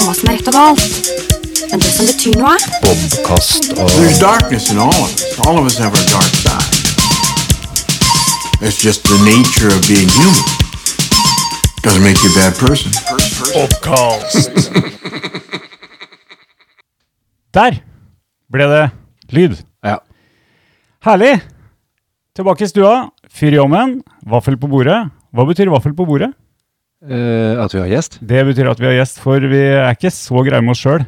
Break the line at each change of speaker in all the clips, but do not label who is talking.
smertedals. Men det som betyr noe,
Bobkast og
There's darkness in all of us. All of us have our dark side. It's just the nature of being human. Doesn't make you a bad person.
Der ble det lyd.
Ja.
Herlig! Tilbake i stua. Fyr i ovnen. Vaffel på bordet. Hva betyr vaffel på bordet?
eh, At vi har gjest?
Det betyr at vi har gjest, for vi er ikke så greie med oss sjøl.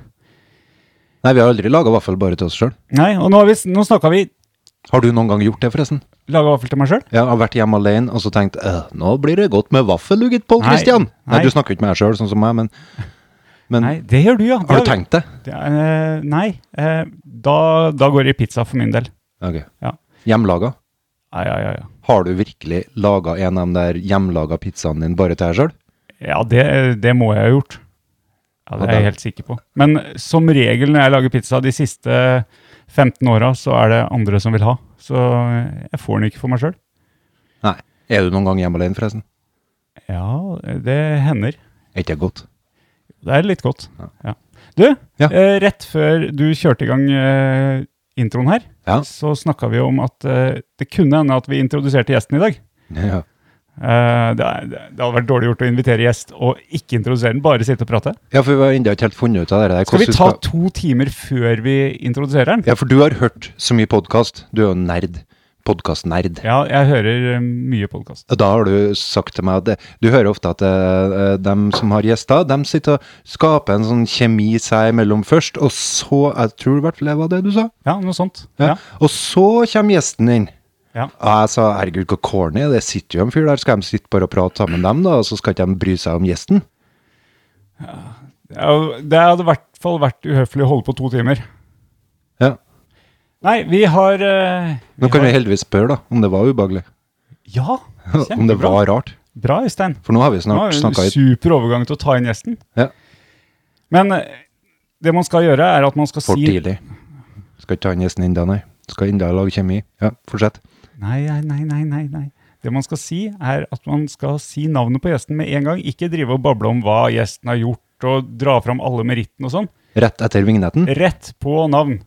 Nei, vi har aldri laga vaffel bare til oss sjøl.
Nei, og nå, har vi, s- nå snakka vi
Har du noen gang gjort det, forresten?
Laga vaffel til meg sjøl?
Jeg har vært hjemme alene og så tenkt eh, nå blir det godt med vaffel, du gitt, Pål
Nei,
Christian. Nei,
nei.
du snakker jo ikke med deg sjøl, sånn som meg, men, men
Nei, det gjør du, ja. Det
har du
vi-
tenkt det?
Det er, eh, nei. eh, Da, da går det i pizza for min del.
Ok.
Ja.
Hjemmelaga?
Ja, ja, ja. ja.
Har du virkelig laga en av de der hjemmelaga pizzaene dine bare til deg sjøl?
Ja, det, det må jeg ha gjort. Ja,
Ja,
Det er jeg
det-
helt sikker på. Men som regel når jeg lager pizza de siste 15 åra, så er det andre som vil ha. Så jeg får den ikke for meg sjøl.
Nei. Er du noen gang hjemme alene, forresten?
Ja, det hender.
Er ikke det godt?
Det er litt godt. Ja. Du,
Ja.
eh, rett før du kjørte i gang eh, introen her,
Ja.
så snakka vi om at eh, det kunne hende at vi introduserte gjesten i dag.
ja.
Eh, det, er, det det hadde vært dårlig gjort å invitere gjest og ikke introdusere den, bare sitte og prate.
Ja, for vi har ennå ikke helt funnet ut av det der.
Skal vi
hvordan
ta to timer før vi introduserer den?
Ja, for du har hørt så mye podkast. Du er jo nerd. Podkast-nerd.
Ja, jeg hører eh, mye podkast.
Og Da har du sagt til meg at det, du hører ofte at eh, eh, dem som har gjester, dem sitter og skaper en sånn kjemi seg imellom først, og så Jeg tror i hvert fall det var det du sa.
Ja, noe sånt. Ja.
Ja. Og så kommer gjesten inn.
Ja.
Og jeg sa herregud, hvor corny, det sitter jo en fyr der, skal de sitte bare og prate sammen med dem, da, og så skal ikke de bry seg om gjesten?
Ja, Det hadde i hvert fall vært uhøflig å holde på to timer.
Ja.
Nei, vi har eh,
Nå kan vi
har-
heldigvis spørre, da, om det var ubehagelig.
Ja,
om det
kjempebra.
var rart.
Bra, Øystein.
For nå har vi
Det var
snart
en
snakka i
super overgang til å ta inn gjesten.
Ja.
Men eh, det man skal gjøre, er at man skal
For
si
tidlig. Skal ikke ta inn gjesten Inda, nei. Skal Inda lage kjemi? Ja, fortsett.
Nei, nei, nei, nei, nei, nei. Det man skal si, er at man skal si navnet på gjesten med en gang. Ikke drive og bable om hva gjesten har gjort, og dra fram alle merittene og sånn.
Rett etter vignetten?
Rett på navn.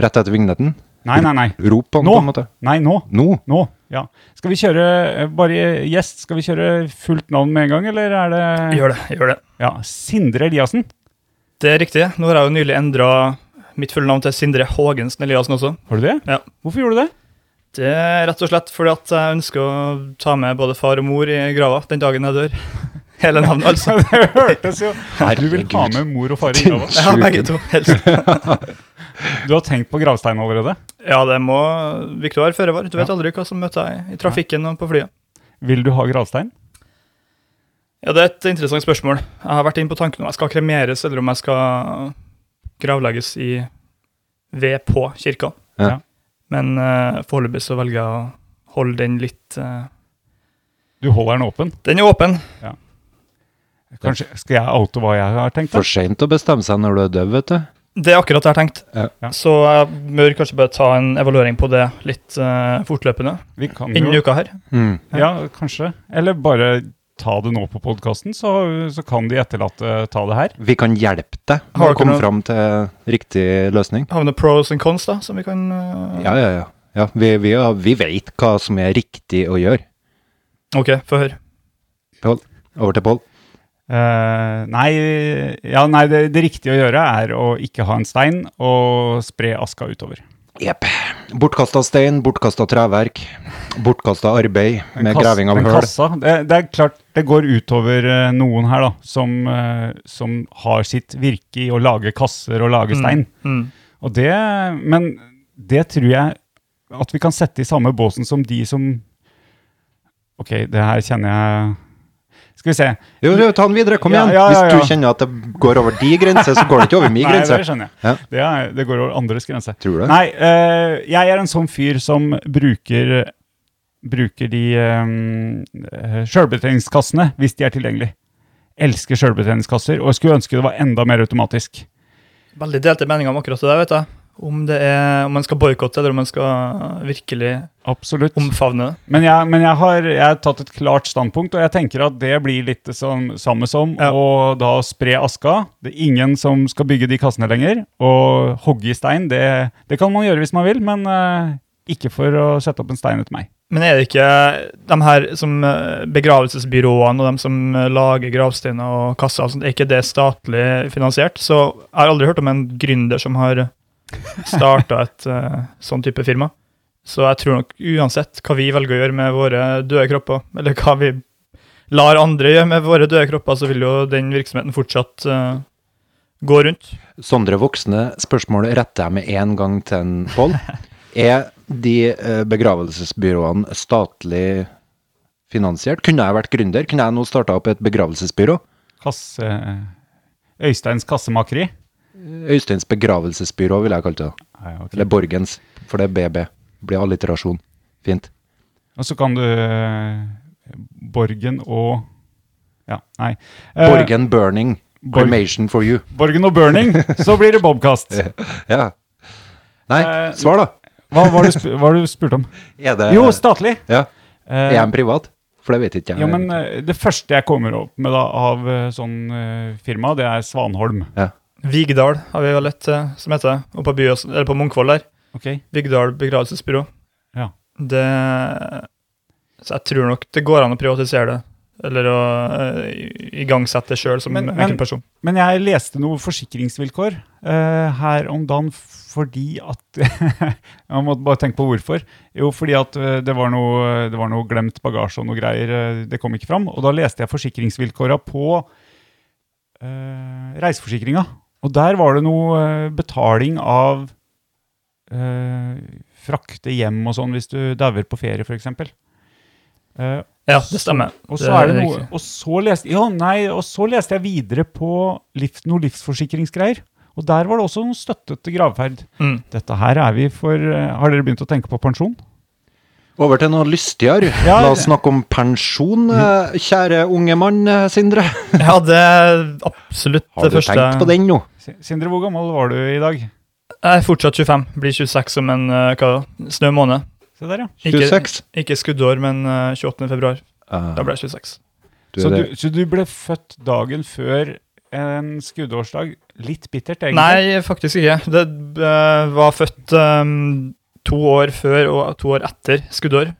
Rett etter vignetten?
Nei, nei, nei.
Rop på den,
Nå.
på en måte.
Nei, nå.
Nå?
Nå, ja. Skal vi kjøre eh, bare gjest? Skal vi kjøre fullt navn med en gang, eller er det
Gjør det. gjør Det
Ja, Sindre Eliassen.
Det er riktig. Nå har jeg jo nylig endra mitt fulle navn til Sindre Haagensen Eliassen også.
Har du det?
Ja.
Hvorfor gjorde du det?
Det er rett og slett fordi at jeg ønsker å ta med både far og mor i grava den dagen jeg dør. Hele navnet, altså.
Det hørtes jo Du vil ha
Herregud.
med mor og far i grava.
Ja, begge to, helst.
Du har tenkt på gravsteinen allerede?
Ja, det må Viktig å være føre var. Du vet aldri hva som møter deg i trafikken og på flyet.
Vil du ha gravstein?
Ja, Det er et interessant spørsmål. Jeg har vært inne på tanken om jeg skal kremeres, eller om jeg skal gravlegges i ved på kirka.
Ja.
Ja.
Men uh, foreløpig så velger jeg å holde den litt eh,
Du holder den åpen.
Den er åpen.
Kanskje Skal jeg oute hva jeg har tenkt? da?
For seint å bestemme seg når du er død, vet du.
Det er akkurat det jeg har tenkt.
Ja.
Ja.
Så jeg bør kanskje bare ta en evaluering på det litt eh, fortløpende
Vi
Mhm.
kan
innen
jo
uka her.
Mm.
Ja, kanskje. Eller bare ta det nå på podkasten, så, så kan de etterlatte ta det her.
Vi kan hjelpe deg
Har
med å
dere
komme
noe-
fram til riktig løsning.
Har vi noen pros and cons da, som vi kan eh,
Ja, ja, ja. ja vi, vi, har- vi veit hva som er riktig å gjøre.
Ok, få høre.
Pål. Over til Pål.
Eh, nei, ja, nei det, det riktige å gjøre er å ikke ha en stein og spre aska utover.
Jepp. Bortkasta stein, bortkasta treverk, bortkasta arbeid med
Kass-
graving av
den
høl.
kassa, det, det er klart det går utover eh, noen her, da, som, eh, som har sitt virke i å lage kasser og lage stein.
Mm.
Og det, men det tror jeg at vi kan sette i samme båsen som de som Ok, det her kjenner jeg Skal vi se.
Jo, jo, ta den videre, kom
Ja,
igjen.
ja, ja, ja.
Hvis du kjenner at det går over de grenser, så går det ikke over min
Nei,
grense.
det skjønner jeg.
Ja.
Det, er, det går over andres grense.
Tror du det?
Nei, eh, jeg er en sånn fyr som bruker, bruker de uh, sjølbetjeningskassene hvis de er tilgjengelige. Elsker sjølbetjeningskasser og skulle ønske det var enda mer automatisk.
Veldig delte meninger om akkurat det der, vet jeg. Om, det er, om man skal boikotte, eller om man skal virkelig
Absolutt.
omfavne det.
Men, jeg, men jeg, har, jeg har tatt et klart standpunkt, og jeg tenker at det blir litt det som, samme som
Ja.
å da spre aska. Det er ingen som skal bygge de kassene lenger. Og hogge i stein, det, det kan man gjøre hvis man vil, men eh, ikke for å sette opp en stein etter meg.
Men er det ikke de her som eh, begravelsesbyråene og de som eh, lager gravsteiner og kasser, og sånt, er ikke det statlig finansiert? Så jeg har aldri hørt om en gründer som har starta et eh, sånn type firma. Så jeg tror nok uansett hva vi velger å gjøre med våre døde kropper, eller hva vi lar andre gjøre med våre døde kropper, så vil jo den virksomheten fortsatt eh, gå rundt.
Sondre Voksne, spørsmålet retter jeg med en gang til en Pål. Er de eh, begravelsesbyråene statlig finansiert? Kunne jeg vært gründer? Kunne jeg nå starta opp et begravelsesbyrå?
Kasse, Øysteins kassemakeri.
Øysteins begravelsesbyrå, vil jeg kalle det.
Nei, ok.
Eller Borgens, for det er BB. Blir alliterasjon. Fint.
Og så kan du eh, Borgen og Ja, nei. Eh,
Borgen Burning.
Borg-
Cremation for you.
Borgen og Burning, så blir det bobkast.
Ja. Nei,
Eh,
svar, da.
Hva var det du, sp- hva var det du spurte om?
Er det
Eh, Jo, statlig.
ja.
Eh,
Er jeg en privat? For det vet ikke jeg.
Ja, men eh, Det første jeg kommer opp med da, av eh, sånn eh, firma, det er Svanholm.
ja.
Vigdal har vi vel et eh, som heter, det, oppe på, Byås- eller på Munkvoll der.
Ok?
Vigdal begravelsesbyrå.
Ja.
Det Så jeg tror nok det går an å privatisere det. Eller å eh, i- igangsette det sjøl som
Men- men-
enkeltperson.
Men jeg leste noen forsikringsvilkår eh, her om dagen fordi at Jeg måtte bare tenke på hvorfor. Jo, fordi at eh, det var noe, det var noe glemt bagasje og noe greier. eh, det kom ikke fram. Og da leste jeg forsikringsvilkåra på eh, reiseforsikringa. Og der var det noe eh, betaling av eh, frakte hjem og sånn hvis du dauer på ferie, f.eks. Uh,
Ja, det stemmer.
og så er det
er
noe,
riktig.
og så leste, ja, nei, og så leste jeg videre på livs, noe livsforsikringsgreier. Og der var det også noen støtte til gravferd.
Mm.
Dette her er vi for eh, Har dere begynt å tenke på pensjon?
Over til noe lystigere.
Ja,
La oss
det-
snakke om pensjon, eh, kjære unge mann, eh, Sindre.
Ja, Mhm. det er absolutt
Har
det
du
første.
tenkt på den nå?
S- Sindre, hvor gammel var du i dag?
Jeg er fortsatt 25. Blir 26 om en eh, hva, da? snau måned.
Se der, ja.
Ikke,
26?
ikke skuddår, men eh, 28. februar.
Ah,
Da ble jeg 26.
du,
så,
er det.
du, så du ble født dagen før en skuddårsdag? Litt bittert, egentlig.
Nei, faktisk ikke. Det eh, var født eh, to år før og to år etter skuddår.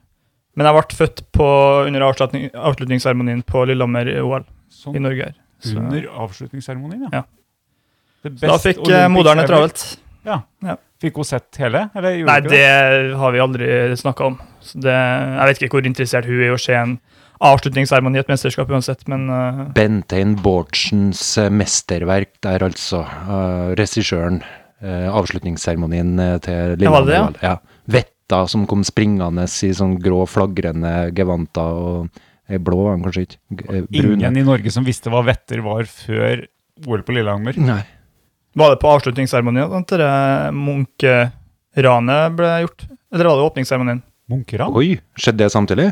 Men jeg ble født på, under avslutning, avslutningsseremonien på Lillehammer i OL i
Sånn
Norge. her. Så,
under avslutningsseremonien, ja.
Ja.
Det
så da
best
fikk
olympisk
moderen
ever.
det travelt.
Fikk hun sett hele? Eller gjorde
Nei,
hun ikke det?
det har vi aldri snakka om. Så det, jeg vet ikke hvor interessert hun er i å se en avslutningsseremoni i et mesterskap uansett, men eh,
Bentein Bårdsens eh, mesterverk der, altså. eh, Regissøren. eh, Avslutningsseremonien eh, til
var det,
Lillehammer. OL. Ja. Vetta som kom springende i sånn grå, flagrende gevanter og eh, blå, var han kanskje ikke? G- eh, Brun.
Ingen i Norge som visste hva vetter var før OL på Lillehammer.
Nei.
var det på avslutningsseremonien at det munkeranet ble gjort? Eller var det åpningsseremonien?
Munkeran?
Oi, skjedde det samtidig?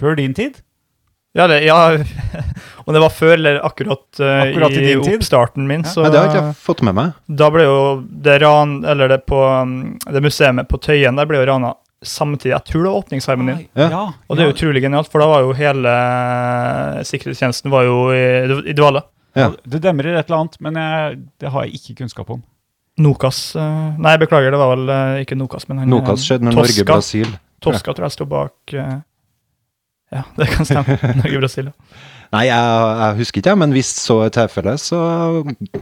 Før din tid?
Ja, det, ja. om det var før eller akkurat, eh,
Akkurat i
i,
din tid?
oppstarten min, så
Nei, det har ikke jeg fått med meg.
da ble jo det ran, eller det på um, det museet på Tøyen, der ble jo rana samtidig. Jeg tror det var åpningsseremonien.
Ja.
Og det er utrolig genialt, for da var jo hele eh, sikkerhetstjenesten var jo i, i dvale.
Ja.
Det demrer et eller annet, men jeg, det har jeg ikke kunnskap om.
Nokas eh, Nei, beklager, det var vel eh, ikke Nokas, men han
Nokas skjedde når
Tosca.
Norge-Brasil
Toska tror jeg sto bak eh, Ja, det kan stemme. Norge-Brasil. ja.
Nei, jeg, jeg husker ikke, men hvis så er tilfelle, så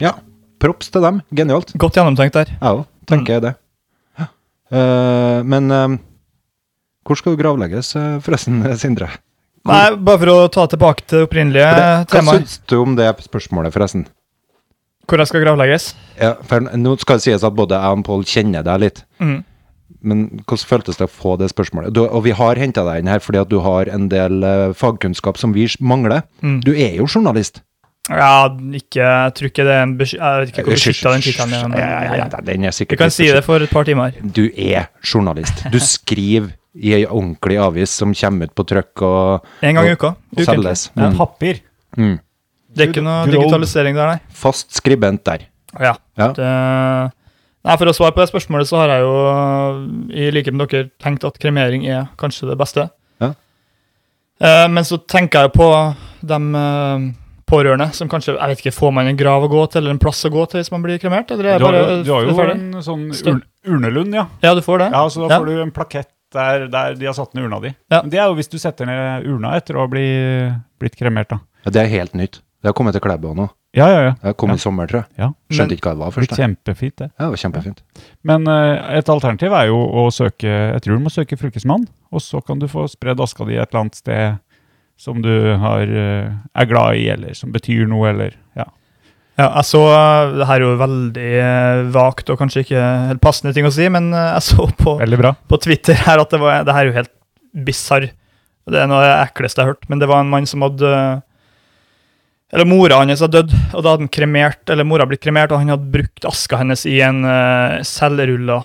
ja. Props til dem. Genialt.
Godt gjennomtenkt der.
Jeg òg, tenker jeg det. Eh, men eh, hvor skal du gravlegges, eh, forresten, Sindre? Hvor-
Nei, bare for å ta tilbake til det opprinnelige
For det- altså, Hva
temaet,
syns du om det spørsmålet, forresten?
hvor jeg skal gravlegges.
Ja, for nå skal det sies at både jeg og Pål kjenner deg litt.
Mm.
Men hvordan føltes det å få det spørsmålet? Du, og vi har henta deg inn her fordi at du har en del eh, fagkunnskap som vi mangler.
Mm.
Du er jo journalist.
Ja, ikke Jeg tror ikke det er en besky- Jeg vet ikke hvor beskytta den tittelen er.
Ja, ja, ja,
men-
ja, Den er
Vi
sikkert
kan
litt
si det for et par timer.
du er journalist. Du skriver i ei ordentlig avis som kommer ut på trykk og,
En gang i uka.
og selges.
Ukentlig. Ja.
Mm.
Papir.
Det er ikke noe
Good old-
digitalisering der, nei.
Fast skribent der.
Ja.
Ja.
Det, Nei, For å svare på det spørsmålet, så har jeg jo, øh, i like med dere, tenkt at kremering er kanskje det beste.
Ja.
Eh, men så tenker jeg jo på de øh, pårørende som kanskje jeg vet ikke, Får man en grav å gå til, eller en plass å gå til hvis man blir kremert? Eller er
Du har,
bare,
jo- du har jo
ferdig?
en sånn
Stø-
ur- urnelund, ja.
Ja, du får det?
ja. Så da
Ja.
får du en plakett der, der de har satt ned urna di.
Ja.
Men Det er jo hvis du setter ned urna etter å ha bli, blitt kremert, da.
Ja, det er helt nytt. Det har kommet til Klæbo nå.
Ja, ja, ja.
Det har kommet i sommer, tror jeg.
ja.
Skjønte
Men-
ikke hva det var
Det
først.
blir
jeg.
kjempefint, det.
Ja, det var kjempefint.
Men eh, et alternativ er jo å søke Jeg tror du må søke fylkesmann, og så kan du få spredd aska di et eller annet sted som du har, eh, er glad i, eller som betyr noe, eller ja.
Ja, jeg så eh, Det her er jo veldig eh, vagt og kanskje ikke helt passende ting å si, men eh, jeg så på,
Veldig bra.
på Twitter her at det var Det her er jo helt bisarr. Det er noe av det ekleste jeg har hørt, men det var en mann som hadde eh, Eller mora hans hadde dødd, og da hadde han kremert, eller mora blitt kremert, og han hadde brukt aska hennes i en uh, selvrulla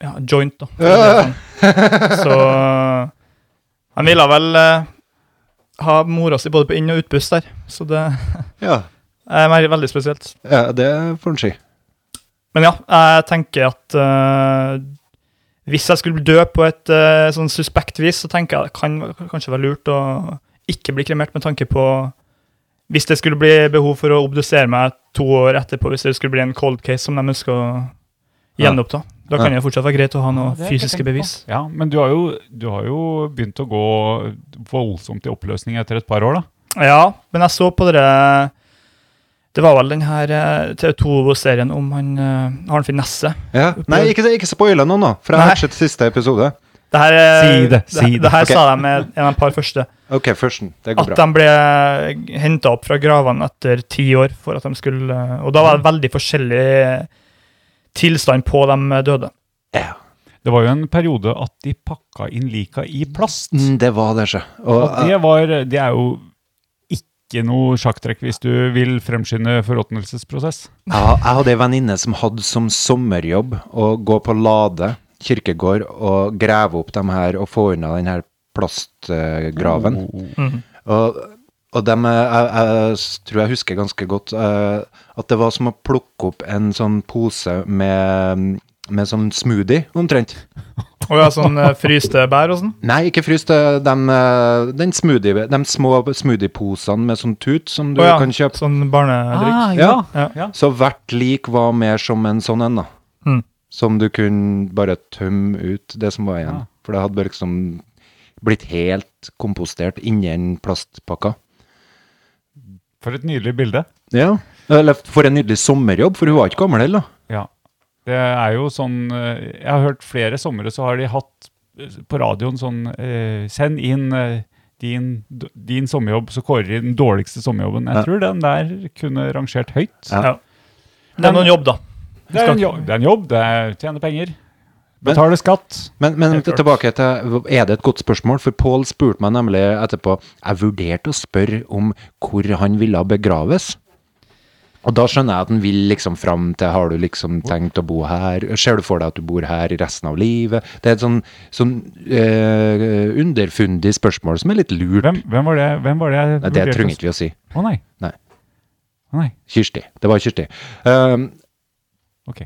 ja, joint, da. for å si det sånn. Så eh, han ville vel eh, ha mora si både på inn- og utpust der, så det
Ja,
er mer- veldig spesielt.
ja det får en si.
Men ja, jeg tenker at eh, hvis jeg skulle dø på et eh, sånn suspekt vis, så tenker jeg det kan kanskje være lurt å ikke bli kremert med tanke på Hvis det skulle bli behov for å obdusere meg to år etterpå, hvis det skulle bli en cold case som de ønsker å
Ja.
gjenoppta. Da kan det fortsatt være greit å ha noen fysiske bevis.
Ja, Men du har, jo, du har jo begynt å gå voldsomt i oppløsning etter et par år, da.
Ja, men jeg så på dere Det var vel den her eh, TV 2-serien om han eh, Arnfinn Nesse.
Ja. Nei, ikke, ikke spoile noen, da, for jeg
Nei.
har ikke sett siste episode.
Det her, eh,
Si det, si
det,
det.
det her
Ok.
sa jeg med en av de par første.
Ok, førsten. Det går
At
bra.
de ble henta opp fra gravene etter ti år. for at de skulle, Og da var det veldig forskjellig tilstand på de døde.
Ja.
Det var jo en periode at de pakka inn lika i plast.
Mm, det var det, sjø. Og,
Og det, var, det er jo ikke noe sjakktrekk hvis du vil fremskynde forråtnelsesprosess.
Jeg, jeg hadde ei venninne som hadde som sommerjobb å gå på Lade kirkegård og grave opp de her og få unna den her plastgraven.
Mm.
Og, og dem, eh, jeg, jeg s- tror jeg husker ganske godt eh, at det var som å plukke opp en sånn pose med, med sånn smoothie, omtrent.
Og ja, sånn eh, fryste bær og sånn.
Nei, ikke fryst. eh, dem, eh, den smoothie, de små smoothieposene med sånn tut som du
Å ja,
kan kjøpe.
Sånn barnedrikk.
Ah, ja.
Ja.
Så hvert lik var mer som en sånn en, da.
Mm.
Som du kunne bare tømme ut det som var igjen.
Ja.
For det hadde bare liksom blitt helt kompostert inni den plastpakka.
For et nydelig bilde.
Ja. Eller for en nydelig sommerjobb, for hun var ikke gammel heller.
Ja. Det er jo sånn eh, Jeg har hørt flere somre så har de hatt eh, på radioen sånn eh, Send inn eh, din, d- din sommerjobb, så kårer de den dårligste sommerjobben. Jeg
Ja.
tror den der kunne rangert høyt.
Ja.
Det er noen jobb, da.
Det er en jobb, det er en jobb, det er tjene penger.
Men-
Betale skatt.
Men, men
Helt klart.
tilbake til Er det et godt spørsmål? For Pål spurte meg nemlig etterpå Jeg vurderte å spørre om hvor han ville begraves. Og da skjønner jeg at han vil liksom fram til Har du liksom tenkt å bo her? Ser du for deg at du bor her i resten av livet? Det er et sånn, sånn eh, underfundig spørsmål som er litt lurt.
Hvem, hvem var det? Hvem var det, jeg
Nei, det
vurderte
trenger
å-
ikke vi å si.
Å nei.
Nei.
Å nei.
Kirsti. Det var Kirsti. Um,
Ok.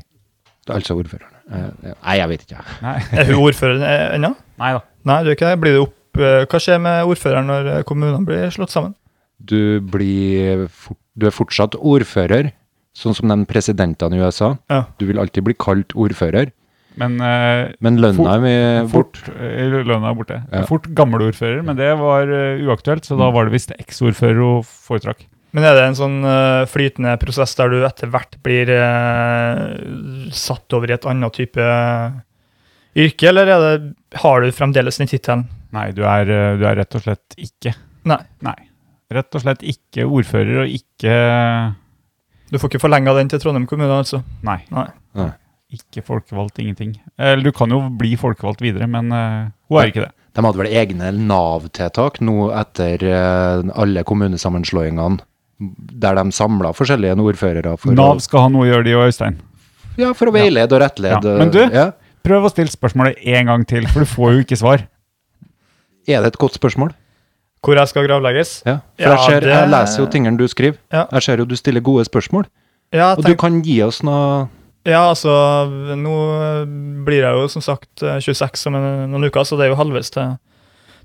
Altså ordføreren. Eh, nei, jeg vet ikke.
Nei.
Er hun ordfører eh, ennå?
nei da.
Nei, du er ikke det. Blir det opp eh, Hva skjer med ordføreren når eh, kommunene blir slått sammen?
du blir fort, Du er fortsatt ordfører, sånn som de presidentene i USA.
Ja.
Du vil alltid bli kalt ordfører,
Men eh,
men lønna er bort.
fort eh, Lønna er borte.
Ja. Mm.
Fort gammelordfører, men det var eh, uaktuelt, så da var det visst eksordfører hun foretrakk.
Men er det en sånn eh, flytende prosess der du etter hvert blir eh, satt over i et annet type eh, yrke, eller er det, har du fremdeles den tittelen?
Nei, du er, eh, du er rett og slett ikke.
Nei.
Rett og slett ikke ordfører og ikke
Du får ikke forlenga den til Trondheim kommune, altså.
Nei.
Nei.
Nei.
Ikke folkevalgt, ingenting. Eller du kan jo bli folkevalgt videre, men eh, hun er ikke det.
De hadde vel egne Nav-tiltak nå etter eh, alle kommunesammenslåingene, der de samla forskjellige ordførere for,
Nav skal ha noe å gjøre, de og Øystein.
å, ja, for å veilede og rettlede.
Ja, men du-
Ja.
Prøv å stille spørsmålet én gang til, for du får jo ikke svar.
Er det et godt spørsmål?
Hvor jeg skal gravlegges?
Ja. For
Ja,
jeg, ser,
det-
jeg leser jo tingene du skriver.
Ja.
Jeg ser jo du stiller gode spørsmål.
Ja,
Og du
tenk,
kan gi oss noe
Ja, altså, nå blir jeg jo som sagt eh, 26 om en- noen uker, så det er jo halvveis til,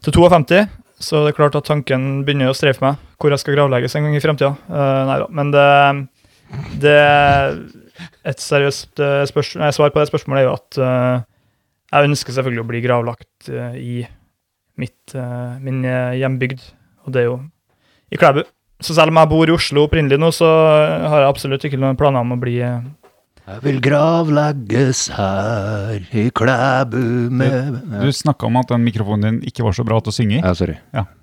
til 52. Så det er klart at tanken begynner å streife meg hvor jeg skal gravlegges en gang i fremtida. Eh, nei da, men det, det Et seriøst eh, spørs- nei, svar på det spørsmålet er jo at eh, jeg ønsker selvfølgelig å bli gravlagt eh, i mitt, eh, min eh, hjembygd, og det er jo i Klæbu. Så selv om jeg bor i Oslo opprinnelig nå, så har jeg absolutt ikke noen planer om å bli eh,
Jeg vil gravlegges her i Klæbu med
Du snakka om at den mikrofonen din ikke var så bra til å synge i.
Ja,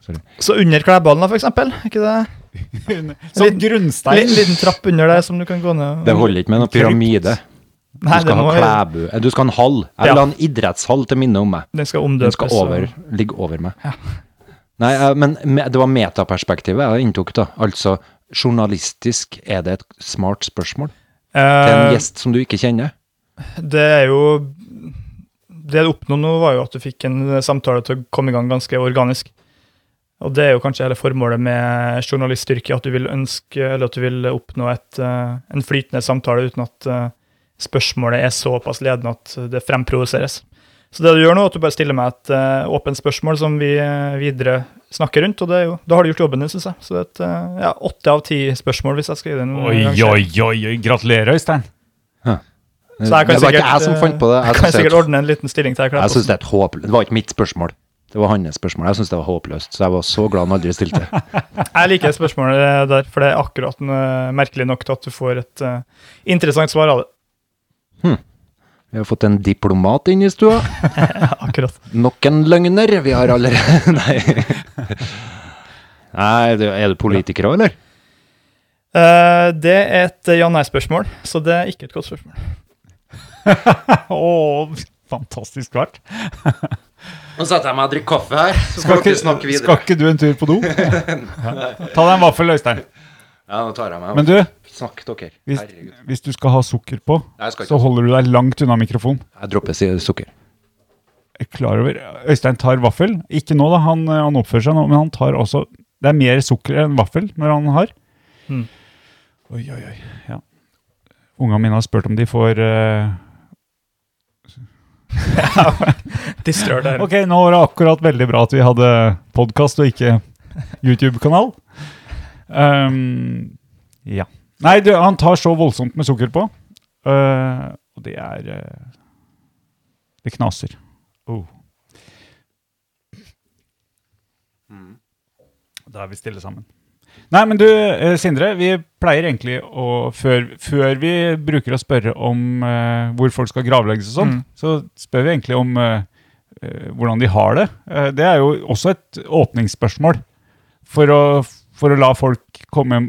sorry.
Så under klæballen, da, for eksempel. Er Ikke det?
Som
Litt- En
grunnstein!
liten, liten trapp under der som du kan gå ned.
Det holder ikke med noen pyramide. Du
Nei, det
skal ha
må,
Klæbu Eh, Du skal ha en hall. Jeg vil
Ja.
ha en idrettshall til minne om meg.
den skal
Den
omdøpes.
skal
og-
over, ligge over meg. Nei, eh, men me- det var metaperspektivet jeg inntok, da. Altså, journalistisk, er det et smart spørsmål? Til en
Eh,
gjest som du ikke kjenner?
det er jo Det du oppnådde nå, var jo at du fikk en samtale til å komme i gang ganske organisk. Og det er jo kanskje hele formålet med journaliststyrke, at du vil ønske, eller at du vil oppnå et, eh, en flytende samtale uten at eh, spørsmålet er såpass ledende at det fremprovoseres. Så det du gjør nå, er at du bare stiller meg et eh, åpent spørsmål som vi eh, videre snakker rundt, og det er jo, da har du gjort jobben din, syns jeg. Så det er et, eh, ja, åtte av ti spørsmål, hvis jeg skal gi den
Oi, oi, oi, oi. Gratulerer, Øystein.
Mm. Det
Så
var
jeg kan
ikke
sikkert,
jeg som
eh,
fant på det. Jeg
Kan jeg
synes det er
sikkert ordne en liten stilling til deg.
Jeg synes det er et håpløst Det var ikke mitt spørsmål. Det var hans spørsmål. Jeg synes det var håpløst, så jeg var så glad han aldri stilte.
Jeg liker det spørsmålet der, for det er akkurat eh, merkelig nok til at du får et eh, interessant svar av det.
Vi har fått en diplomat inn i stua.
Akkurat.
Nok en løgner. Vi har allerede Nei. Nei, du- er du politiker òg, eller?
Eh, det er et eh, ja-nei-spørsmål, så det er ikke et godt spørsmål.
Å, fantastisk klart.
Nå setter jeg meg og drikker kaffe her, så
skal ikke du en tur på do? Ja. Ta deg en vaffel, Øystein.
Ja, nå tar jeg meg
Men du,
Snakk dere.
hvis, hvis du skal ha sukker på,
Nei, jeg skal ikke
så
ha
holder du deg langt unna mikrofonen.
Jeg dropper si- sukker.
Jeg er klar over. Øystein tar vaffel. Ikke nå, da. Han, eh, han oppfører seg nå, men han tar også Det er mer sukker enn vaffel når han har.
Mm.
Oi, oi, oi. Ja. Ungene mine har spurt om de får eh,
Distrør der.
Ok, nå var det akkurat veldig bra at vi hadde podkast og ikke YouTube-kanal. Ehm, ja. Nei, du, han tar så voldsomt med sukker på. Eh, og det er eh, Det knaser. Oh. Da er vi stille sammen. Nei, men du, eh, Sindre, vi pleier egentlig å Før, før vi bruker å spørre om eh, hvor folk skal gravlegges og sånn,
Mm.
så spør vi egentlig om eh, eh, hvordan de har det. Eh, det er jo også et åpningsspørsmål for å, for å la folk komme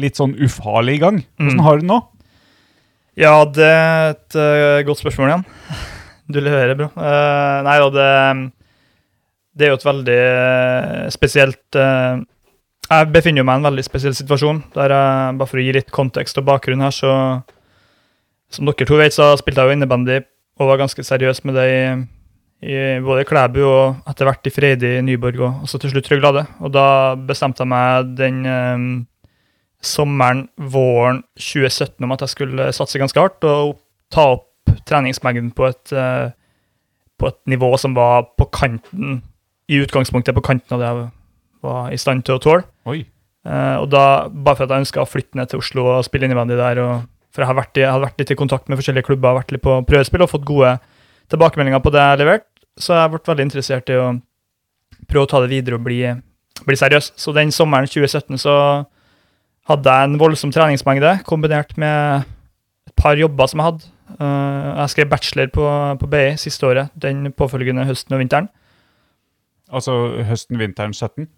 litt sånn ufarlig i gang. Hvordan
Mm.
har du det nå?
Ja, det er et eh, godt spørsmål igjen. Du leverer, bro. Eh, nei da, det, det er jo et veldig eh, spesielt eh, Jeg befinner jo meg i en veldig spesiell situasjon. der jeg, Bare for å gi litt kontekst og bakgrunn her, så Som dere to vet, så spilte jeg jo innebandy og var ganske seriøs med det i, i både Klæbu og etter hvert i Freidi, Nyborg og også til slutt Trøglade. Og da bestemte jeg meg den eh, sommeren, våren 2017 om at jeg skulle satse ganske hardt og ta opp treningsmengden på et, eh, på et nivå som var på kanten, i utgangspunktet på kanten av det jeg var i stand til å tåle.
Oi.
Eh, og da, bare for at jeg ønska å flytte ned til Oslo og spille innebandy der, og, for jeg har vært, i, jeg har vært litt i kontakt med forskjellige klubber, vært litt på prøvespill og fått gode tilbakemeldinger på det jeg har levert, så jeg ble veldig interessert i å prøve å ta det videre og bli, bli seriøs. Så den sommeren 2017 så hadde jeg en voldsom treningsmengde, kombinert med et par jobber som jeg hadde. Eh, jeg skrev bachelor på, på BI siste året, den påfølgende høsten og vinteren.
Altså høsten, vinteren 17?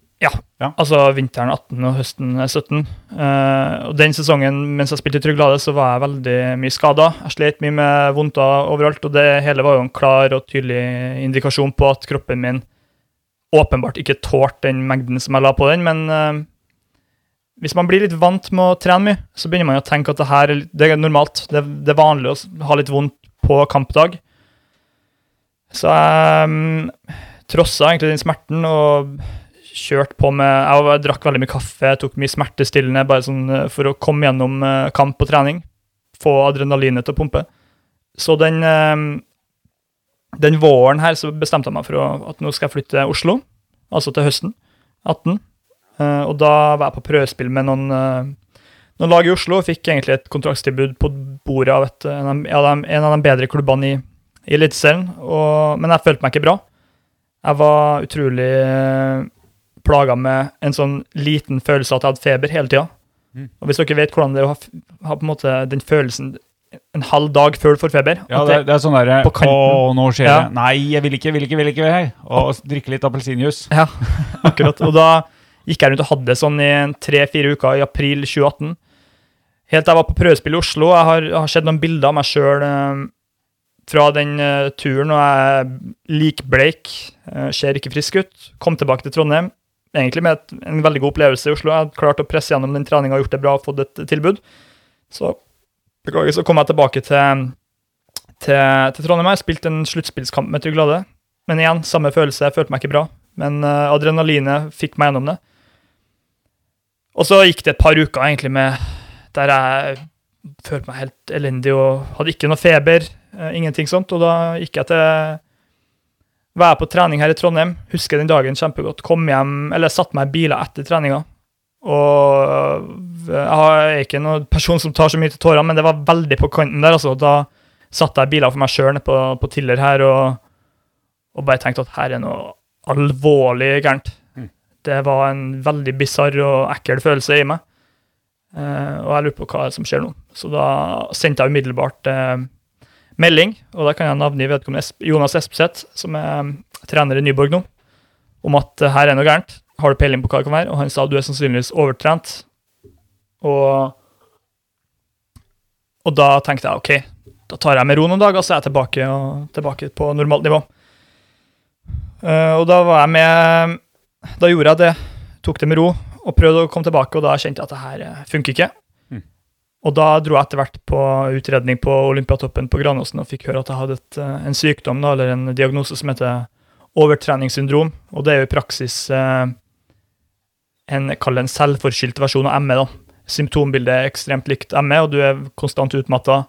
Altså vinteren 18 og høsten er 17. Eh, og Den sesongen mens jeg spilte i Tryglade, så var jeg veldig mye skada. Jeg slet mye med vondter overalt, og det hele var jo en klar og tydelig indikasjon på at kroppen min åpenbart ikke tålte den mengden som jeg la på den, men eh, hvis man blir litt vant med å trene mye, så begynner man jo å tenke at det her er litt- det er normalt. Det, det er vanlig å s- ha litt vondt på kampdag. Så jeg um, trossa egentlig den smerten og kjørt på med Jeg, var- jeg drakk veldig mye kaffe, tok mye smertestillende bare sånn eh, for å komme gjennom eh, kamp og trening. Få adrenalinet til å pumpe. Så den, eh, den våren her så bestemte jeg meg for å, at nå skal jeg flytte til Oslo, altså til høsten 18. Eh, og da var jeg på prøvespill med noen, eh, noen lag i Oslo og fikk egentlig et kontraktstilbud på bordet av et, en, av, de- ja, de- en av de bedre klubbene i, i Eliteserien. og- Men jeg følte meg ikke bra. Jeg var utrolig eh, plaga med en sånn liten følelse av at jeg hadde feber hele tida.
Mm.
Og hvis dere vet hvordan det er å ha, f- ha på en måte den følelsen en halv dag før du får feber
Ja,
at
det, det er sånn derre
På kanten.
Å, nå skjer
Ja.
det. Nei, jeg vil ikke, vil ikke, vil ikke. hei. Og drikke litt appelsinjuice.
Ja, akkurat. Og da gikk jeg rundt og hadde det sånn i en tre-fire uker i april 2018. Helt til jeg var på prøvespill i Oslo. Jeg har, jeg har sett noen bilder av meg sjøl fra den eh, turen, og jeg er likbleik, eh, ser ikke frisk ut. Kom tilbake til Trondheim, egentlig med et, en veldig god opplevelse i Oslo. Jeg hadde klart å presse gjennom den treninga, gjort det bra og fått et tilbud. Så beklager, så kom jeg tilbake til, til, til Trondheim. Jeg spilte en sluttspillskamp med Tryglade. Men igjen, samme følelse. Jeg følte meg ikke bra. Men eh, adrenalinet fikk meg gjennom det. Og så gikk det et par uker egentlig med der jeg følte meg helt elendig og hadde ikke noe feber. eh, ingenting sånt. Og da gikk jeg til Var jeg på trening her i Trondheim, husker den dagen kjempegodt. Kom hjem, eller satte meg i biler etter treninga. Og eh, jeg har- jeg er ikke noen person som tar så mye til tårene, men det var veldig på kanten der. altså. Da satte jeg i biler for meg sjøl på, på Tiller her og, og bare tenkte at her er noe alvorlig gærent. Det var en veldig bisarr og ekkel følelse i meg. Eh, og jeg lurer på hva som skjer nå. Så da sendte jeg umiddelbart eh, melding, og da kan jeg navngi vedkommende Esp Jonas Espeseth, som er eh, trener i Nyborg nå, om at eh, her er noe gærent. Har du peiling på hva det kan være? Og han sa du er sannsynligvis overtrent. Og, og da tenkte jeg ok, da tar jeg med ro noen dager, så er jeg tilbake, og, tilbake på normalt nivå. Eh, og da var jeg med Da gjorde jeg det. Tok det med ro og prøvde å komme tilbake, og da kjente jeg at det her eh, funker ikke.
Mm.
Og da dro jeg etter hvert på utredning på Olympiatoppen på Granåsen og fikk høre at jeg hadde et, eh, en sykdom, da, eller en diagnose, som heter overtreningssyndrom. Og det er jo i praksis eh, en, kall det en selvforskyldt versjon av ME. da. Symptombildet er ekstremt likt ME, og du er konstant utmatta.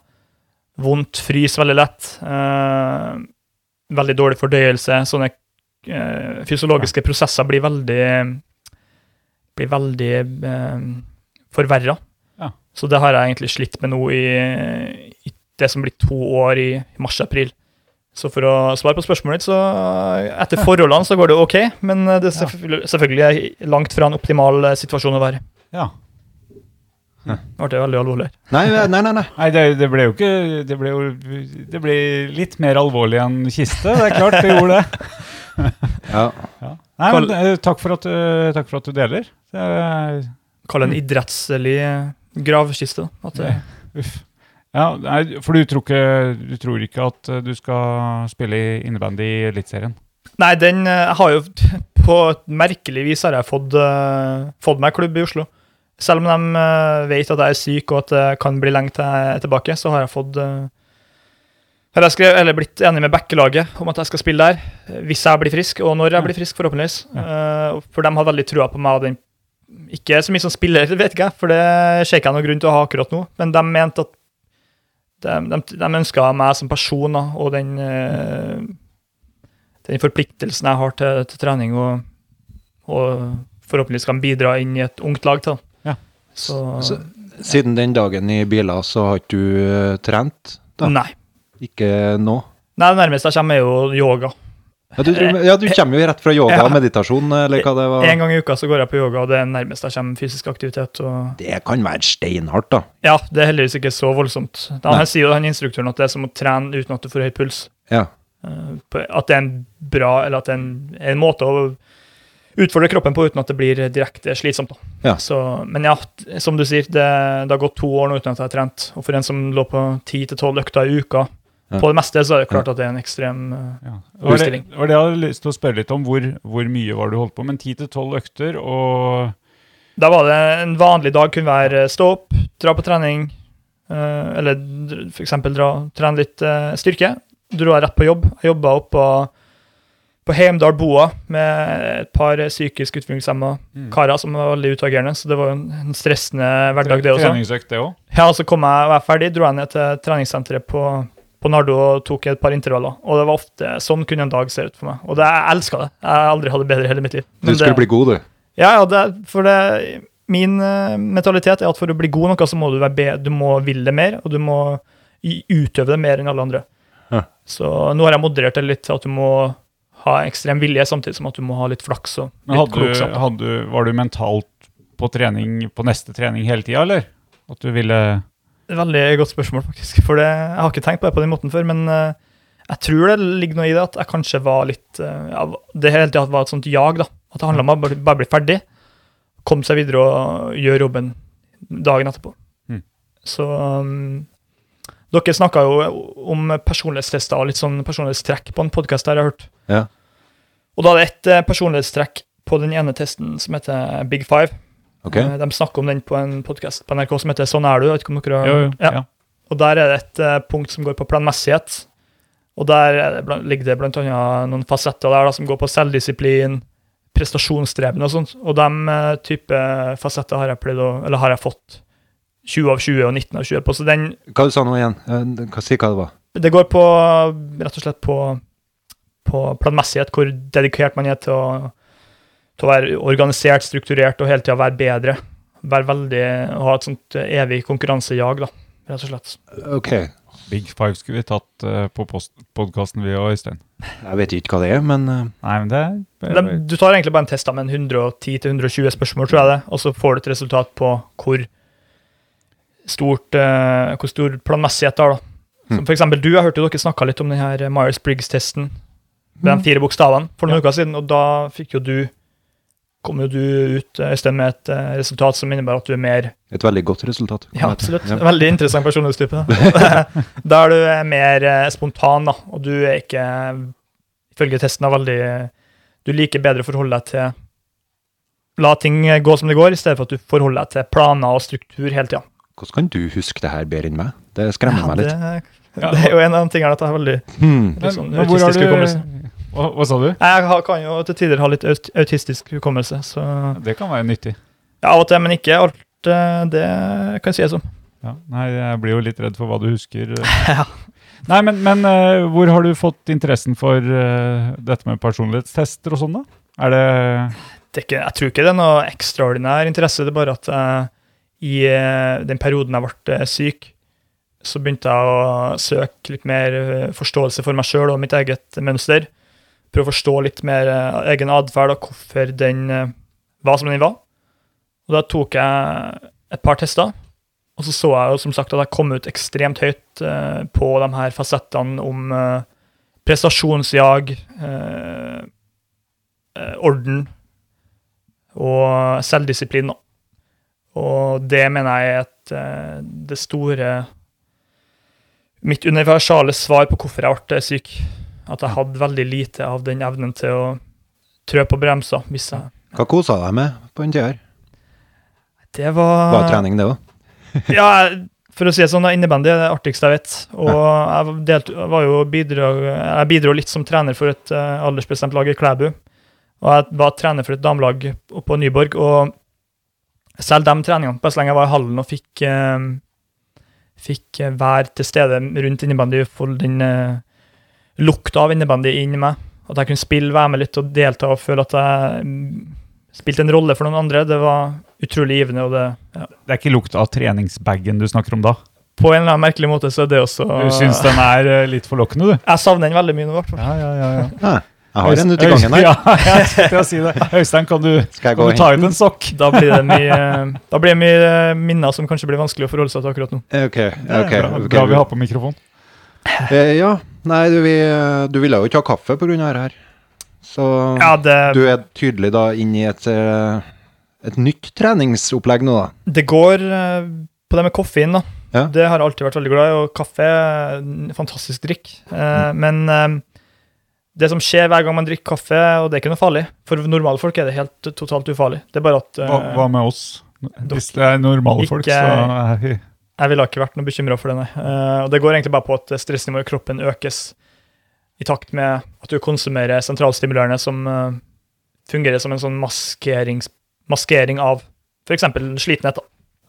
Vondt, frys veldig lett. Eh, veldig dårlig fordøyelse. Sånne eh, fysiologiske prosesser blir veldig blir veldig eh, forverra.
Ja.
Så det har jeg egentlig slitt med nå i, i det som blir to år i mars-april. Så for å svare på spørsmålet ditt, så etter forholdene så går det ok, men det er
Ja.
selvfølgelig- selvfølgelig langt fra en optimal eh, situasjon å være.
Ja.
Nå ble det veldig alvorlig.
Nei, eh, nei, nei. nei.
Nei, det, det ble jo ikke Det ble jo det ble litt mer alvorlig enn kiste. Det er klart, det gjorde det.
Ja.
Nei, men eh, takk for at, eh, takk for at du deler. Det er,
Kall det en
Mm.
idrettslig eh, gravkiste. da. At, eh, det-
Uff. Ja, nei, for du tror, ikke, du tror ikke at eh, du skal spille i innebandy i Eliteserien?
Nei, den eh, jeg har jo På et merkelig vis har jeg fått, eh, fått meg klubb i Oslo. Selv om de eh, vet at jeg er syk og at det kan bli lenge til jeg er tilbake, så har jeg fått eh, Har jeg skrevet, eller blitt enig med backelaget om at jeg skal spille der. eh, Hvis jeg blir frisk, og når jeg blir frisk, forhåpentligvis. Eh, For de har veldig trua på meg. og den Ikke så mye som spiller, vet ikke jeg, for det ser ikke jeg noen grunn til å ha akkurat nå, men de mente at de, de, de ønska meg som person da, og den eh, den forpliktelsen jeg har til, til trening, og, og forhåpentligvis kan bidra inn i et ungt lag til. da.
Ja.
Så,
Så, siden den dagen i biler, så har ikke du eh, trent? da?
nei.
Ikke nå?
nei. Det nærmeste jeg kommer, er jo yoga.
Ja, du, ja, du kommer jo rett fra yoga
Ja.
og meditasjon, eh, eller hva det var.
En gang i uka så går jeg på yoga, og det er nærmest jeg kommer fysisk aktivitet. Og,
Det kan være steinhardt, da.
ja, Det er heldigvis ikke så voldsomt. Da,
Nei.
han sier jo han instruktøren at det er som å trene uten at du får høy puls.
Ja.
Eh, på- At det er en bra, eller at det er en, en måte å utfordre kroppen på uten at det blir direkte slitsomt. Da.
Ja.
Så, men ja, t- som du sier, det, det har gått to år nå uten at jeg har trent. Og for en som lå på 10-12 økter i uka,
Ja.
på det meste, så er det klart at det er en ekstrem eh,
Ja. Det var det,
Utstilling.
var det jeg hadde lyst til å spørre litt om. Hvor, hvor mye var det du holdt på? Men 10-12 økter og
Da var det en vanlig dag kunne være eh, stå opp, dra på trening, eh, eller dr- for eksempel dra, trene litt eh, styrke. Dro jeg rett på jobb. Jeg jobba opp på, på Heimdal Boa med et par eh, psykisk utviklingshemma
Mm.
karer som var veldig utagerende, så det var jo en, en stressende hverdag, det også.
treningsøkt, det òg.
Ja, og så kom jeg og var ferdig, dro jeg ned til treningssenteret på, på på Nardo og tok et par intervaller. Og det var ofte sånn kunne en dag se ut for meg. Og det, jeg elska det. Jeg har aldri hatt det bedre i hele mitt liv.
Du skulle
det,
bli god, du.
ja, ja, det, for det, min eh, mentalitet er at for å bli god i noe, så må du, være be, du må ville det mer, og du må i- utøve det mer enn alle andre.
Ja.
Så nå har jeg moderert det litt til at du må ha ekstrem vilje, samtidig som at du må ha litt flaks og
Men
litt
hadde du,
klokskap.
hadde, du- var du mentalt på trening på neste trening hele tida, eller? At du ville
Veldig godt spørsmål, faktisk. For det, jeg har ikke tenkt på det på den måten før, men eh, jeg tror det ligger noe i det at jeg kanskje var litt eh, ja, Det hele tida var et sånt jag, da. At det handla om å bare bare bli ferdig, komme seg videre og gjøre jobben dagen etterpå.
Mm.
Så um, Dere snakka jo om personlighetstester og litt sånn personlighetstrekk på en podkast der jeg har hørt.
Ja.
Og da er det ett eh, personlighetstrekk på den ene testen som heter Big Five.
Ok?
Eh, De snakker om den på en podkast på NRK som heter Sånn er du. Jeg vet ikke om dere har Ja.
ja.
Og der er det et eh, punkt som går på planmessighet. Og der er det, blant- ligger det bl.a. noen fasetter der da, som går på selvdisiplin, prestasjonsstreben og sånt. Og de eh, type fasetter har jeg, pleid å, eller har jeg fått 20 av 20 og 19 av 20 på. Så den,
Hva du sa nå igjen? Eh, hva- Si hva det var.
det går på rett og slett på, på planmessighet, hvor dedikert man er til å, til å være organisert, strukturert og hele tida være bedre. Være veldig, ha et sånt evig konkurransejag, da, rett og slett.
Ok. Jeg
Big Five skulle vi tatt eh, på podkasten vi og Øystein.
vet ikke hva det er, men eh,
Nei, men det er
De, du tar egentlig bare en test da, med en 110-120 spørsmål, tror jeg det, og så får du et resultat på hvor stort, eh, hvor stor planmessighet det har. da. Som for eksempel, du, jeg hørte jo dere snakka litt om den her Myers-Briggs-testen med de fire bokstavene for noen uker siden, og da fikk jo du kom jo du ut eh, Øystein, med et eh, resultat som innebærer at du er mer
et veldig godt resultat.
ja, absolutt.
Ja.
Veldig interessant personlighetstype. da. Der du er mer eh, spontan, da, og du er ikke, ifølge testen, da, veldig Du liker bedre å forholde deg til La ting gå som det går, i stedet for at du forholder deg til planer og struktur hele tida.
Hvordan kan du huske det her bedre enn meg? Det skremmer meg
det,
litt.
det er jo en av de tingene at jeg er veldig
Hmm.
litt sånn
Men hvor har
autistisk hukommelse.
du hva, hva sa du?
Jeg har, kan jo til tider ha litt aut autistisk hukommelse, så ja,
Det kan være nyttig.
Av og til, men ikke alt. eh, Det kan jeg si det som.
Ja. Nei, jeg blir jo litt redd for hva du husker. Nei, men, men eh, hvor har du fått interessen for eh, dette med personlighetstester og sånn, da? Er det
det er ikke, jeg tror ikke det er noe ekstraordinær interesse, det er bare at jeg, i eh, den perioden jeg ble eh, syk, så begynte jeg å søke litt mer eh, forståelse for meg sjøl og mitt eget mønster. Prøve å forstå litt mer eh, egen atferd og hvorfor den eh, var som den var. Og da tok jeg et par tester, og så så jeg jo som sagt at jeg kom ut ekstremt høyt eh, på de her fasettene om eh, prestasjonsjag, eh, eh, orden, og selvdisiplin. da. Og det mener jeg er et, eh, det store Mitt universale svar på hvorfor jeg ble syk. At jeg hadde veldig lite av den evnen til å trø på bremser. Hvis jeg,
Hva kosa du deg med på den tida her?
det
Ah.
var
Var det trening, det òg?
ja, for å si det sånn, da, innebandy er det artigste jeg vet. Og jeg, delt, var jo bidrag, jeg bidro litt som trener for et eh, aldersbestemt lag i Klæbu. Og jeg var trener for et damelag oppe på Nyborg. Og selv de treningene, bare så lenge jeg var i hallen og fikk, eh, fikk eh, være til stede rundt innebandy, få den eh, lukta av innebandy inn i meg, at jeg kunne spille, være med litt og delta og føle at jeg mm, spilte en rolle for noen andre, det var utrolig givende. og det... Ja
Det er ikke lukta av treningsbagen du snakker om da?
på en eller annen merkelig måte så er det også
Du syns den er eh, litt forlokkende, du?
Jeg savner den veldig mye nå, i hvert fall.
Ja, ja, ja.
Ja, Ah, jeg har en ute i gangen her.
Ja, jeg skulle til å si det. Øystein, kan du,
Skal jeg
kan
gå og
du ta
hente
ut en sokk?
Da blir det mye, da blir det mye eh, minner som kanskje blir vanskelig å forholde seg til akkurat nå.
den? Ok,
Det er
ok.
bra,
ok.
bra vi har på mikrofon.
Eh, Ja, nei, du, vi, eh, du ville jo ikke ha kaffe på grunn av det her. Så
Ja, det,
du er tydelig da inn i et, eh, et nytt treningsopplegg nå, da.
det går eh, på det med koffein, da.
Ja.
Det har jeg alltid vært veldig glad i, og kaffe er en fantastisk drikk. Eh, Men eh, det som skjer hver gang man drikker kaffe, og det er ikke noe farlig For normale folk er det helt totalt ufarlig. Det er bare at eh,
Hva, hva med oss? Hvis det er normale folk,
Ikke-
så er vi
Jeg ville ikke vært noe bekymra for det, nei. Eh, og det går egentlig bare på at stressnivået i kroppen økes i takt med at du konsumerer sentralstimulerende som eh, fungerer som en sånn maskerings, maskering av f.eks. slitenhet. da.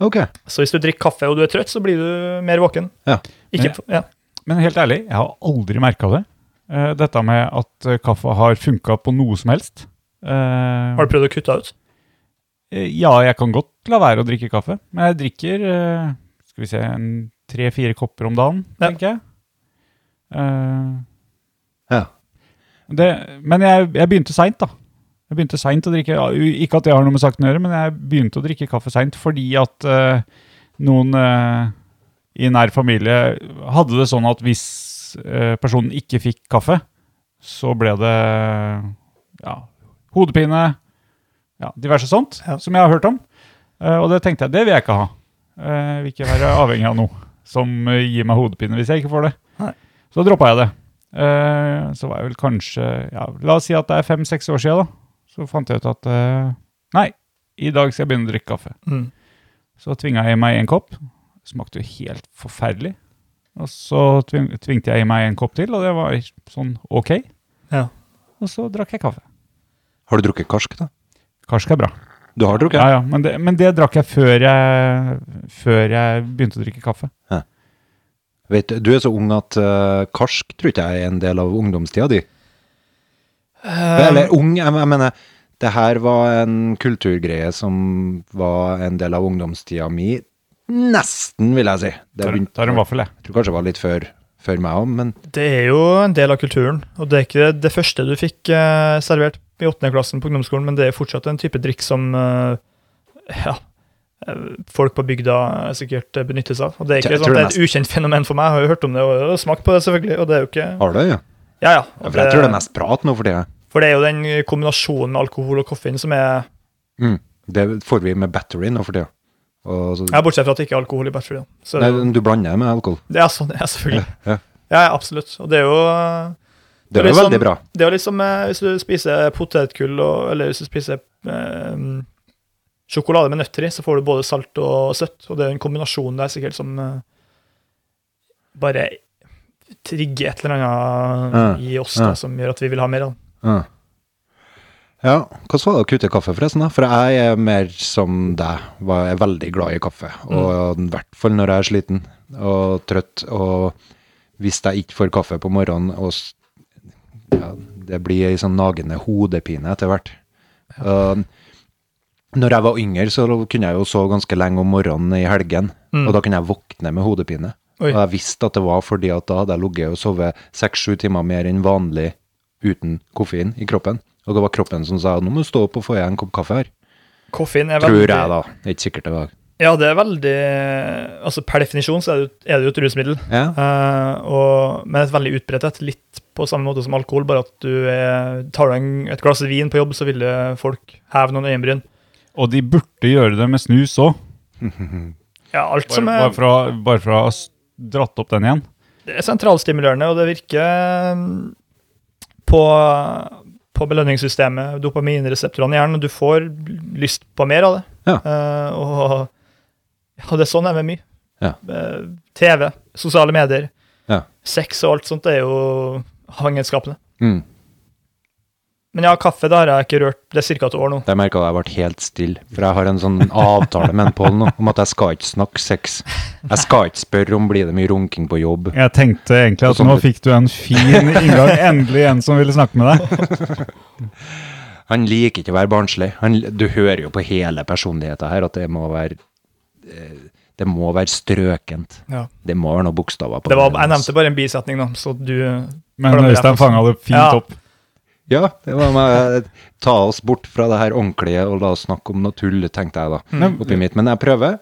Ok.
Så hvis du drikker kaffe og du er trøtt, så blir du mer våken.
Ja.
Ikke, ja.
Men helt ærlig, jeg har aldri merka det. Eh, dette med at eh, kaffe har funka på noe som helst. Eh,
Har du prøvd å kutte ut?
eh, ja, jeg kan godt la være å drikke kaffe, men jeg drikker eh, skal vi se, en tre-fire kopper om dagen,
Ja.
tenker jeg. Eh,
Ja.
det, men jeg, jeg begynte seint, da. Jeg begynte sent å drikke, ja, u- Ikke at jeg har noe med saken å gjøre, men jeg begynte å drikke kaffe seint fordi at eh, noen eh, i nær familie hadde det sånn at hvis eh, personen ikke fikk kaffe, så ble det ja, hodepine, ja, diverse sånt,
Ja.
som jeg har hørt om. Eh, og det tenkte jeg, det vil jeg ikke ha. Eh, jeg vil ikke være avhengig av noe som eh, gir meg hodepine hvis jeg ikke får det.
Nei.
Så da droppa jeg det. Eh, så var jeg vel kanskje ja, La oss si at det er fem-seks år siden, da. Så fant jeg ut at eh, Nei, i dag skal jeg begynne å drikke kaffe.
Mm.
Så tvinga jeg i meg en kopp. Smakte jo helt forferdelig. Og så tving, tvingte jeg i meg en kopp til, og det var sånn ok.
Ja.
Og så drakk jeg kaffe.
Har du drukket karsk, da?
Karsk er bra.
Du har drukket?
Ja, ja, men, det, men det drakk jeg før jeg, før jeg begynte å drikke kaffe.
Vet, du, du er så ung at eh, karsk tror ikke jeg er en del av ungdomstida di. Eller ung, jeg, jeg mener Det her var en kulturgreie som var en del av ungdomstida mi. Nesten, vil jeg si. Det
Tar,
begynte-
tar en vaffel, jeg.
jeg tror kanskje det var litt før, før meg òg, men
Det er jo en del av kulturen, og det er ikke det første du fikk eh, servert i åttende klassen på ungdomsskolen, men det er fortsatt en type drikk som eh, ja, eh, folk på bygda eh, sikkert eh, benytter seg av. Og det er
Jeg
ikke
tror
sånn at det er
det
et ukjent fenomen for meg, jeg har jo hørt om det og, og smakt på det, selvfølgelig, og det er jo ikke
har du det? Ja.
Ja, ja.
Ja,
og
For jeg tror det er mest prat nå for tida.
for det er jo den kombinasjonen med alkohol og koffein som er
Mm. Det får vi med battery nå for tida. Og så-
Ja, bortsett fra at det ikke er alkohol i bachelor. Så
Nei, men du blander det med alkohol.
det er sånn det er, selvfølgelig.
Ja.
Ja, ja, absolutt. Og det er jo eh,
Det
Det
er
er
jo
liksom-
veldig bra.
Det er jo liksom eh, hvis du spiser potetgull og, eller hvis du spiser eh, sjokolade med nøtter i, så får du både salt og søtt. Og det er en kombinasjon der sikkert som eh, bare trigger et eller annet i oss da,
ja.
som gjør at vi vil ha mer. Da.
Ja. ja. Hvordan var det å kutte kaffe, forresten? da? For jeg er mer som deg. var- Jeg er veldig glad i kaffe. Og i hvert fall når jeg er sliten og trøtt. Og hvis jeg ikke får kaffe på morgenen, og s- ja, det blir ei sånn nagende hodepine etter hvert. Uh, når jeg var yngre, så kunne jeg jo sove ganske lenge om morgenen i helgen. Og da kunne jeg våkne med hodepine.
Oi.
Og jeg visste at det var fordi at da hadde jeg ligget og sovet seks-sju timer mer enn vanlig uten koffein i kroppen. Og det var kroppen som sa nå må du stå opp og få deg en kopp kaffe her.
Koffein er
Tror
veldig
jeg, da. Det er ikke sikkert det var
Ja, det er veldig Altså per definisjon så er det, jo- er det jo et rusmiddel.
ja.
Eh, og, men et veldig utbredt et. Litt på samme måte som alkohol, bare at du er, tar deg en- et glass vin på jobb, så vil eh, folk heve noen øyenbryn.
Og de burde gjøre det med snus òg,
Ja, alt
bare,
som
bare,
er
for å- bare for å ha s- dratt opp den igjen.
Det er sentralstimulerende, og det virker mm, på, på belønningssystemet, dopaminreseptorene i hjernen. og Du får lyst på mer av det.
Ja.
Eh, og ja, det er sånn det er med mye.
Ja.
Eh, TV, sosiale medier,
Ja.
sex og alt sånt det er jo avhengighetsskapende.
Mm.
Men ja, kaffe det har jeg ikke rørt. Det er ca. et år nå.
Det merka jeg ble helt stille, for jeg har en sånn avtale med en Pål nå om at jeg skal ikke snakke sex. Jeg skal ikke spørre om blir det mye runking på jobb.
Jeg tenkte egentlig at
Og sånn
nå
litt-
fikk du en fin inngang. Endelig en som ville snakke med deg.
Han liker ikke å være barnslig. Han, du hører jo på hele personligheten her at det må være eh, Det må være strøkent.
Ja.
Det må være noen bokstaver på
Det var,
den,
jeg
altså.
nevnte bare en bisetning, da, så du
Men Øystein fanga det fint
Ja.
opp.
Ja, det var med, eh, ta oss bort fra det her ordentlige og la oss snakke om noe tull, tenkte jeg da.
Mm.
Oppi mitt. Men jeg prøver.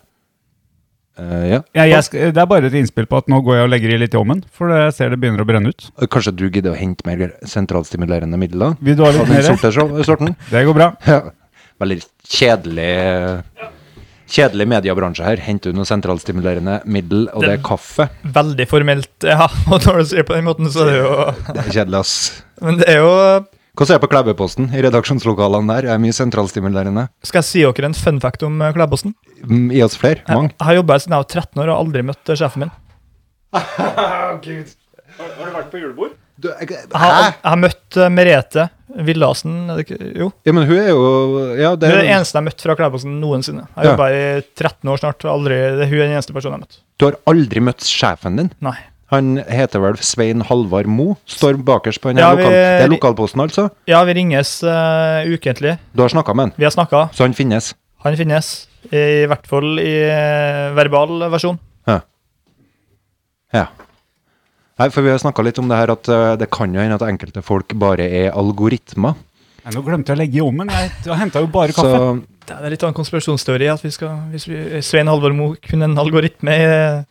Eh, ja.
Ja, jeg sk det er bare et innspill på at nå går jeg og legger i litt i ovnen, for jeg ser det begynner å brenne ut.
Kanskje du gidder å hente mer sentralstimulerende midler?
Vil du ha
Av
litt
den
mer?
sorte sor- sorten?
Det går bra.
Ja. Veldig kjedelig eh, Kjedelig mediebransje her. Henter du noe sentralstimulerende middel, og det er
Det-
kaffe?
Veldig formelt, ja. Og når du sier det på den måten, så er det jo
Det er kjedelig, ass.
Men det er jo
Hvordan er det på Klæbeposten? I redaksjonslokalene der er det mye sentralstimulerende.
Skal jeg si dere en fun fact om eh, Klæbossen?
Mm, Gi oss flere.
Jeg
Mange.
jeg har jobba her siden jeg var 13 år og har aldri møtt eh, sjefen min.
Du, jeg-
Jeg har,
Hæ?
jeg har møtt eh, Merete Villasen er det ikke- Jo.
Ja, men hun er jo Ja,
Hun
det
er
er
den eneste jeg har møtt fra Klæbossen noensinne. Jeg har
Ja.
jobba i 13 år snart. og Aldri, det er hun er den eneste personen jeg har møtt.
Du har aldri møtt sjefen din?
Nei.
Han heter vel Svein Halvard Mo, står bakerst på den her
Ja, vi-
lokal... Det er lokalposten, altså?
Ja, vi ringes eh, ukentlig.
Du har snakka med han,
Vi har snakka.
så han finnes?
Han finnes. I hvert fall i eh, verbal versjon.
Ja. ja. Nei, for vi har snakka litt om det her at eh, det kan jo hende at enkelte folk bare er algoritmer.
Nei, nå glemte jeg å legge i ovnen. Jeg henta jo bare
Så
kaffe.
Det er litt av en konspirasjonsteori at vi skal, hvis vi, Svein Halvor Moe kunne en algoritme i eh,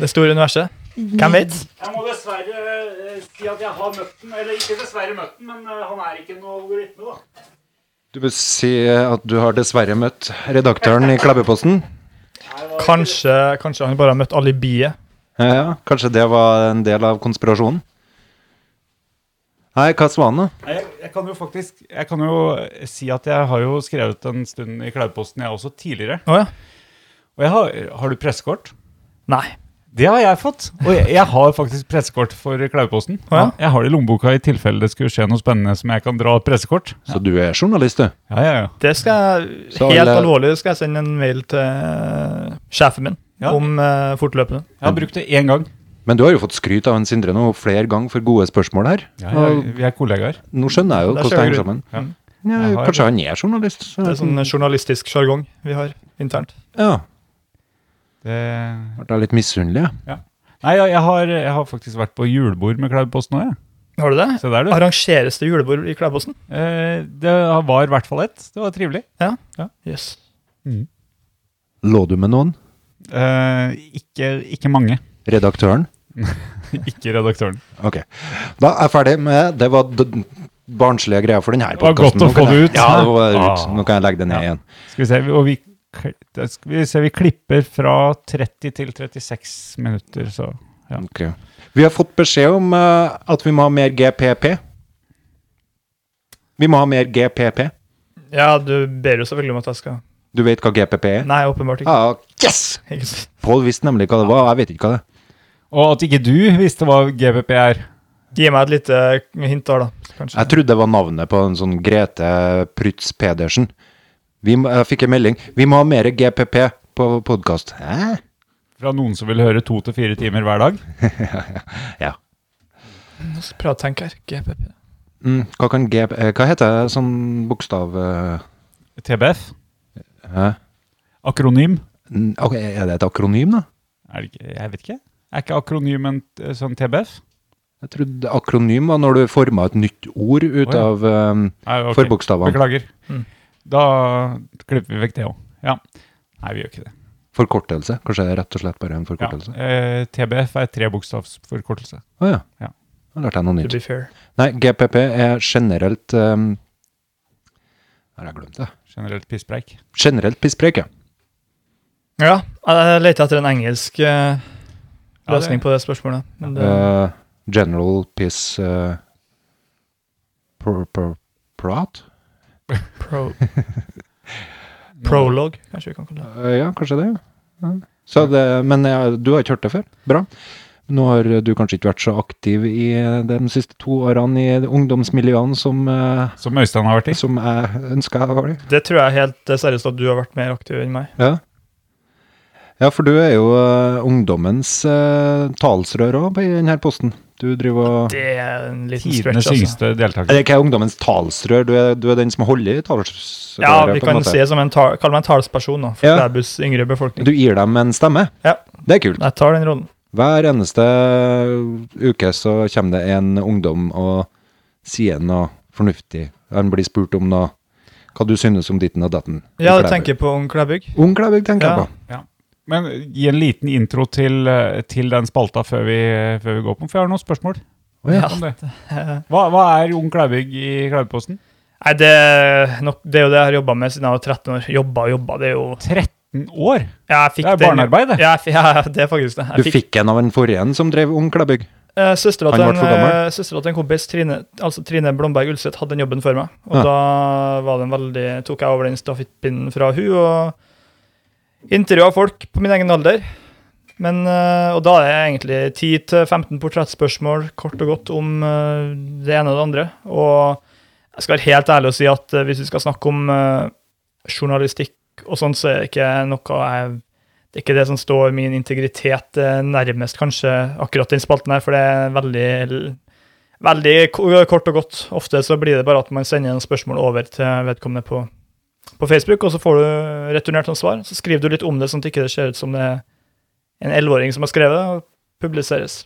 det store universet. Hvem vet?
Jeg må dessverre eh, si at jeg har møtt den. Eller ikke dessverre møtt den, men eh, han er ikke noe algoritme, da.
du vil si at du har dessverre møtt redaktøren i Klæbeposten?
Kanskje, kanskje han bare har møtt alibiet.
Ja, ja, kanskje det var en del av konspirasjonen? Nei, hva sa han, da?
Jeg, jeg kan jo faktisk Jeg kan jo eh, si at jeg har jo skrevet en stund i Klauposten, jeg også, tidligere.
Å ja.
Og jeg har, har du pressekort?
Nei.
Det har jeg fått. Og jeg, jeg har faktisk pressekort for Klauposten.
Å ja.
Jeg har det i lommeboka i tilfelle det skulle skje noe spennende som jeg kan dra et pressekort.
Så du er journalist, du?
Ja, ja, ja.
Det skal jeg,
Så
Helt
alle-
alvorlig skal jeg sende en mail til eh, sjefen min
Ja.
om eh, fortløpende.
Jeg har brukt det én gang.
Men du har jo fått skryt av en Sindre nå flere ganger for gode spørsmål her.
Ja, jeg, vi er kollegaer.
Og nå skjønner jeg jo
Der
hvordan det
ser
henger
du.
sammen.
Ja.
Ja,
Jeg har-
kanskje han er journalist? så-
Det er sånn journalistisk sjargong vi har internt.
Ja,
Det...
ble jeg litt misunnelig, jeg.
Nei, jeg, jeg, har, jeg har faktisk vært på julebord med Klauposten òg, jeg.
Har du det?
Se der, du.
Arrangeres det julebord i Klæbossen?
Eh, det var i hvert fall ett. Det var trivelig.
Yes.
Lå du med noen?
Eh, ikke, ikke mange.
Redaktøren?
ikke redaktøren.
Ok. Da er jeg ferdig med Det var d- barnslige greier for denne
Det var
podkasten.
godt å få det ut.
Ja, det var ut.
Ah.
Nå kan jeg legge det
Ja.
ned igjen.
Skal vi se, og vi, kl- da skal vi, se, vi klipper fra 30 til 36 minutter, så ja.
Ok. Vi har fått beskjed om eh, at vi må ha mer GPP. Vi må ha mer GPP.
Ja, du ber jo selvfølgelig om at jeg skal
Du vet hva GPP er?
Nei, åpenbart ikke.
Ah, yes!
Ikke sant?
Pål visste nemlig hva det var, og jeg vet ikke hva det er.
Og at ikke du visste hva GBP er.
Gi meg et lite hint der, da. Kanskje.
Jeg trodde det var navnet på en sånn Grete Prytz Pedersen. Vi, må- jeg fikk en melding. Vi må ha mer GPP på podkast. Hæ?
Fra noen som vil høre to til fire timer hver dag.
Ja.
Nå skal jeg prøve å tenke her. GPP.
Mm, hva, kan G, eh, hva heter det sånn bokstav eh,
TBF.
Hæ?
Akronym.
N- ok, Er det et akronym, da?
Er det ikke, jeg vet ikke. Er ikke akronym en t- sånn TBF?
Jeg trodde akronym var når du forma et nytt ord ut
Å, ja.
av eh,
Nei, ok.
forbokstavene.
Beklager.
Mm.
Da klipper vi vekk det òg. Ja. Nei, vi gjør ikke det.
Forkortelse. Kanskje det er rett og slett bare en
Ja.
forkortelse. Å ja.
Eh, TBF er trebokstavsforkortelse.
ja.
Ja.
Da lærte jeg noe
To
nytt.
be fair.
Nei, GPP er generelt eh, Har jeg glemt det?
Generelt pisspreik.
Generelt pisspreik, ja.
Ja, jeg leter etter en engelsk eh,
Ja, det-
løsning på det spørsmålet. Men det,
Eh, general piss eh, pr pr Prat?
pro, prolog, kanskje vi kan kalle det.
Eh, ja, kanskje det. Ja. Så det men ja, du har ikke hørt det før? Bra. Nå har du kanskje ikke vært så aktiv i eh, de siste to årene i ungdomsmiljøene som, eh,
Som Øystein har vært i.
som jeg ønska jeg var i.
Det tror jeg helt eh, seriøst at du har vært mer aktiv enn meg.
Ja. ja, for du er jo eh, ungdommens eh, talsrør òg i denne posten. Du driver og
Det er en liten
Tidenes
stretch, altså.
yngste deltaker.
Eller ikke ungdommens talsrør, du er, du er den som holder i talsrøret?
Ja,
på
vi
en
kan
måte.
si det som en tal, kall meg en talsperson nå, for
Ja.
Klæbus yngre befolkning.
Du gir dem en stemme.
Ja.
Det er kult.
Jeg tar den rollen.
Hver eneste eh, uke så kommer det en ungdom og sier noe fornuftig. Han blir spurt om noe hva du synes om ditten og datten. i
Ja, du
Klæbu.
tenker på Ung Klæbygg?
Ung Klæbygg tenker
Ja.
jeg på.
Men gi en liten intro til, eh, til den spalta før vi, før vi går på den, for jeg har noen spørsmål.
Å ja.
om det.
Eh,
Hva, hva er Ung Klæbygg i Klæbuposten?
Nei, det, er nok, det er jo det jeg har jobba med siden jeg var 13 år. Jobba og jobba, det er jo
13 år?
ja, jeg fikk
Det er
den-
barnearbeid, det.
Ja, jeg fi- ja, det er faktisk det. Jeg
Du fikk en av den forrige en som drev Ung Klæbygg.
Eh, Søstera
Han
til,
ble
en,
for gammel.
eh, søstera til en kompis, Trine, altså Trine Blomberg Ulseth, hadde den jobben for meg. Og
Ja.
da var den veldig, tok jeg over den stafettpinnen fra hun og intervjua folk på min egen alder. Men, eh, og da er det egentlig 10-15 portrettspørsmål kort og godt om eh, det ene og det andre. Og jeg skal være helt ærlig og si at eh, hvis vi skal snakke om eh, journalistikk og sånn, så er det ikke noe jeg det det er ikke det som står min integritet eh, nærmest, kanskje, akkurat den spalten her, for det er veldig Veldig ko- kort og godt. Ofte så blir det bare at man sender noen spørsmål over til vedkommende på, på Facebook, og så får du returnert noen svar. Så skriver du litt om det, sånn at det ikke ser ut som det er en elleveåring som har skrevet det, og publiseres.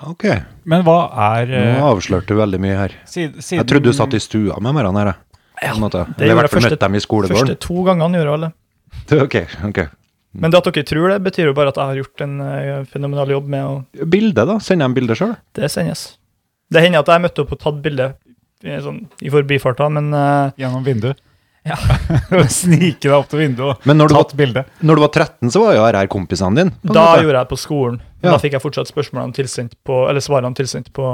Ok,
Men hva er
nå
eh,
avslørte du veldig mye her.
siden,
Jeg trodde du satt i stua med mer her. jeg.
Ja,
På en måte.
det
Eller i hvert
gjorde
fall
jeg første-
møtte dem i
Første
skolegården.
to gangene gjorde alle.
Ok, ok.
Men det at dere tror det, betyr jo bare at jeg har gjort en eh, fenomenal jobb med å
Bilde, da? Sender jeg dem bilde sjøl?
Det sendes. Det hender at jeg møtte opp og tatt bilde i sånn, i forbifarta, men eh,
gjennom vinduet?
Ja.
Snike deg opp til vinduet og
Men når du,
tatt
var,
bilde.
når du var 13, så var jo RR kompisene dine. på en
da
måte.
gjorde jeg det på skolen. Men
Ja.
Da fikk jeg fortsatt spørsmålene tilsendt på, eller svarene tilsendt på,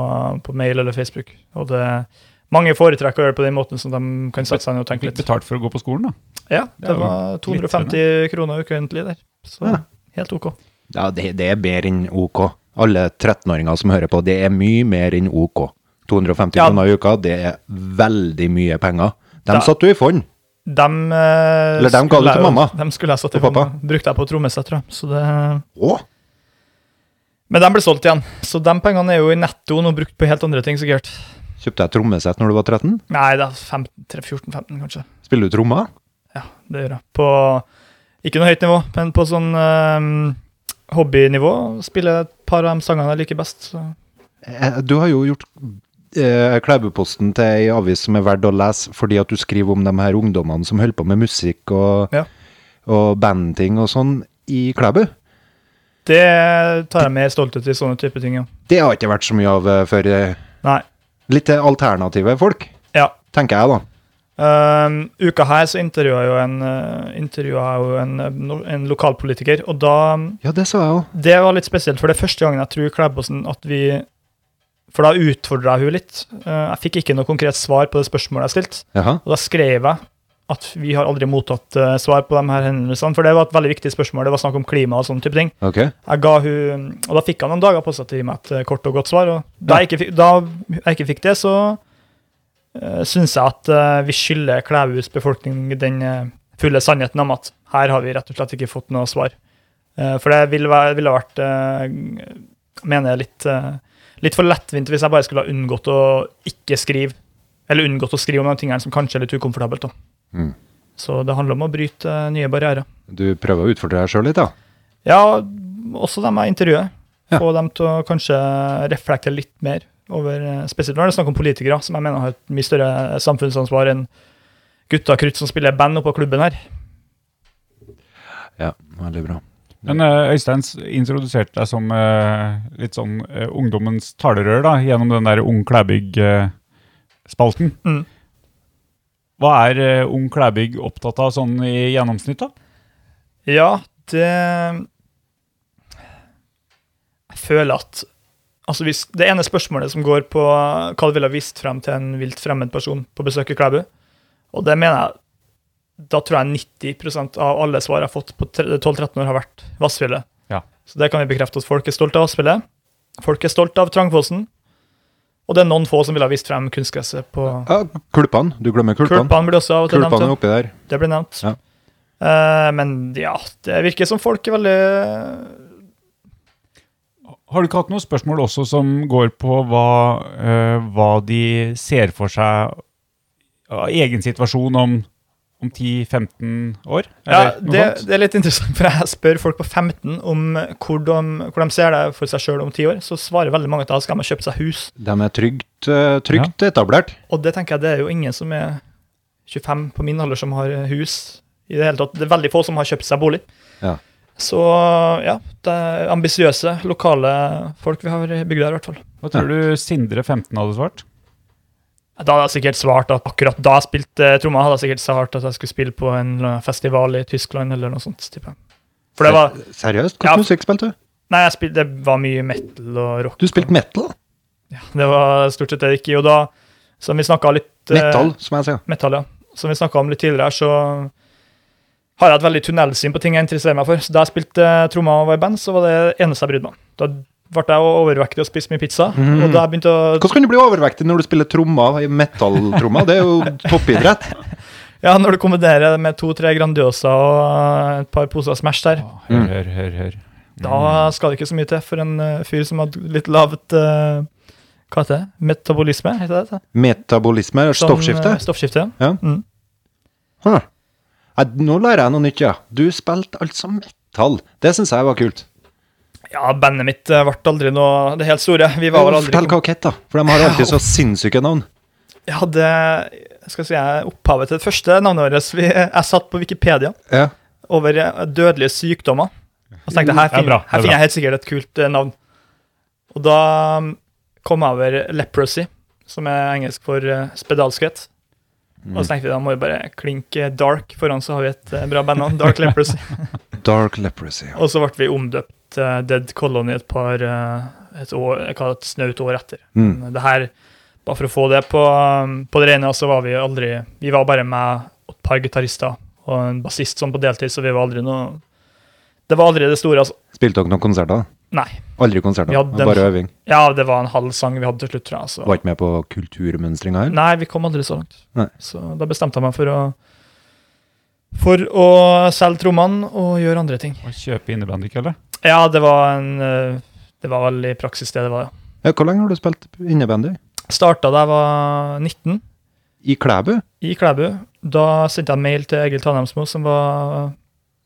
på mail eller Facebook. Og det, mange foretrekker å gjøre det på den måten, så de kan sette seg ned og tenke
Litt
litt.
betalt for å gå på skolen, da.
Ja,
Det er
det
jo
var
litt
250 kroner ukentlig der, så
Ja.
helt ok.
Ja, det, det er bedre enn OK. Alle 13-åringer som hører på, det er mye mer enn OK. 250
Ja.
kroner i uka, det er veldig mye penger.
Da-
Dem satt du i fond.
Dem, eh,
Eller dem ga du
skulle
til
jeg-
mamma
Dem skulle jeg satt i
og pappa.
hånda. Brukte jeg på trommesett, tror jeg. Så det
Å!
Men de ble solgt igjen, så de pengene er jo i nettoen og brukt på helt andre ting, sikkert.
Kjøpte jeg trommesett når du var 13?
Nei, det er 14-15, kanskje.
Spiller du trommer?
Ja, det gjør jeg. På ikke noe høyt nivå, men på sånn ehm, hobbynivå. Spiller et par av de sangene jeg liker best. Så.
Eh, Du har jo gjort eh, Klæbuposten til ei avis som er verdt å lese, fordi at du skriver om de her ungdommene som holder på med musikk og,
Ja.
og bandting og sånn i Klæbu.
Det tar jeg med stolthet i sånne type ting, ja.
Det har ikke vært så mye av eh, for eh,
Nei.
litt alternative folk,
Ja.
tenker jeg da.
Ehm, uka her så intervjua jeg jo en, eh, intervjuet jeg jo en, eh, no- en lokalpolitiker, og da
Ja, det sa jeg òg.
Det var litt spesielt, for det er første gangen jeg tror Klæbåsen at vi For da utfordra jeg henne litt. Eh, Jeg fikk ikke noe konkret svar på det spørsmålet jeg stilte.
Jaha.
Og da skrev jeg at vi har aldri mottatt eh, svar på de her hendelsene, for det var et veldig viktig spørsmål. Det var snakk om klima og sånne type ting.
Ok.
Jeg ga hun, og da fikk han noen dager på seg til å gi meg et eh, kort og godt svar. Og da jeg ikke fikk, da jeg ikke fikk det, så uh, syns jeg at eh, vi skylder Klæbus befolkning den eh, fulle sannheten om at her har vi rett og slett ikke fått noe svar. Eh, for det ville, væ- ville vært eh, mener jeg litt, eh, litt for lettvint hvis jeg bare skulle ha unngått å ikke skrive. Eller unngått å skrive om de tingene som kanskje er litt ukomfortabelt. Da.
Mm.
Så det handler om å bryte eh, nye barrierer.
Du prøver å utfordre deg sjøl litt, da?
Ja, også dem jeg intervjuer.
Ja.
Få dem til å kanskje reflektere litt mer over eh, Spesielt når det er snakk om politikere, som jeg mener har et mye større samfunnsansvar enn gutta krutt som spiller band oppå klubben her.
Ja, veldig bra.
Men eh, Øystein s- introduserte deg som eh, litt sånn eh, ungdommens talerør da, gjennom den der Ung eh, Klæbygg-spalten.
Mm.
Hva er eh, Ung Klæbygg opptatt av sånn i gjennomsnitt, da?
Ja, det Jeg føler at Altså hvis, Det ene spørsmålet som går på hva du ville ha vist frem til en vilt fremmed person på besøk i Klæbu, og det mener jeg Da tror jeg 90 av alle svar jeg har fått på tre- 12-13 år, har vært Vassfjellet.
Ja.
Så det kan vi bekrefte at folk er stolt av Vassfjellet. Folk er stolt av Trangfossen. Og det er noen få som ville ha vist frem kunstgresset på
Ja, Kulpene. Du glemmer kulpene.
Kulpene blir også av og til nevnt.
Kulpene
ja.
er oppi der.
Det ble nevnt.
Ja.
Eh, men ja, det virker som folk er veldig
Har du ikke hatt noen spørsmål også som går på hva, eh, hva de ser for seg av egen situasjon om, om 10-15 år?
ja,
Eller noe
det,
sånt?
det er litt interessant, for jeg spør folk på 15 om hvor de, hvor de ser det for seg sjøl om ti år. Så svarer veldig mange at da skal de ha kjøpt seg hus.
De er trygt, eh, trygt etablert.
Og det tenker jeg det er jo ingen som er 25 på min alder som har eh, hus i det hele tatt. Det er veldig få som har kjøpt seg bolig.
Ja.
Så ja, det er ambisiøse lokale folk vi har i bygda her, i hvert fall.
Hva tror du Sindre 15 hadde svart?
Da hadde jeg sikkert svart at akkurat da jeg spilte tromma, hadde jeg sikkert svart at jeg skulle spille på en eller annen festival i Tyskland eller noe sånt. Type. For det var
Eh, Seriøst?
Ja.
Hvilken musikk spilte du?
Nei, jeg spilte, det var mye metal og rock.
Du spilte metal?
Det var stort sett det det gikk i. Og da, som vi snakka litt eh,
Metal, som jeg sier.
metal, ja. Som vi snakka om litt tidligere, så har jeg et veldig tunnelsyn på ting jeg interesserer meg for. Så da jeg spilte tromma og var i band, så var det eneste jeg brydde meg om. Da ble jeg overvektig og spiste mye pizza.
Mhm.
Og da jeg begynte å
Hvordan kan du bli overvektig når du spiller trommer i metalltrommer? Det er jo toppidrett.
Ja, når du kombinerer det med to-tre Grandiosa og eh, et par poser Smash der,
Hør, hør, hør. hør.
Mm.
da skal det ikke så mye til for en eh, fyr som har litt lavt eh, Hva heter det? Metabolisme, heter det?
Metabolisme,
Sånn, eh,
stoffskifte.
Stoffskifte, ja.
Ja.
Mm.
Huh. Nei, Nå lærer jeg noe nytt, ja. Du spilte altså metall. Det syns jeg var kult.
Ja, bandet mitt eh, ble aldri noe det helt store. Vi var vel aldri
Fortell hva Kett, da. For de har alltid så sinnssyke navn.
Jeg hadde skal jeg si, jeg opphavet til det første navnet vårt. Vi, eh, jeg satt på Wikipedia
Ja.
over eh, dødelige sykdommer. Og så tenkte jeg her
Det er bra, det
finner,
er
her
bra.
finner jeg helt sikkert et kult eh, navn. Og da mm, kom jeg over leprosy, som er engelsk for eh, spedalskhet.
Mm.
Og så tenkte vi da må vi bare klinke dark foran, så har vi et eh, bra bandnavn. Dark Leprosy.
Dark Leprosy.
Og så ble vi omdøpt eh, Dead Colony et par eh, et år, jeg kaller det et snaut år etter.
Mm.
Men det her, bare for å få det på, um, på det rene, så var vi aldri Vi var bare med et par gitarister og en bassist sånn på deltid, så vi var aldri noe Det var aldri det store, altså.
Spilte dere noen konserter?
Nei.
Aldri konserter,
Ja, den-
bare øving.
Ja, det var en halv sang vi hadde til slutt, tror jeg. Så.
Var ikke med på kulturmønstringa her?
Nei, vi kom aldri så langt.
Nei.
Så da bestemte jeg meg for å for å selge trommene og gjøre andre ting.
Å kjøpe innebandy, ikke eller?
Ja, det var en eh, Det var vel i praksis det det var, ja.
Ja, hvor lenge har du spilt innebandy?
Starta da jeg var 19,
I Klæbu?
i Klæbu. Da sendte jeg en mail til Egil Tanheimsmo, som var,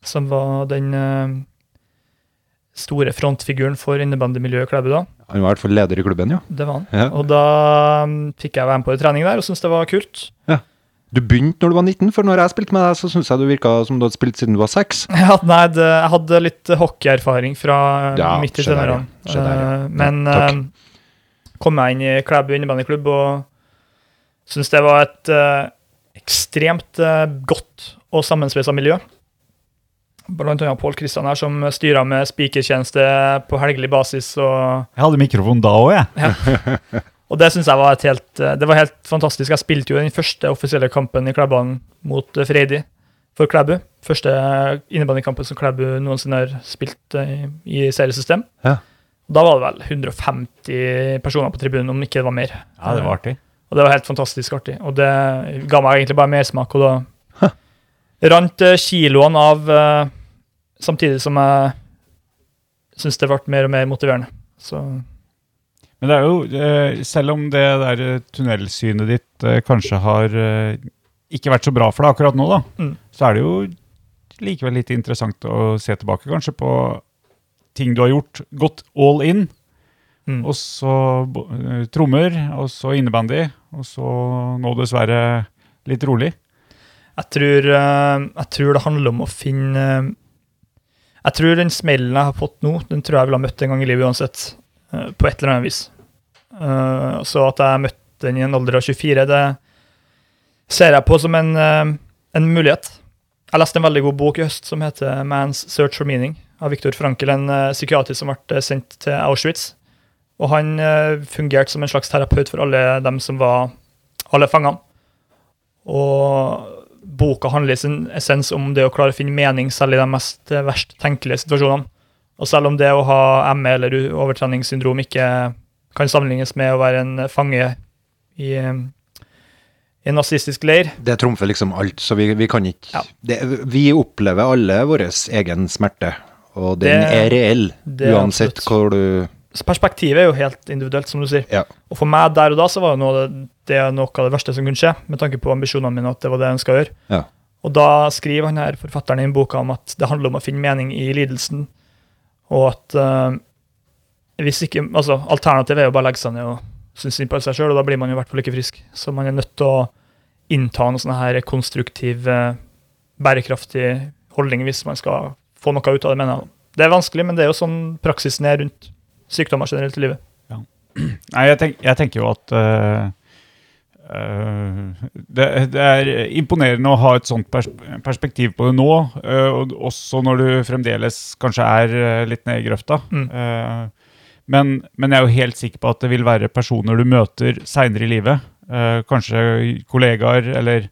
som var den eh, store frontfiguren for innebandymiljøet i Klæbu da.
Han var i hvert fall leder i klubben, ja.
Det var han.
ja.
Og da mm, fikk jeg være med på en trening der og syntes det var kult.
Du begynte når du var 19, for når jeg spilte med deg, så syntes jeg du virka som du hadde spilt siden du var seks.
Ja, nei, det, jeg hadde litt hockeyerfaring fra eh,
Ja,
midt i
se der, ja.
tenårene.
Se der, ja.
Eh, Men
Ja, takk.
eh, kom jeg inn i Klæbu innebandyklubb og syntes det var et eh, ekstremt eh, godt og sammensveisa miljø. Blant annet Pål Kristian her, som styra med spikertjeneste på helgelig basis. og
Jeg hadde mikrofon da òg, jeg.
og det synes jeg var et helt, eh, det var helt fantastisk. Jeg spilte jo den første offisielle kampen i Klæbanen mot eh, Freidi for Klæbu. Første innebandykampen som Klæbu noensinne har spilt eh, i i seriesystem.
Ja.
Og Da var det vel 150 personer på tribunen, om ikke det var mer.
Ja, det var artig.
Og det var helt fantastisk artig. Og det ga meg egentlig bare mersmak, og da rant eh, kiloene av eh, samtidig som jeg syntes det ble mer og mer motiverende. Så
Men det er jo, eh, selv om det der eh, tunnelsynet ditt eh, kanskje har eh, ikke vært så bra for deg akkurat nå, da,
Mm.
så er det jo likevel litt interessant å se tilbake kanskje på ting du har gjort, gått all in,
Mm.
og så bo- eh, trommer, og så innebandy, og så nå dessverre litt rolig.
Jeg tror, eh, jeg tror det handler om å finne eh, Jeg tror den smellen jeg har fått nå, den tror jeg ville ha møtt en gang i livet uansett. eh, på et eller annet vis. Eh, så at jeg møtte den i en alder av 24, det ser jeg på som en, eh, en mulighet. Jeg leste en veldig god bok i høst som heter 'Man's Search for Meaning' av Viktor Frankel, en eh, psykiater som ble sendt til Auschwitz. Og han eh, fungerte som en slags terapeut for alle dem som var alle fangene. Og boka handler i sin essens om det å klare å finne mening selv i de mest eh, verst tenkelige situasjonene. Og selv om det å ha ME eller u- overtreningssyndrom ikke kan sammenlignes med å være en fange i, eh, i en nazistisk leir
Det trumfer liksom alt, så vi, vi kan ikke
Ja.
det, Vi opplever alle vår egen smerte, og den
Det-
er reell,
det er
uansett
absolutt.
hvor du
Så perspektivet er jo helt individuelt, som du sier.
Ja.
Og for meg der og da så var jo noe, av det- det er noe av det verste som kunne skje, med tanke på ambisjonene mine, at det var det jeg ønska å gjøre.
Ja.
Og da skriver han her, forfatteren i boka om at det handler om å finne mening i lidelsen, og at eh, hvis ikke Altså, alternativet er jo bare å legge seg ned og synes synd på seg sjøl, og da blir man jo i hvert fall ikke frisk. Så man er nødt til å innta en sånn her konstruktiv, eh, bærekraftig holdning hvis man skal få noe ut av det, mener jeg. Det er vanskelig, men det er jo sånn praksisen er rundt sykdommer generelt i livet.
Nei, jeg, tenk, jeg tenker jo at eh, eh, det, det er imponerende å ha et sånt pers perspektiv på det nå, eh, og også når du fremdeles kanskje er eh, litt nede i grøfta.
Mm.
Eh, men, men jeg er jo helt sikker på at det vil være personer du møter seinere i livet, eh, kanskje kollegaer eller,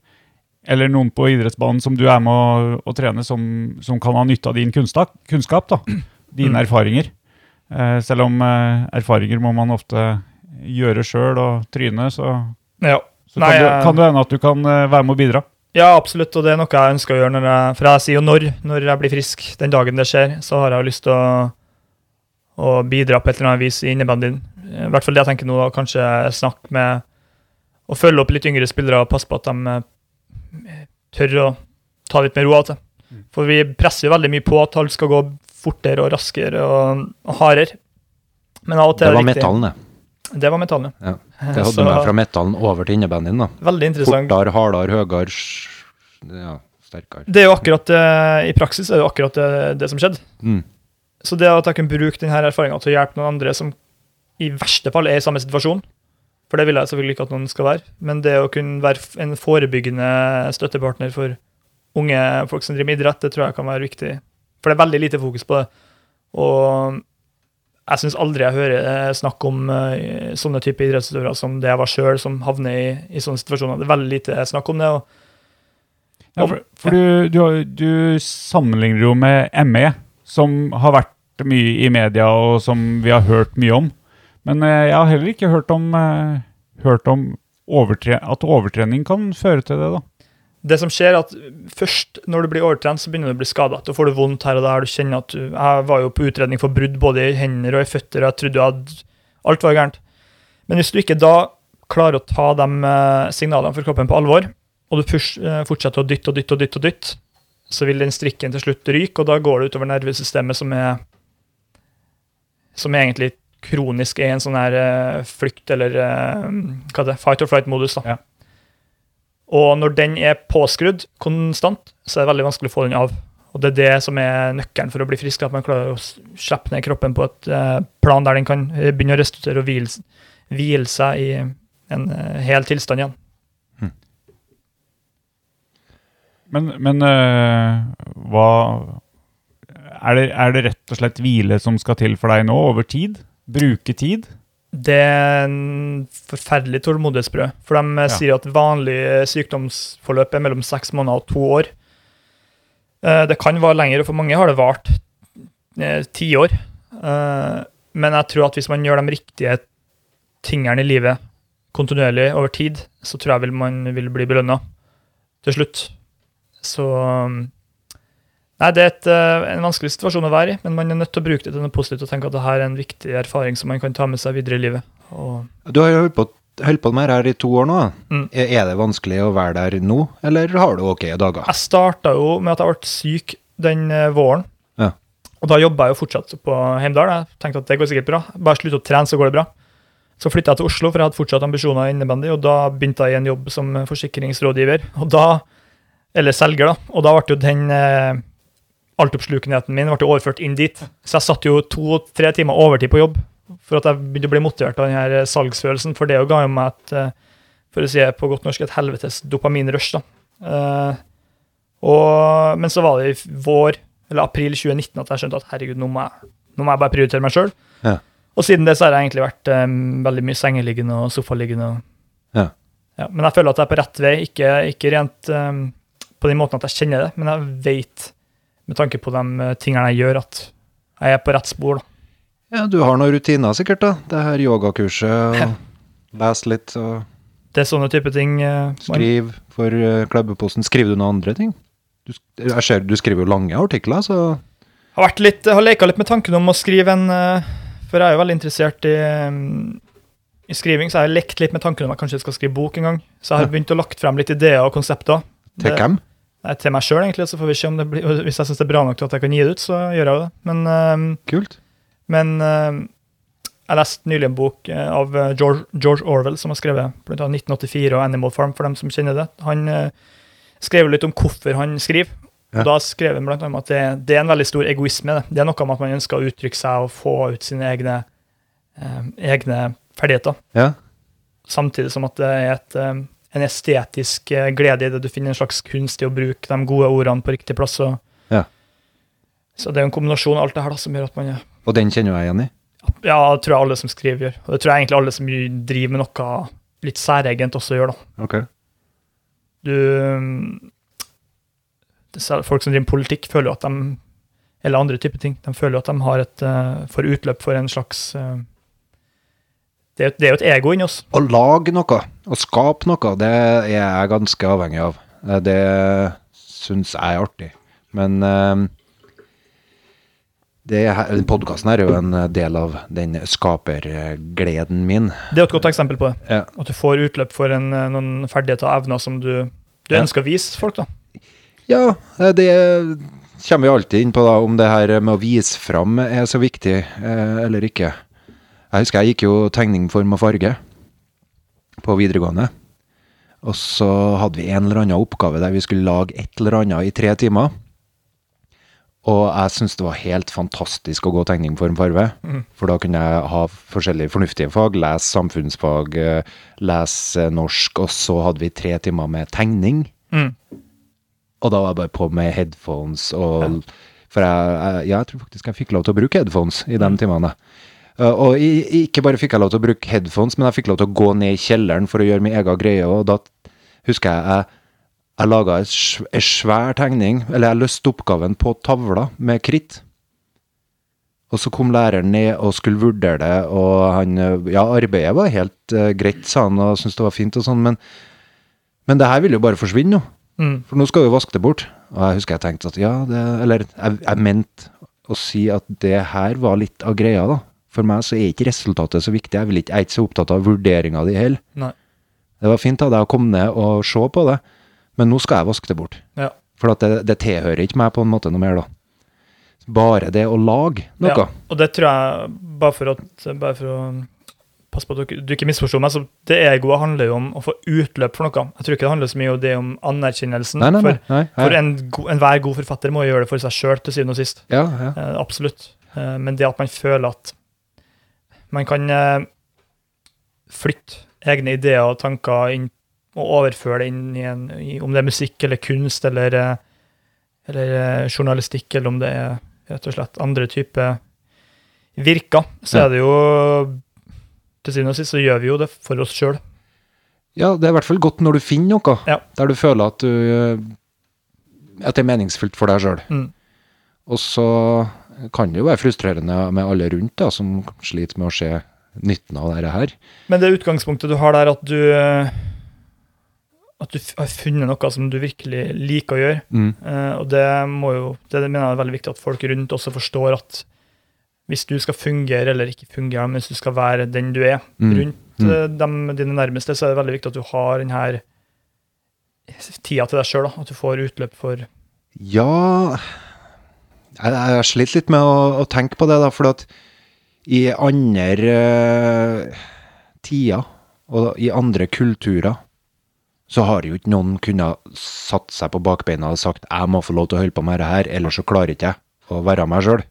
eller noen på idrettsbanen som du er med å, å trene, som, som kan ha nytte av din kunnskap, kunnskap da. dine
Mm.
erfaringer. Eh, selv om eh, erfaringer må man ofte gjøre sjøl og tryne, så,
Ja.
så
Nei,
kan, du,
jeg-
kan det hende at du kan eh, være med å bidra.
Ja, absolutt, og det er noe jeg ønsker å gjøre. Når jeg, for jeg sier jo når, når jeg blir frisk. Den dagen det skjer, så har jeg jo lyst til å, å bidra på et eller annet vis i innebandyen. I hvert fall det jeg tenker nå, da, kanskje snakke med Å følge opp litt yngre spillere og passe på at de eh, tør å ta litt mer ro av og til. For vi presser jo veldig mye på at alt skal gå fortere og raskere og, og hardere. Men av og
Det
til er
var
riktig.
metallen, det.
Det var metallen, ja.
Ja. Det hadde
Så-
med fra metallen over til innebandyen, da.
Veldig interessant.
Fortere, hardere, høyere, sj- ja, sterkere.
Det er jo akkurat, eh, I praksis er det jo akkurat det, det som skjedde.
Mm.
Så det at jeg kan bruke denne erfaringa til å hjelpe noen andre som i verste fall er i samme situasjon, for det vil jeg selvfølgelig ikke at noen skal være, men det å kunne være f- en forebyggende støttepartner for unge folk som driver med idrett, det tror jeg kan være viktig. For det er veldig lite fokus på det. Og jeg syns aldri jeg hører eh, snakk om eh, sånne type idrettsutøvere som det jeg var sjøl, som havner i, i sånne situasjoner. Det er veldig lite snakk om det. og
Ja, for for du, du, har- du sammenligner jo med ME, som har vært mye i media, og som vi har hørt mye om. Men eh, jeg har heller ikke hørt om, eh, hørt om overtre at overtrening kan føre til det, da.
Det som skjer er at Først når du blir overtrent, så begynner du å bli skada. Da får du vondt her og der. du kjenner at du, Jeg var jo på utredning for brudd både i hender og i føtter. og jeg trodde jeg hadde, Alt var gærent. Men hvis du ikke da klarer å ta de eh, signalene fra kroppen på alvor, og du push, eh, fortsetter å dytte og dytte og dytte, og dytte, så vil den strikken til slutt ryke, og da går det utover nervesystemet, som er som egentlig kronisk er en sånn her eh, flykt- eller eh, hva heter det, fight or flight-modus.
Ja.
da. Og når den er påskrudd konstant, så er det veldig vanskelig å få den av. Og det er det som er nøkkelen for å bli frisk, at man klarer å s- slippe ned kroppen på et eh, plan der den kan eh, begynne å restituere og hvile, s- hvile seg i en eh, hel tilstand igjen.
Men, men eh, hva er det, er det rett og slett hvile som skal til for deg nå, over tid? Bruke tid?
Det er en forferdelig tålmodighetsbrød. For de eh,
Ja.
sier at vanlig eh, sykdomsforløp er mellom seks måneder og to år. Eh, Det kan vare lenger, og for mange har det vart eh, ti år. Eh, Men jeg tror at hvis man gjør de riktige tingene i livet kontinuerlig over tid, så tror jeg vil man vil bli belønna til slutt. Så um, Nei, det er et, eh, en vanskelig situasjon å være i, men man er nødt til å bruke det til noe positivt og tenke at det her er en viktig erfaring som man kan ta med seg videre i livet. Og
Du har jo holdt på, holdt på med det her i to år nå. da.
Mm.
Er er det vanskelig å være der nå, eller har du ok dager?
Jeg starta jo med at jeg ble syk den eh, våren.
Ja.
Og da jobba jeg jo fortsatt på Heimdal. Jeg tenkte at det går sikkert bra. Bare slutt å trene, så går det bra. Så flytta jeg til Oslo, for jeg hadde fortsatt ambisjoner innebandy. Og da begynte jeg i en jobb som forsikringsrådgiver, og da, eller selger, da. Og da ble jo den eh, altoppslukenheten min ble jo overført inn dit. Så jeg satt jo to-tre timer overtid på jobb for at jeg begynte å bli motivert av den her eh, salgsfølelsen. For det jo ga jo meg et, eh, for å si det på godt norsk, et helvetes dopaminrush, da. Eh, og, men så var det i vår, eller april 2019 at jeg skjønte at herregud, nå må jeg, nå må jeg bare prioritere meg sjøl.
Ja.
Og siden det så har jeg egentlig vært eh, veldig mye sengeliggende og sofaliggende. Og,
Ja.
Ja, men jeg føler at jeg er på rett vei, ikke, ikke rent eh, på den måten at jeg kjenner det, men jeg veit med tanke på de eh, tingene jeg gjør, at jeg er på rett spor. da.
Ja, du har noen rutiner sikkert, da. Det her yogakurset, og lese litt og
Det er sånne type ting. eh, man-
skrive for eh, klubbeposten. Skriver du noen andre ting? Du, sk- eh, jeg ser, du skriver jo lange artikler, så
Har, vært litt, har leka litt med tanken om å skrive en eh, For jeg er jo veldig interessert i, mm, i skriving, så jeg har lekt litt med tanken om at jeg kanskje skal skrive bok en gang. Så jeg har begynt å lagt frem litt ideer og konsepter.
til
Det-
hvem?
Nei, til meg sjøl, egentlig. Så får vi se om det blir, og hvis jeg syns det er bra nok til at jeg kan gi det ut, så gjør jeg jo det. Men, eh,
Kult.
men eh, jeg leste nylig en bok eh, av eh, George, George Orwell, som har skrevet blant annet 1984 og Animal Farm, for dem som kjenner det. Han eh, skrev litt om hvorfor han skriver.
Ja.
Og da skrev han blant annet at det, det er en veldig stor egoisme. Det. det er noe med at man ønsker å uttrykke seg og få ut sine egne, eh, egne ferdigheter.
Ja.
Samtidig som at det er et, eh, en estetisk eh, glede i det. Du finner en slags kunst i å bruke de gode ordene på riktig plass. Og,
Ja.
Så det er jo en kombinasjon av alt det her da, som gjør at man er
Og den kjenner jeg igjen i.
Ja, det tror jeg alle som skriver, gjør. Og det tror jeg egentlig alle som driver med noe litt særegent, også gjør. da.
Ok.
Du mm, det ser- Folk som driver med politikk, føler jo at de Eller andre typer ting. De føler jo at de har et eh, får utløp for en slags eh, det, er jo- det er jo et ego inni oss.
Å lage noe, å skape noe, det er jeg ganske avhengig av. Eh, Det syns jeg er artig. Men eh, det her- den podkasten her er jo en eh, del av den skapergleden min.
Det er jo et godt eksempel på det.
Ja.
At du får utløp for en, eh, noen ferdigheter og evner som du, du
Ja.
ønsker å vise folk. da.
Ja, eh, det kommer vi alltid inn på, da, om det her med å vise fram er så viktig eh, eller ikke. Jeg husker jeg gikk jo tegning, form og farge på videregående. Og så hadde vi en eller annen oppgave der vi skulle lage et eller annet i tre timer. Og jeg syntes det var helt fantastisk å gå tegning, form, farve. For da kunne jeg ha forskjellige fornuftige fag. Lese samfunnsfag, eh, lese norsk, og så hadde vi tre timer med tegning. Og da var jeg bare på med headphones og For jeg, jeg, ja, jeg tror faktisk jeg fikk lov til å bruke headphones i de timene. Uh, og i- i- ikke bare fikk jeg lov til å bruke headphones, men jeg fikk lov til å gå ned i kjelleren for å gjøre min egen greie, og da husker jeg jeg, jeg laga ei svær tegning, eller jeg løste oppgaven på tavla med kritt. Og så kom læreren ned og skulle vurdere det, og han eh, Ja, arbeidet var helt eh, greit, sa han, og syntes det var fint og sånn, men, men det her vil jo bare forsvinne nå.
Mm.
For nå skal vi jo vaske det bort. Og jeg husker jeg tenkte at ja, det, eller jeg, jeg mente å si at det her var litt av greia, da. For meg så er ikke resultatet så viktig. Jeg, vil ikke, jeg er ikke så opptatt av vurderinga di heller.
Nei.
Det var fint av deg å komme ned og se på det, men nå skal jeg vaske det bort.
Ja.
For at det, det tilhører ikke meg på en måte noe mer, da. Bare det å lage noe.
Ja, og det tror jeg, bare for, at, bare for å passe på at du, ikke- du ikke misforstår meg, så det egoet handler jo om å få utløp for noe. Jeg tror ikke det handler så mye om det om anerkjennelsen.
Nei, nei, nei.
For,
nei,
for
nei.
en go, enhver god forfatter må jo gjøre det for seg sjøl til syvende og sist.
Ja, ja.
Eh, absolutt. Eh, men det at man føler at man kan eh, flytte egne ideer og tanker inn og overføre det inn i en i, Om det er musikk eller kunst eller, eh, eller eh, journalistikk, eller om det er rett og slett andre typer virker, så
Ja.
er det jo Til syvende og sist så gjør vi jo det for oss sjøl.
Ja, det er i hvert fall godt når du finner noe
Ja.
der du føler at, du, eh, at det er meningsfullt for deg sjøl.
Mm.
Og så kan det jo være frustrerende med alle rundt da, som sliter med å se nytten av dette her.
Men det utgangspunktet du har der, at du eh, at du f- har funnet noe som du virkelig liker å gjøre.
Mm.
Eh, og det må jo, det mener jeg er veldig viktig at folk rundt også forstår at hvis du skal fungere eller ikke fungere, men hvis du skal være den du er
Mm.
rundt
Mm.
eh, dem, dine nærmeste, så er det veldig viktig at du har den her tida til deg sjøl. At du får utløp for
Ja Jeg, jeg har slitt litt med å, å tenke på det, da, for at i andre eh, tider og i andre kulturer så har jo ikke noen kunnet satt seg på bakbeina og sagt 'jeg må få lov til å holde på med dette her, ellers så klarer ikke jeg å være meg sjøl'.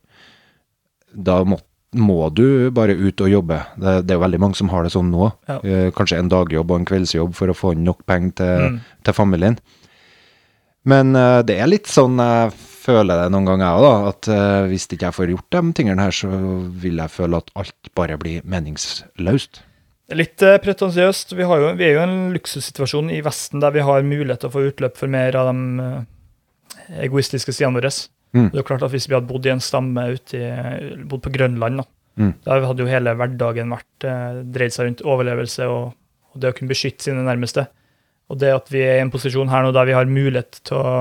Da må, må du bare ut og jobbe. Det, det er jo veldig mange som har det sånn nå.
Ja.
Eh, kanskje en dagjobb og en kveldsjobb for å få inn nok penger til,
Mm.
til familien. Men eh, det er litt sånn jeg føler det noen ganger jeg òg, da. At eh, hvis ikke jeg får gjort de tingene her, så vil jeg føle at alt bare blir meningsløst.
Litt eh, pretensiøst. Vi, har jo, vi er jo i en luksussituasjon i Vesten der vi har mulighet til å få utløp for mer av de eh, egoistiske sidene våre.
Mm.
Det er jo klart at Hvis vi hadde bodd i en stamme ute i, bodd på Grønland, da,
Mm.
da hadde jo hele hverdagen vært eh, dreid seg rundt overlevelse og, og det å kunne beskytte sine nærmeste. Og det at vi er i en posisjon her nå der vi har mulighet til å,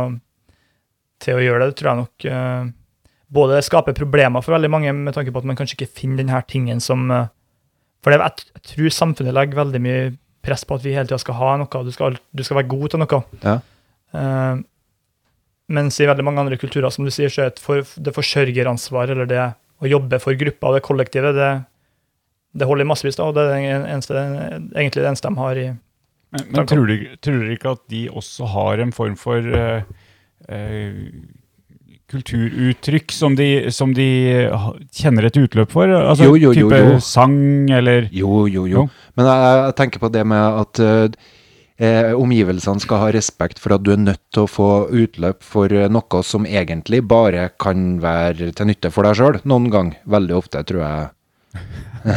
til å gjøre det, det tror jeg nok eh, både skaper problemer for veldig mange, med tanke på at man kanskje ikke finner den her tingen som eh, For det, jeg, jeg tror samfunnet legger veldig mye press på at vi hele tida skal ha noe, du skal, du skal være god til noe.
Ja.
Eh, mens i veldig mange andre kulturer, som du sier, så er det for, det forsørgeransvar, eller det å jobbe for gruppa og det kollektivet, det, det holder i massevis, da, og det er det eneste, egentlig det eneste de har i
Men, men tror du tror dere ikke at de også har en form for eh, eh, kulturuttrykk som de, som de ha- kjenner et utløp for? Altså
Jo, jo, jo,
type
jo.
sang eller
Jo, jo, jo.
Jo.
Men jeg, jeg tenker på det med at eh, omgivelsene skal ha respekt for at du er nødt til å få utløp for eh, noe som egentlig bare kan være til nytte for deg sjøl, noen gang. Veldig ofte, tror jeg.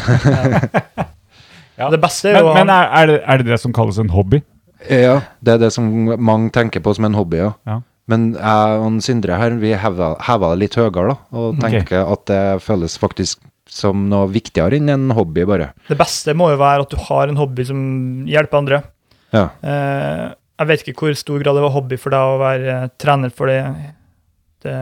Ja.
Det beste er
Men,
jo å ha-
men er, er, det, er det det som kalles en hobby?
Ja, det er det som mange tenker på som en hobby, ja.
Ja.
Men jeg og Sindre her, vi heva heva det litt høyere, da. Og
Ok.
tenker at det føles faktisk som noe viktigere enn en hobby, bare.
Det beste må jo være at du har en hobby som hjelper andre.
Ja.
Eh, Jeg vet ikke hvor stor grad det var hobby for deg å være eh, trener for det, det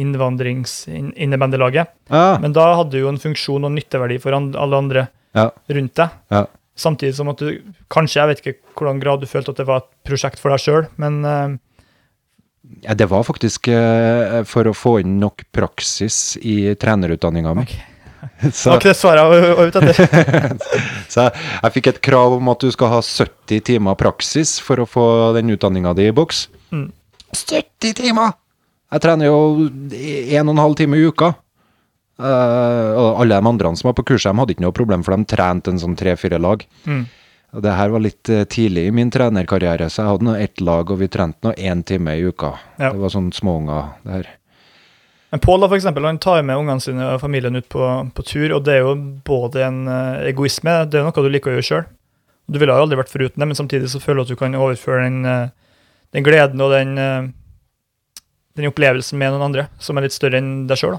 innvandringsinnebandelaget.
Ja,
Men da hadde du jo en funksjon og nytteverdi for an- alle andre
Ja.
rundt deg.
Ja.
Samtidig som at du kanskje, jeg vet ikke hvordan grad du følte at det var et prosjekt for deg sjøl, men eh,
Ja, det var faktisk eh, for å få inn nok praksis i trenerutdanninga mi.
Ok. det
Så,
var ikke det svaret jeg var ute etter.
så jeg, jeg fikk et krav om at du skal ha 70 timer praksis for å få den utdanninga di i boks.
Mm.
70 timer! Jeg trener jo en og en halv time i uka. Eh, og alle de andre som var på kurset, de hadde ikke noe problem, for de trente en sånn tre-fire lag.
Mm.
Og det her var litt eh, tidlig i min trenerkarriere, så jeg hadde nå ett lag, og vi trente nå én time i uka.
Ja.
Det var sånn småunger, det her.
Men Pål da, for eksempel, han tar med ungene sine og familien ut på, på tur, og det er jo både en eh, egoisme, det er jo noe du liker å gjøre sjøl. Du ville jo aldri vært foruten det, men samtidig så føler du at du kan overføre den, eh, den gleden og den, eh, den opplevelsen med noen andre, som er litt større enn deg sjøl.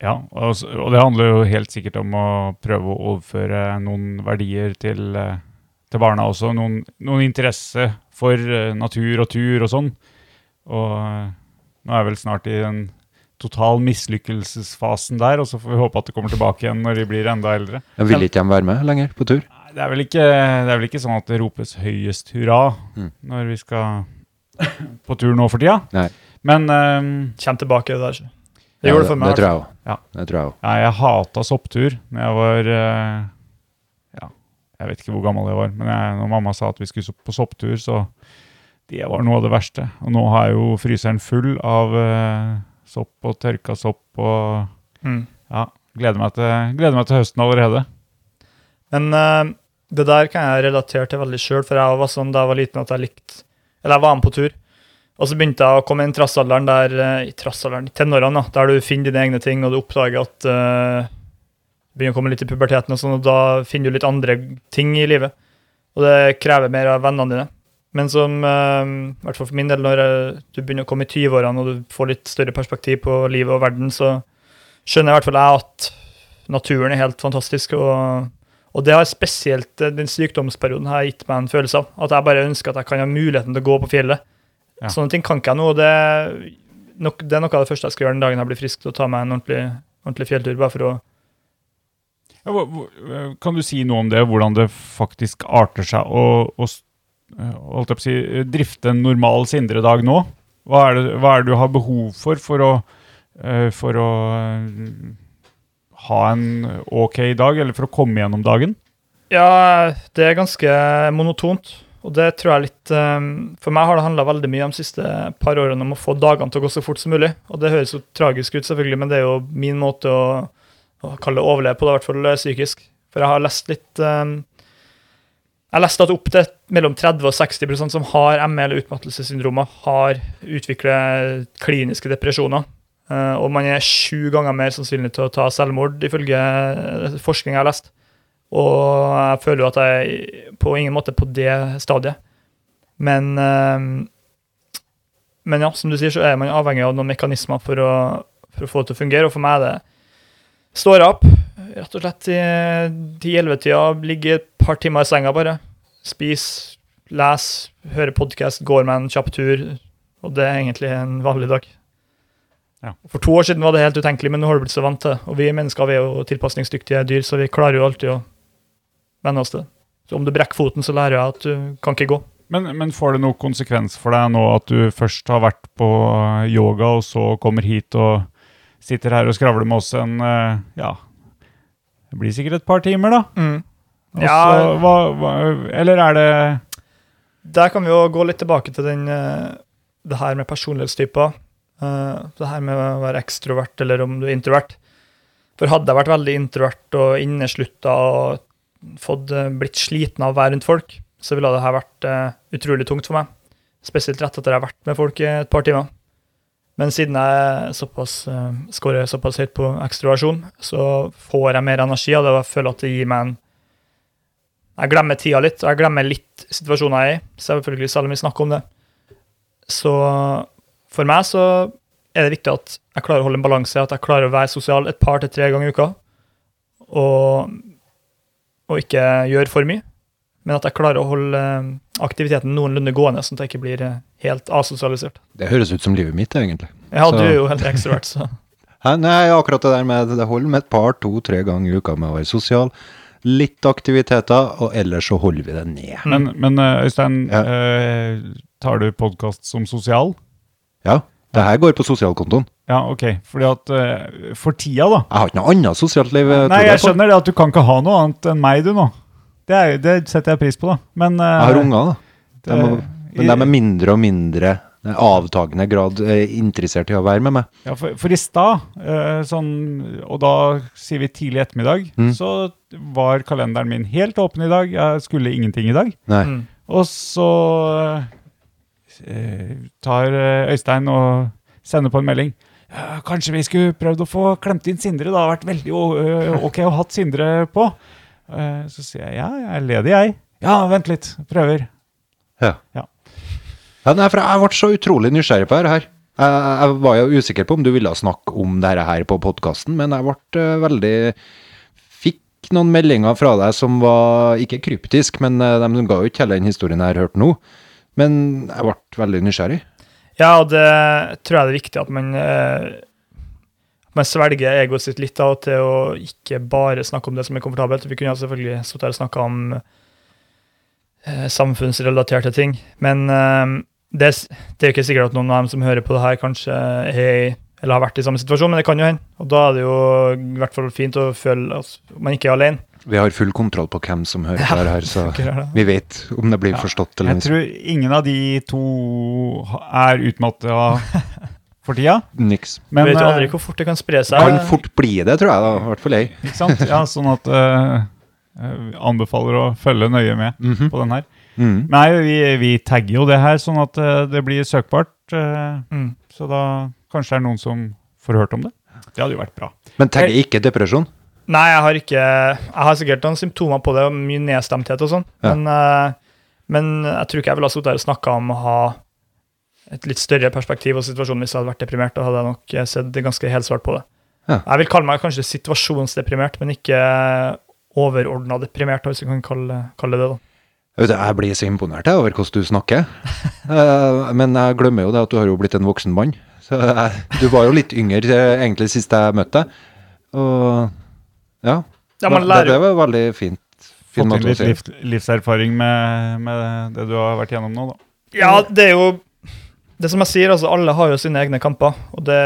Ja, og, s- og det handler jo helt sikkert om å prøve å overføre noen verdier til, eh, til barna også. Noen, noen interesse for eh, natur og tur og sånn. Og eh, nå er jeg vel snart i den total mislykkelsesfasen der, og så får vi håpe at det kommer tilbake igjen når de blir enda eldre.
Jeg vil ikke de være med lenger på tur?
Nei, Det er vel ikke, det er vel ikke sånn at det ropes høyest hurra
Mm.
når vi skal på tur nå for tida.
Nei.
Men eh,
Kjem tilbake det der. Det gjorde det for meg.
Det tror jeg òg.
Ja.
Det tror jeg òg.
Nei, jeg hata sopptur når jeg var eh, Ja, jeg vet ikke hvor gammel jeg var, men jeg, når mamma sa at vi skulle so- på sopptur, så Det var noe av det verste. Og nå har jeg jo fryseren full av eh, sopp og tørka sopp og
Mm.
Ja. Gleder meg til, gleder meg til høsten allerede.
Men eh, det der kan jeg relatere til veldig sjøl, for jeg var sånn da jeg var liten at jeg likte Eller jeg var med på tur. Og så begynte jeg å komme inn i trassalderen der eh, i trassalderen, i tenårene, da, der du finner dine egne ting, og du oppdager at eh, du Begynner å komme litt i puberteten, og sånn, og da finner du litt andre ting i livet. Og det krever mer av vennene dine. Men som, eh, i hvert fall for min del, når eh, du begynner å komme i 20-årene og du får litt større perspektiv på livet og verden, så skjønner i hvert fall jeg at naturen er helt fantastisk. og og det har spesielt eh, den sykdomsperioden har gitt meg en følelse av. At jeg bare ønsker at jeg kan ha muligheten til å gå på fjellet.
Ja.
Sånne ting kan ikke jeg nå. og Det, nok, det er noe av det første jeg skal gjøre den dagen jeg blir frisk, til å ta meg en ordentlig, ordentlig fjelltur. bare for å...
Ja, hva- hvor- eh, Kan du si noe om det, hvordan det faktisk arter seg å, å s- eh, holdt jeg på å si, eh, drifte en normal Sindre-dag nå? Hva er, det, hva er det du har behov for for å, eh, for å eh, ha en ok dag, eller for å komme gjennom dagen?
Ja, det er ganske monotont. Og det tror jeg litt eh, For meg har det handla veldig mye de siste par årene om å få dagene til å gå så fort som mulig. Og det høres jo tragisk ut, selvfølgelig, men det er jo min måte å, å kalle det overleve på, da, i hvert fall psykisk. For jeg har lest litt eh, Jeg leste at opptil mellom 30 og 60 som har ME eller utmattelsessyndromer, har utviklet kliniske depresjoner. Eh, og man er sju ganger mer sannsynlig til å ta selvmord, ifølge eh, forskning jeg har lest. Og jeg føler jo at jeg på ingen måte er på det stadiet. Men, eh, men ja, som du sier, så er man avhengig av noen mekanismer for å, for å få det til å fungere. Og for meg er det står jeg opp rett og slett i 10-11-tida, ligger et par timer i senga bare. Spis, les, hører podkast, går meg en kjapp tur. Og det er egentlig en vanlig dag.
Ja.
For to år siden var det helt utenkelig, men nå har du blitt så vant til det. Og vi mennesker vi er jo tilpasningsdyktige dyr, så vi klarer jo alltid å venne oss til det. Så om du brekker foten, så lærer jeg at du kan ikke gå.
Men, men får det noen konsekvens for deg nå at du først har vært på eh, yoga, og så kommer hit og sitter her og skravler med oss en eh, Ja, det blir sikkert et par timer, da. Mm. Og
Ja.
så hva, hva, eller er det
Der kan vi jo gå litt tilbake til den, eh, det her med personlighetstyper. eh, Det her med å være ekstrovert eller om du er introvert. For hadde jeg vært veldig introvert og inneslutta og fått, eh, blitt sliten av å være rundt folk, så ville det her vært eh, utrolig tungt for meg. Spesielt rett etter jeg har vært med folk i et par timer. Men siden jeg såpass, eh, scorer såpass høyt på ekstroversjon, så får jeg mer energi av det, og jeg føler at det gir meg en jeg glemmer tida litt, og jeg glemmer litt situasjonen jeg er i. Selvfølgelig, selv om vi snakker om det. Så for meg så er det viktig at jeg klarer å holde en balanse, at jeg klarer å være sosial et par til tre ganger i uka. Og, og ikke gjøre for mye. men at jeg klarer å holde eh, aktiviteten noenlunde gående, sånn at jeg ikke blir eh, helt asosialisert.
Det høres ut som livet mitt, egentlig.
Ja,
Så-
du er jo helt ekstrovert, så
Hæ? Nei, akkurat det der med det holder med et par, to-tre ganger i uka med å være sosial. Litt aktiviteter, og ellers så holder vi det ned.
Men, men eh, Øystein,
Ja.
eh, tar du podkast som sosial?
Ja, det her går på sosialkontoen.
Ja, ok. Fordi at eh, For tida, da.
Jeg har ikke noe annet sosialt liv. eh,
Nei,
tror
jeg
på.
skjønner det at du kan ikke ha noe annet enn meg, du, nå. Det, er, det setter jeg pris på, da. Men eh,
Jeg har unger, da. De
det-
er, men de er mindre og mindre eh, avtagende grad eh, interessert i å være med meg.
Ja, for, for i stad, eh, sånn, og da sier vi tidlig ettermiddag,
Mm.
så var kalenderen min helt åpen i dag. Jeg skulle ingenting i dag.
Nei.
Mm.
Og så eh, tar eh, Øystein og sender på en melding. «Ja, Kanskje vi skulle prøvd å få klemt inn Sindre? Det har vært veldig eh, ok å ha hatt Sindre på. Eh, Så sier jeg ja, jeg er ledig, jeg. Ja, vent litt. Prøver.
Ja.
Ja.
Ja, nei, for jeg ble så utrolig nysgjerrig på dette her. Jeg, jeg var jo usikker på om du ville snakke om dette her på podkasten, men jeg ble eh, veldig Fikk noen meldinger fra deg som var ikke kryptisk, men eh, de ga jo ikke hele den historien jeg har hørt nå. Men jeg ble veldig nysgjerrig.
Ja, og det tror jeg det er viktig at man, eh, man svelger egoet sitt litt av og til å ikke bare snakke om det som er komfortabelt. Vi kunne jo selvfølgelig stått her og snakka om eh, samfunnsrelaterte ting, men eh, det, er s- det er jo ikke sikkert at noen av dem som hører på det her, kanskje er i eller har vært i samme situasjon, men det kan jo hende. Og da er det jo i hvert fall fint å føle at man ikke er alene.
Vi har full kontroll på hvem som hører på dette her, så
Ikke det?
vi vet om det blir forstått eller
Jeg
ikke.
tror ingen av de to ha- er utmatta for tida.
Niks.
Du
Men,
vet jo
eh,
aldri hvor fort det kan spre seg.
Kan fort bli det, tror jeg, da. I hvert fall jeg.
Ikke sant? Ja, sånn at eh, eh, Anbefaler å følge nøye med
Mhm.
på den her.
Mhm.
Nei, vi, vi tagger jo det her, sånn at eh, det blir søkbart. eh,
Mm.
så da kanskje det er noen som får hørt om det. Det hadde jo vært bra.
Men tagger ikke depresjon.
Nei, jeg har ikke Jeg har sikkert noen symptomer på det, og mye nedstemthet og sånn,
Ja.
men, eh, men jeg tror ikke jeg ville ha sittet her og snakka om å ha et litt større perspektiv og situasjonen hvis jeg hadde vært deprimert. Da hadde jeg nok eh, sett ganske helsvart på det.
Ja.
Jeg vil kalle meg kanskje situasjonsdeprimert, men ikke overordna deprimert, hvis vi kan kalle, kalle det det. da.
Jeg vet, jeg blir så imponert jeg, over hvordan du snakker. Eh, Men jeg glemmer jo det at du har jo blitt en voksen mann. Så jeg, du var jo litt yngre eh, egentlig sist jeg møtte deg. Og ja.
Ja, man
det, det
lærer,
var veldig fint.
Fått
Fin
inn
måte å
litt
si.
liv, livserfaring med, med det du har vært gjennom nå, da.
ja, det er jo det som jeg sier, altså Alle har jo sine egne kamper. og det,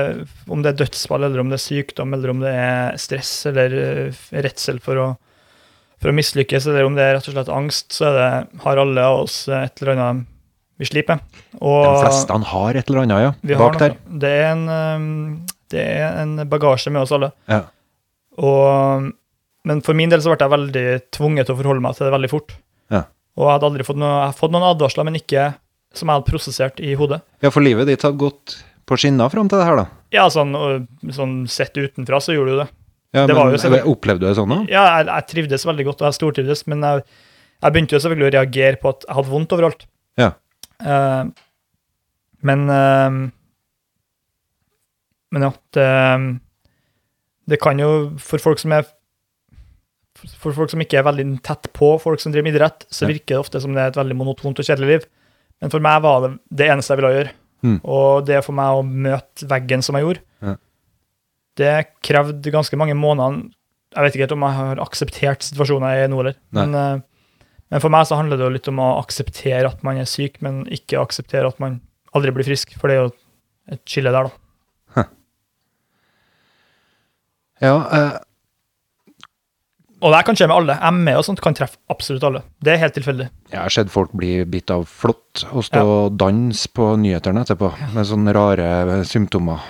Om det er dødsfall, eller om det er sykdom, eller om det er stress eller eh, redsel for å, for å mislykkes, eller om det er rett og slett angst, så er det, har alle av oss eh, et eller annet vi sliter med.
De
Og
fleste han har et eller annet,
vi
ja.
har
Bak
noe-
der.
Det er, en, eh, det er en bagasje med oss alle.
Ja.
Og, men for min del så ble jeg veldig tvunget til å forholde meg til det veldig fort.
Ja.
Og jeg hadde aldri fått, noe, jeg har fått noen advarsler, men ikke som jeg hadde prosessert i hodet.
ja, for livet ditt har gått på skinner fram til det her, da.
Ja, sånn, og, sånn sett utenfra så gjorde du det.
Ja,
Det
men
var jo selvfølgelig-
Opplevde du det sånn, da?
Ja, jeg, jeg trivdes veldig godt, og jeg stortrivdes, men jeg, jeg begynte jo selvfølgelig å reagere på at jeg hadde vondt overalt.
Ja.
Eh, men eh, Men at eh, Det kan jo, for folk som er for folk som ikke er veldig tett på folk som driver med idrett, så
Ja.
virker det ofte som det er et veldig monotont og kjedelig liv. Men for meg var det det eneste jeg ville gjøre.
Mm.
Og det for meg å møte veggen som jeg gjorde,
Ja.
det krevde ganske mange måneder jeg vet ikke helt om jeg har akseptert situasjonen jeg er i nå, eller.
Nei.
Men, eh, men for meg så handler det jo litt om å akseptere at man er syk, men ikke akseptere at man aldri blir frisk. For det er jo et skille der, da.
Ja, eh,
Og det her kan skje med alle. ME og sånt kan treffe absolutt alle. Det er helt tilfeldig.
Jeg har sett folk bli bitt av flått og stå og danse på nyhetene etterpå med sånne rare symptomer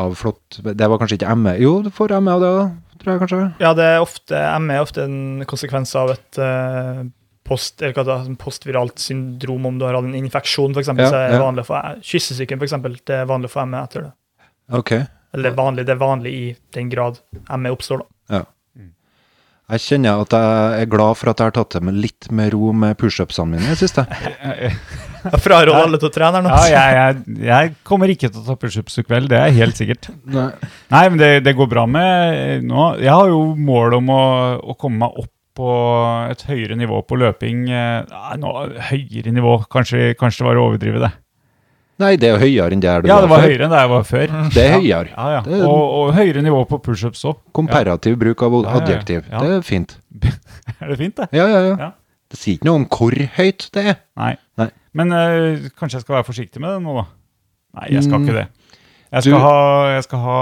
av flått. Det var kanskje ikke ME? Jo, du får ME av det òg, tror jeg kanskje.
Ja, det er ofte, ME er ofte en konsekvens av et eh, post, eller hva det er, sånn postviralt syndrom, om du har hatt en infeksjon, f.eks.
Ja,
så er det
ja.
vanlig for kyssesyken, f.eks. Det er vanlig for ME etter det.
Ok.
Eller det er vanlig, det er vanlig i den grad ME oppstår, da.
Jeg kjenner at jeg er glad for at jeg har tatt det med litt med ro med pushupsene mine i det siste.
Jeg fraråder alle til å trene her nå.
Ja, jeg, jeg, jeg kommer ikke til å ta pushups i kveld, det er helt sikkert.
Nei.
eh, Nei, men det, det går bra med nå. Jeg har jo mål om å, å komme meg opp på et høyere nivå på løping eh, Nei, nå, høyere nivå Kanskje, kanskje det var å overdrive det.
Nei, det er høyere enn der du
Ja, det var
før.
høyere enn det jeg var før.
Det er høyere.
Ja, ja.
Det er-
Og, og høyere nivå på pushups òg.
Komparativ bruk av
Ja, ja, ja.
adjektiv.
Ja.
Det er fint.
Er det fint, det?
Ja, ja, ja.
Ja.
Det sier ikke noe om hvor høyt det er.
Nei.
Nei.
Men eh, kanskje jeg skal være forsiktig med det nå, da? Nei, jeg skal
Mm.
ikke det. Jeg skal,
Du-
ha, jeg skal ha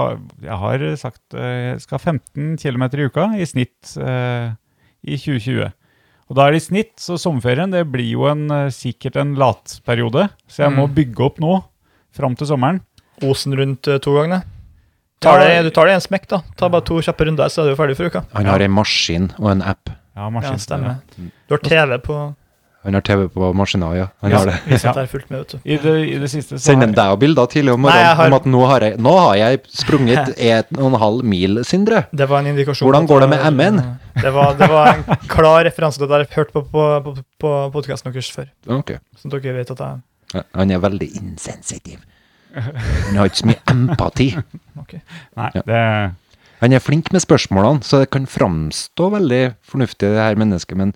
Jeg har sagt eh, jeg skal ha 15 km i uka i snitt eh, i 2020. Og da er det i snitt, så sommerferien det blir jo en, eh, sikkert en latperiode. Så jeg må
Mm.
bygge opp nå, fram til sommeren.
Osen rundt eh, to ganger. Tar
Ja.
det, du tar det i en smekk, da. Ta bare to kjappe runder, så er du ferdig for uka.
Han har en maskin og en app.
Ja,
Ja,
maskin.
stemmer. Du har TV på
Han har TV på maskina, ja. Han
Ja.
har det.
hvis dette er fullt med, vet du.
I det, I det siste så
Send
har
dem deg og bilder tidlig om
Nei, jeg
morgenen
har-
om at nå har jeg, nå har jeg sprunget 1,5 mil, Sindre.
Det var en indikasjon.
Hvordan
på at
går det med MN?
Det var, det var en klar referanse til det jeg har hørt på, på, på, på podkasten deres før.
Ok.
Som dere vet at jeg
Han er veldig insensitiv. Han har ikke så mye empati.
ok.
Nei,
Ja.
det
Han er flink med spørsmålene, så det kan framstå veldig fornuftig, det her mennesket, men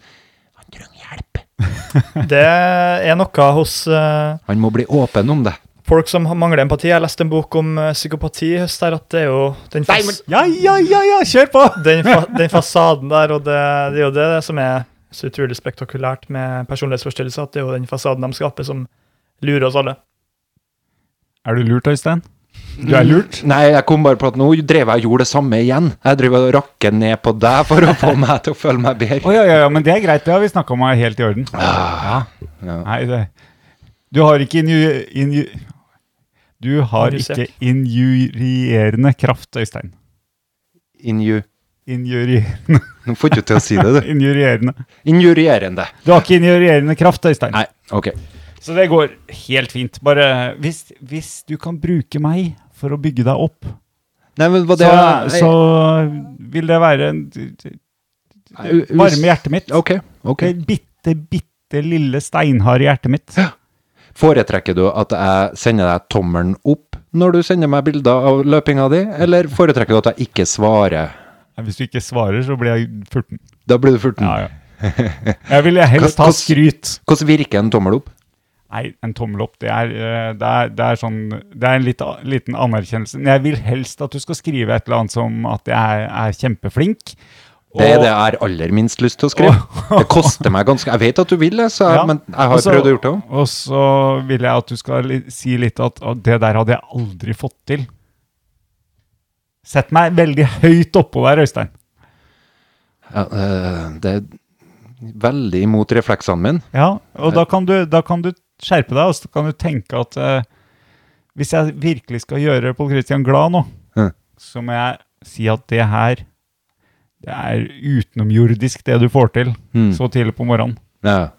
han trenger hjelp.
Det er noe hos eh,
Han må bli åpen om det.
folk som mangler empati. Jeg leste en bok om eh, psykopati i høst der, at det er jo den, fas
Ja, ja, ja, ja, kjør på!
den, fa den fasaden der, og det, det er jo det som er så utrolig spektakulært med personlighetsforstyrrelser, at det er jo den fasaden de skaper, som lurer oss alle.
Er du lurt, Øystein? Du er lurt?
Nei, jeg kom bare på at nå drev jeg og gjorde det samme igjen. Jeg drev og rakker ned på deg for å få meg til å føle meg
Å
bedre.
ja, ja, ja, men det er greit. Det har vi snakka om er helt i orden.
Ah, ja.
Nei, det Du har ikke inju... inju du har ikke
Injusert.
injurierende kraft, Øystein.
Inju...
Injuri,
Nå får du ikke til å si det, du.
injurierende.
Injurierende.
Du har ikke injurierende kraft, Øystein.
Nei, ok.
Så det går helt fint. Bare hvis, hvis du kan bruke meg for å bygge deg opp,
Nei, men hva det
så, så vil det være en
Nei, us-
varme i hjertet mitt.
Ok, ok.
Det bitte, bitte lille steinharde hjertet mitt.
Foretrekker du at jeg sender deg tommelen opp når du sender meg bilder av løpinga di, eller foretrekker du at jeg ikke svarer?
Nei, Hvis du ikke svarer, så blir jeg furten.
Da blir du furten.
Ja, ja. Jeg vil helst ha
Hvordan-
skryt.
Hvordan virker en tommel opp?
Nei, en tommel opp, det er, eh, det er, det er, sånn, det er en litt, a- liten anerkjennelse. Men jeg vil helst at du skal skrive et eller annet som at jeg er, er kjempeflink.
Det er det jeg har aller minst lyst til å skrive. Det koster meg ganske Jeg vet at du vil det, så jeg,
Ja. Altså-
men jeg har
Og så-
prøvd å gjøre det òg.
Og så vil jeg at du skal li si litt at «Å, det der hadde jeg aldri fått til. Sett meg veldig høyt oppå der, Øystein.
Ja, øh, det er veldig imot refleksene mine.
Ja, og da kan, du, da kan du skjerpe deg, og så kan du tenke at eh, hvis jeg virkelig skal gjøre Pål Christian glad nå,
Mhm.
så må jeg si at det her det er utenomjordisk, det du får til
Mm.
så tidlig på morgenen.
Ja.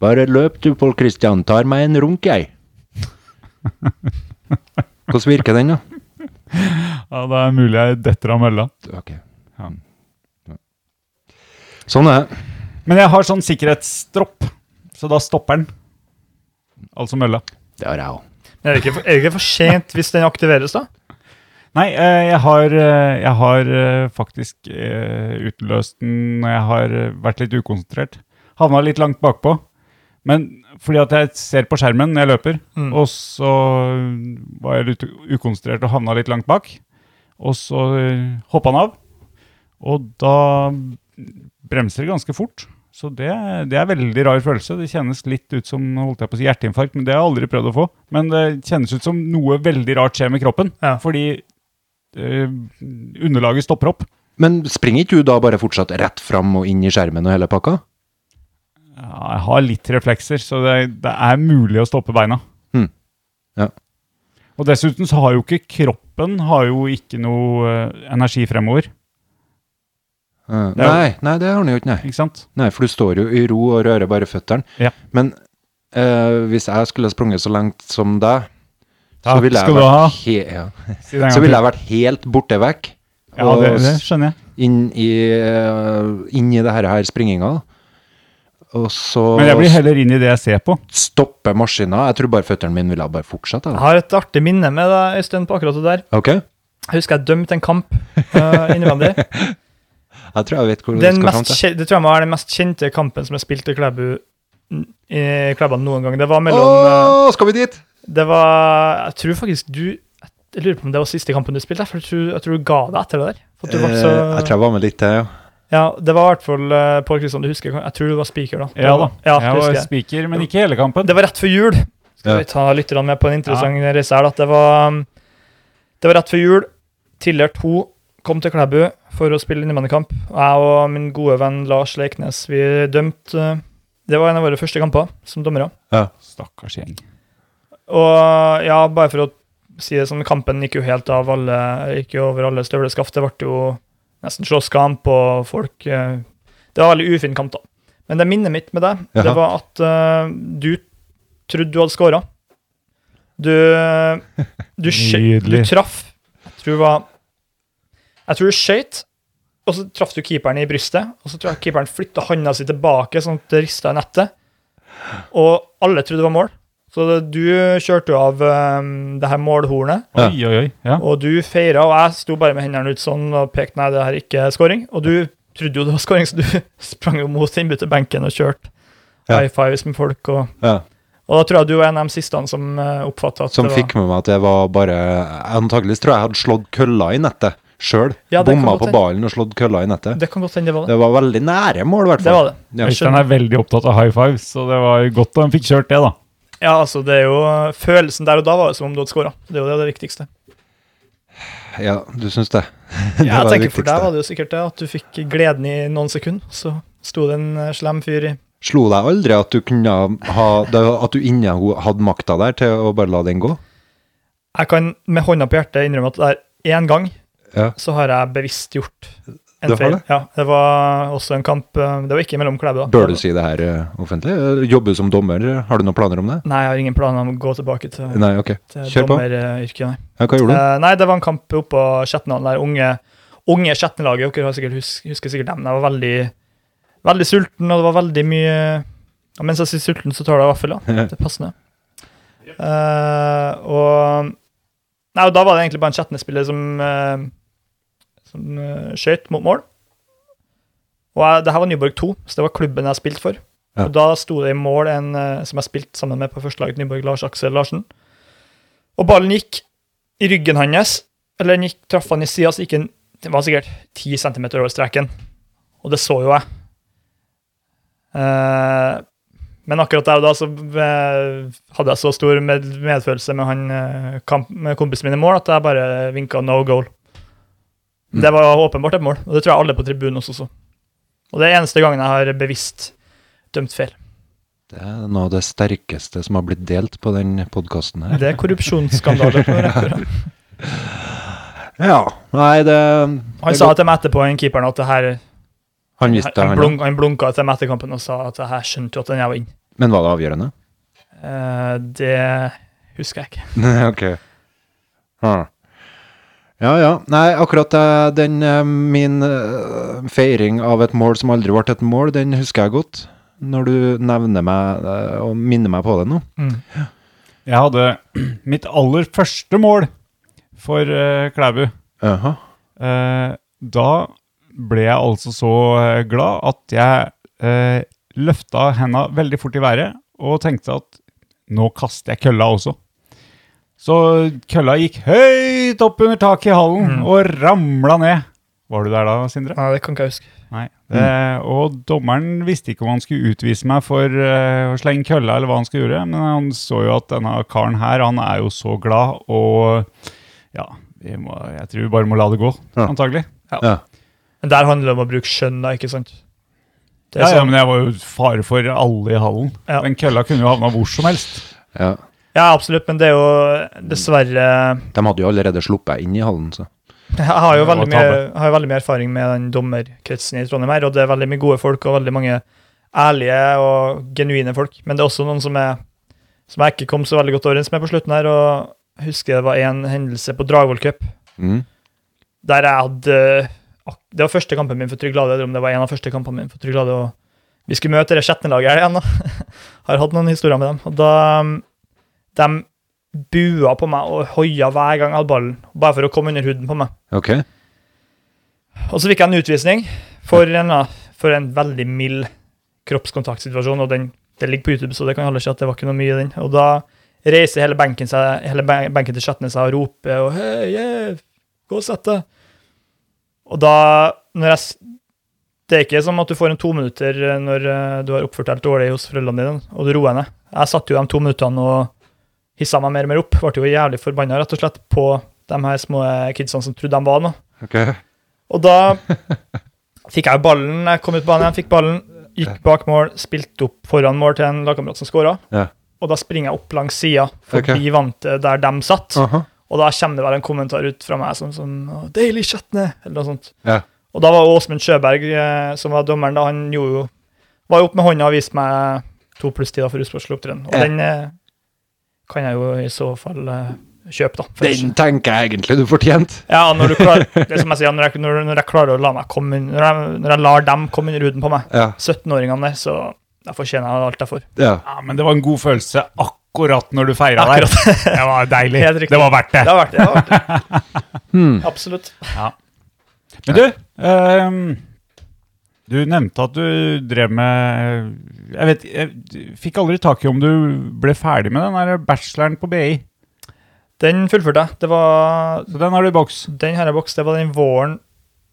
Bare løp du, Pål Kristian. Tar meg en runk, jeg. Hvordan virker den, da?
Ja, Det er mulig jeg detter av mølla.
Ok.
Ja.
Sånn er det.
Men jeg har sånn sikkerhetsstropp, så da stopper den. Altså mølla.
Det har jeg òg.
Men er det ikke for, er det ikke for sent hvis den aktiveres, da?
Nei, eh, jeg har, eh, jeg har eh, faktisk eh, utløst den når jeg har eh, vært litt ukonsentrert. Havna litt langt bakpå. Men fordi at jeg ser på skjermen når jeg løper,
Mm.
og så var jeg litt u- ukonsentrert og havna litt langt bak. Og så eh, hoppa han av. Og da bremser det ganske fort. Så det, det er veldig rar følelse. Det kjennes litt ut som holdt jeg på å si hjerteinfarkt, men det har jeg aldri prøvd å få. Men det kjennes ut som noe veldig rart skjer med kroppen.
Ja.
Fordi eh, underlaget stopper opp.
Men springer ikke du da bare fortsatt rett fram og inn i skjermen og hele pakka?
Ja, jeg har litt reflekser, så det, det er mulig å stoppe beina.
Mhm. Ja.
Og dessuten så har jo ikke kroppen har jo ikke noe eh, energi fremover,
Eh,
Det er jo-
nei, nei, det har han jo ikke, nei.
ikke sant?
nei. For du står jo i ro og rører bare føttene.
Ja.
Men eh, hvis jeg skulle sprunget så langt som deg, så
Takk
ville jeg,
skal du ha.
vært, he ja. så ville jeg vært helt borte vekk.
Ja, det, det skjønner jeg.
inn i, eh, inn i det her, her springinga. Og så
Men jeg blir heller inn i det jeg ser på.
stoppe maskina. Jeg tror bare føttene mine ville ha bare fortsatt.
Jeg
Jeg.
har et artig minne med deg, Øystein, på akkurat det der.
Ok?
Jeg husker jeg dømte en kamp eh, innvendig.
Jeg tror jeg vet hvor
Den
du skal fram
mest,
til.
kje- det tror jeg må være den mest kjente kampen som er spilt i Klæbu i Klæbu noen gang. Det var mellom eh,
Å, skal vi dit?
Det var Jeg tror faktisk du Jeg lurer på om det var siste kampen du spilte, for jeg tror, jeg tror du ga deg etter det der. For at du ble så,
Eh, jeg tror jeg var med litt til, ja.
ja, det var i hvert fall eh, Pål Kristian, du husker Jeg tror du var speaker da.
Ja da.
Ja, det
jeg
husker
var
jeg.
spiker, men ikke hele kampen.
Det var rett før jul. Skal
Ja.
vi ta lytterne med på en interessant reise her. da, At det var, um, det var rett før jul. Tidligere to kom til Klæbu for å spille innebandykamp. Jeg og min gode venn Lars Leiknes vi dømte uh, Det var en av våre første kamper som dommere.
Stakkars gjeng.
Og ja, bare for å si det sånn, kampen gikk jo helt av alle Gikk jo over alle støvleskaft. Det ble jo nesten slåsskamp, og folk eh, Det var en veldig ufin kamp, da. Men det minnet mitt med deg, det
Jaha.
var at eh, du trodde du hadde scora. Du Du, skjø- du
Nydelig.
traff Jeg tror det var Jeg tror du skøyt, og så traff du keeperen i brystet. Og så tror jeg keeperen flytta handa si tilbake, sånn at det rista i nettet. Og alle trodde det var mål. Så det, du kjørte jo av eh, det her målhornet,
Ja.
Oi, oi, oi. Ja.
og du feira, og jeg sto bare med hendene ut sånn og pekte nei, det her er ikke scoring. Og du trodde jo det var scoring, så du sprang jo mot innbytterbenken og kjørte
Ja.
high fives med folk. Og,
ja.
og da tror jeg du var en av de siste som uh, oppfatta at
Som
det var
fikk med meg at jeg var bare Antakeligvis tror jeg jeg hadde slått kølla i nettet sjøl.
Ja, det kan
Bomma
godt
på
hende.
ballen og slått kølla i nettet.
Det kan godt hende det var det.
Det var veldig nære mål, i hvert
Det
fall.
var det.
Ja.
Jeg skjønner.
Øystein er veldig opptatt av high fives, så det var godt han fikk kjørt det, da.
Ja, altså, det er jo Følelsen der og da var det som om du hadde scora. Det er jo det, det viktigste.
Ja, du syns det? det var
Ja, jeg
det
tenker For deg
viktigste.
var det jo sikkert det, at du fikk gleden i noen sekunder, så sto det en eh, slem fyr i
Slo deg aldri at du kunne ha det, At du inni ho- hadde makta der til å bare la den gå?
Jeg kan med hånda på hjertet innrømme at det er én gang
Ja.
så har jeg bevisst gjort
Du
en
har
feil.
det?
Ja, det var også en kamp eh, Det var ikke mellom Klæbu. da.
Bør du si det her eh, offentlig? Eh, Jobber du som dommer? Har du noen planer om det?
Nei, jeg har ingen planer om å gå tilbake til,
Nei, ok.
til
Kjør på.
dommeryrket. Nei.
Ja, hva gjorde du?
Eh, nei, det var en kamp oppå Skjetnland, der unge, unge Skjetnelaget. Dere har sikkert hus- husker sikkert dem. Jeg var veldig, veldig sulten, og det var veldig mye ja, Mens jeg sier sulten, så tar jeg vaffel. da. Det er passende. Eh, og Nei, og da var det egentlig bare en Skjetne-spiller som, uh, som eh, skøyt mot mål. Og jeg, det her var Nyborg 2, så det var klubben jeg spilte for.
Ja.
Og da sto det i mål en eh, som jeg spilte sammen med på førstelaget, Nyborg Lars Aksel Larsen. Og ballen gikk i ryggen hans, eller den gikk, traff han i sida, så gikk den Det var sikkert 10 cm over streken. Og det så jo jeg. Eh, men akkurat der og da så eh, hadde jeg så stor med medfølelse med, han, eh, kamp, med kompisen min i mål at jeg bare vinka no goal. Det var åpenbart et mål, og det tror jeg alle på tribunen også så. Og det er eneste gangen jeg har bevisst dømt feil.
Det er noe av det sterkeste som har blitt delt på den podkasten her.
Det er korrupsjonsskandaler på rekke og rad.
Ja. Nei, det
Han
det
sa
går-
til meg etterpå, en keeperen, at det her
Han visste det,
Han,
han.
blunk, han blunka til meg etter kampen og sa at jeg skjønte jo at den jeg var inn.
ja. Men var det avgjørende?
Eh, det husker jeg ikke.
Nei, ok. Ah. Ja, ja. Nei, akkurat eh, den eh, min eh, feiring av et mål som aldri ble et mål, den husker jeg godt. Når du nevner meg eh, og minner meg på det nå.
Jeg hadde mitt aller første mål for eh, Klæbu.
Jaha.
Eh, da ble jeg altså så eh, glad at jeg eh, løfta henda veldig fort i været og tenkte at nå kaster jeg kølla også. Så kølla gikk høyt opp under taket i hallen
Mm.
og ramla ned. Var du der da, Sindre?
Nei, det kan ikke jeg huske.
Nei.
Mm.
Eh, og dommeren visste ikke om han skulle utvise meg for eh, å slenge kølla, eller hva han skulle gjøre, men han så jo at denne karen her, han er jo så glad, og ja, vi må, jeg tror vi bare må la det gå,
Ja.
antagelig.
Ja.
Men der handler det om å bruke skjønn, da, ikke sant? Det er
Ja, ja,
sånn-
men jeg var jo fare for alle i hallen.
Ja.
Den kølla kunne jo havna hvor som helst.
ja.
ja, absolutt, men det er jo dessverre
De hadde jo allerede sluppet inn i hallen, så.
Jeg har jo
Det var
veldig mye,
tabbe.
har jo veldig mye erfaring med den dommerkretsen i Trondheim her, og det er veldig mye gode folk og veldig mange ærlige og genuine folk. Men det er også noen som, er, som jeg ikke kom så veldig godt overens med på slutten her, og jeg husker det var en hendelse på Dragvoll Cup
Mm.
der jeg hadde ak- Det var første kampen min for Trygg Lade, eller om det var en av første kampene mine for Trygg Lade. Og vi skulle møte det sjette laget her igjen, da. Har hatt noen historier med dem. Og da um, De bua på meg og hoia hver gang jeg hadde ballen, bare for å komme under huden på meg.
Ok.
Og så fikk jeg en utvisning for en, ja, for en veldig mild kroppskontaktsituasjon. og den, Det ligger på YouTube, så det kan alle se at det var ikke noe mye i den. Og da reiser hele benken, seg, hele ben- benken til Sjetnes seg og roper og «Hei, yeah, gå og sett deg. Og da når jeg, s- Det er ikke som at du får en to minutter eh, når eh, du har oppført deg litt dårlig hos foreldrene dine, og du roer ned. Jeg satt jo de to minuttene og hissa meg mer og mer opp. Ble jo jævlig forbanna, rett og slett, på de her små eh, kidsene som trodde de var noe.
Ok.
Og da fikk jeg jo ballen. Jeg kom ut på banen igjen, fikk ballen, gikk bak mål, spilte opp foran mål til en lagkamerat som skåra.
Ja.
Og da springer jeg opp langs sida, forbi
Ok.
vante der de satt.
Aha.
Og da kommer det vel en kommentar ut fra meg som sånn «Å, 'Deilig kjøttne', eller noe sånt.
Ja.
Og da var jo Åsmund Sjøberg, eh, som var dommeren, da han gjorde jo Var jo opp med hånda og viste meg to pluss-tida for usportslig opptreden. Og
Ja.
den eh, kan jeg jo i så fall eh, kjøpe, da. for-
Den tenker jeg egentlig du fortjente.
ja, når du klarer Det er som jeg sier, når jeg, når, når jeg klarer å la meg komme inn- når, jeg, når jeg lar dem komme under huden på meg,
Ja.
17-åringene der, så da fortjener jeg alt jeg får.
ja.
Ja, men det var en god følelse akkurat når du feira der.
Akkurat.
Det var deilig.
Helt riktig.
Det var verdt det.
Det har vært det. Har vært det.
Hmm.
Absolutt.
Men du, ehm, du nevnte at du drev med Jeg vet, jeg fikk aldri tak i om du ble ferdig med den der bacheloren på BI.
Den fullførte jeg. Det var
Så den har du i boks.
den her boks, det var den våren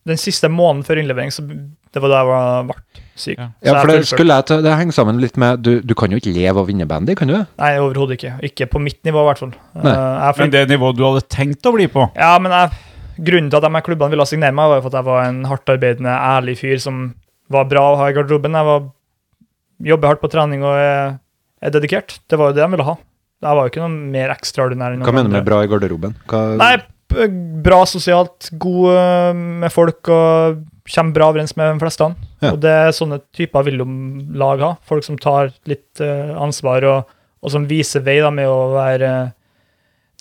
Den siste måneden før innlevering, så det var da jeg var, ble syk.
Ja.
Så
Ja, for det,
jeg fullførte.
skulle jeg ta, det henger sammen litt med Du, du kan jo ikke leve av å vinne bandy, kan du?
Nei, overhodet ikke. Ikke på mitt nivå, i hvert fall.
Nei.
Eh,
Men
jeg flink-
det nivået du hadde tenkt å bli på.
Ja, men jeg, grunnen til at de her klubbene ville signere meg, var jo for at jeg var en hardtarbeidende, ærlig fyr som var bra å ha i garderoben. Jeg var, jobber hardt på trening og er, er dedikert. Det var jo det de ville ha. Jeg var jo ikke noe mer ekstraordinær enn
Hva
noen
mener du med
andre.
bra i garderoben? Hva,
Nei, p- bra sosialt, god øh, med folk og kommer bra overens med de fleste.
Ja.
Og det er sånne typer vil jo lag ha. Folk som tar litt øh, ansvar og, og som viser vei da, med å være øh,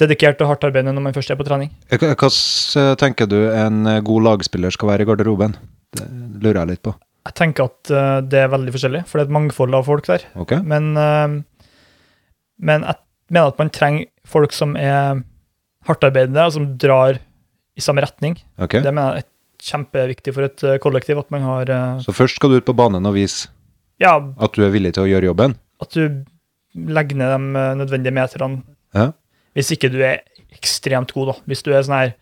dedikert og hardtarbeidende når man først er på trening.
Hva hva s- tenker du en eh, god lagspiller skal være i garderoben? Det lurer jeg litt på.
Jeg tenker at eh, det er veldig forskjellig, for det er et mangfold av folk der.
Ok?
Men, eh, men jeg mener at man trenger folk som er hardtarbeidende, og som drar i samme retning.
ok.
Det mener jeg er kjempeviktig for et eh, kollektiv, at man har eh,
Så først skal du ut på banen og vise
Ja,
at du er villig til å gjøre jobben.
at du legger ned de eh, nødvendige meterne.
Ja.
Hvis ikke du er ekstremt god, da. Hvis du er sånn her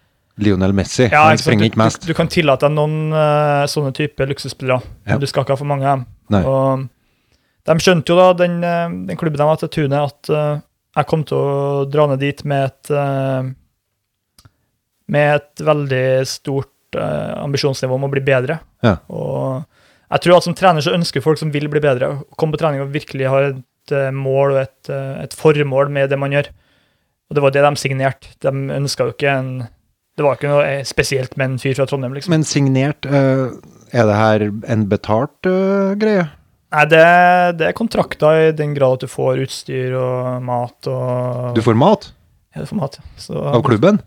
Lionel Messi,
Ja,
han
ikke sant?
springer
Du-
ikke mest.
Du, du kan tillate deg noen eh, sånne typer luksusspillere,
Ja.
men du skal ikke ha for mange av dem.
Nei.
Og de skjønte jo da, den, eh, den klubben de var til Tune, at eh, jeg kom til å dra ned dit med et eh, med et veldig stort eh, ambisjonsnivå om å bli bedre.
Ja.
Og jeg tror at som trener så ønsker folk som vil bli bedre, å komme på trening og virkelig ha et eh, mål og et, eh, et formål med det man gjør. Og det var det de signerte. De ønska jo ikke en Det var ikke noe eh, spesielt med en fyr fra Trondheim, liksom.
Men signert, eh, er det her en betalt eh, greie?
Nei, det, det er kontrakter i den grad at du får utstyr og mat og
Du får mat
Ja, du får mat, ja. Så,
av klubben?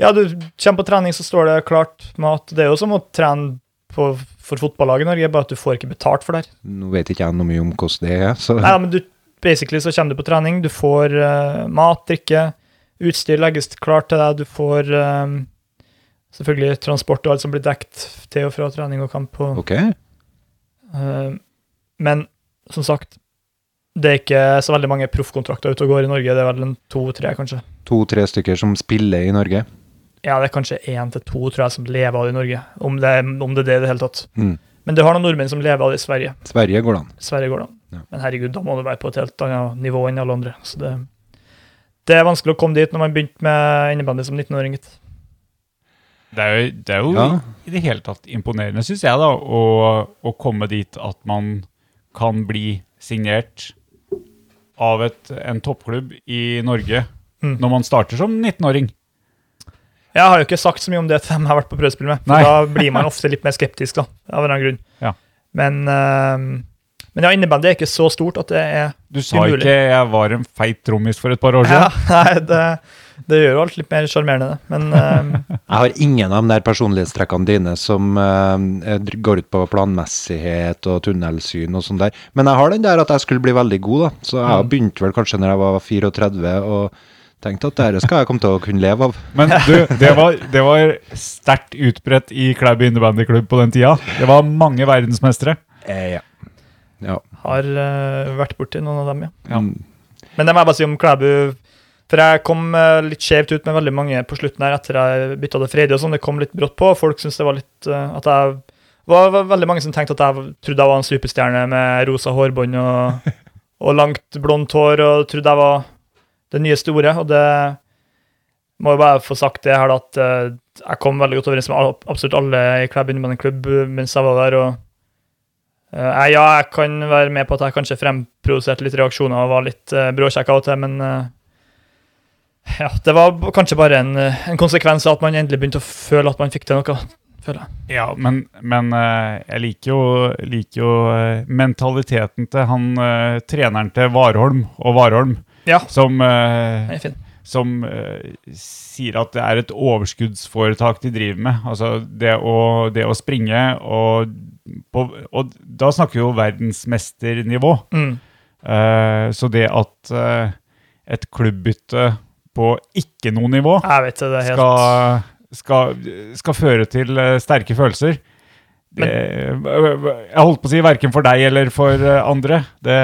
Ja, du kommer på trening, så står det klart mat. Det er jo som å trene på, for fotballaget i Norge, bare at du får ikke betalt for det. her.
Nå vet ikke jeg noe mye om hvordan det er, så
Nei, men du, basically så kommer du på trening, du får eh, mat, drikke, utstyr legges klart til deg, du får eh, selvfølgelig transport og alt som blir dekt til og fra trening og kamp. Og,
Ok.
Eh, Men som sagt, det er ikke så veldig mange proffkontrakter ute og går i Norge. Det er vel en to-tre, kanskje.
To-tre stykker som spiller i Norge.
Ja, det er kanskje én til to tror jeg, som lever av det i Norge, om det, om det er det i det hele tatt.
Mm.
Men det har noen nordmenn som lever av det i Sverige.
Sverige går det an.
Sverige går det an.
Ja.
Men herregud, da må du være på et helt annet nivå enn alle andre. Så det, det er vanskelig å komme dit når man begynte med innebandy som 19-åring. gitt.
Det er jo, det er jo
Ja.
i det hele tatt imponerende, syns jeg, da, å, å komme dit at man kan bli signert av et, en toppklubb i Norge
Mm.
når man starter som 19-åring.
Jeg har jo ikke sagt så mye om det til dem jeg har vært på prøvespill med. For
Nei.
da blir man ofte litt mer skeptisk, da, av en eller annen grunn.
Ja.
Men, eh, men ja, innebandy er ikke så stort at det er
Du sa
Umulig.
ikke 'jeg var en feit trommis for et par år siden'.
Ja, nei, det, det gjør jo alt litt mer sjarmerende, det. Men eh,
Jeg har ingen av de der personlighetstrekkene dine som eh, dr- går ut på planmessighet og tunnelsyn og sånn der. Men jeg har den der at jeg skulle bli veldig god, da. Så jeg begynte vel kanskje når jeg var 34, og Tenkte at dette skal jeg komme til å kunne leve av.
Men du, det var, det var sterkt utbredt i Klæbu innebandyklubb på den tida. Det var mange verdensmestere.
Eh, ja. Ja.
Har eh, vært borti noen av dem, ja.
Ja.
Mm.
Men det må jeg bare si om Klæbu. For jeg kom eh, litt skjevt ut med veldig mange på slutten her etter jeg bytta til Freddy og sånn. Det kom litt brått på. Folk syntes det var litt eh, at jeg var, var veldig mange som tenkte at jeg trodde jeg var en superstjerne med rosa hårbånd og, og langt blondt hår, og trodde jeg var det nye store. Og det må jo bare få sagt det her, da, at eh, jeg kom veldig godt overens med al- absolutt alle i Klæbu innebandyklubb mens jeg var der. og Eh, jeg- ja, jeg kan være med på at jeg kanskje fremprovoserte litt reaksjoner og var litt uh, bråkjekk av og til, men eh, ja, det var b- kanskje bare en, eh, en konsekvens av at man endelig begynte å føle at man fikk til noe. føler jeg.
Ja, men, men eh, jeg liker jo, liker jo eh, mentaliteten til han eh, treneren til Warholm og Warholm,
Ja,
som, eh,
den er fin.
som eh, sier at det er et overskuddsforetak de driver med. Altså det å, det å springe og på, Og da snakker vi jo verdensmesternivå.
Mm.
Eh, så det at eh, et klubbbytte på ikke noe nivå
Jeg vet det, det er helt
skal, skal, skal føre til eh, sterke følelser. Det, jeg holdt på å si verken for deg eller for eh, andre. Det,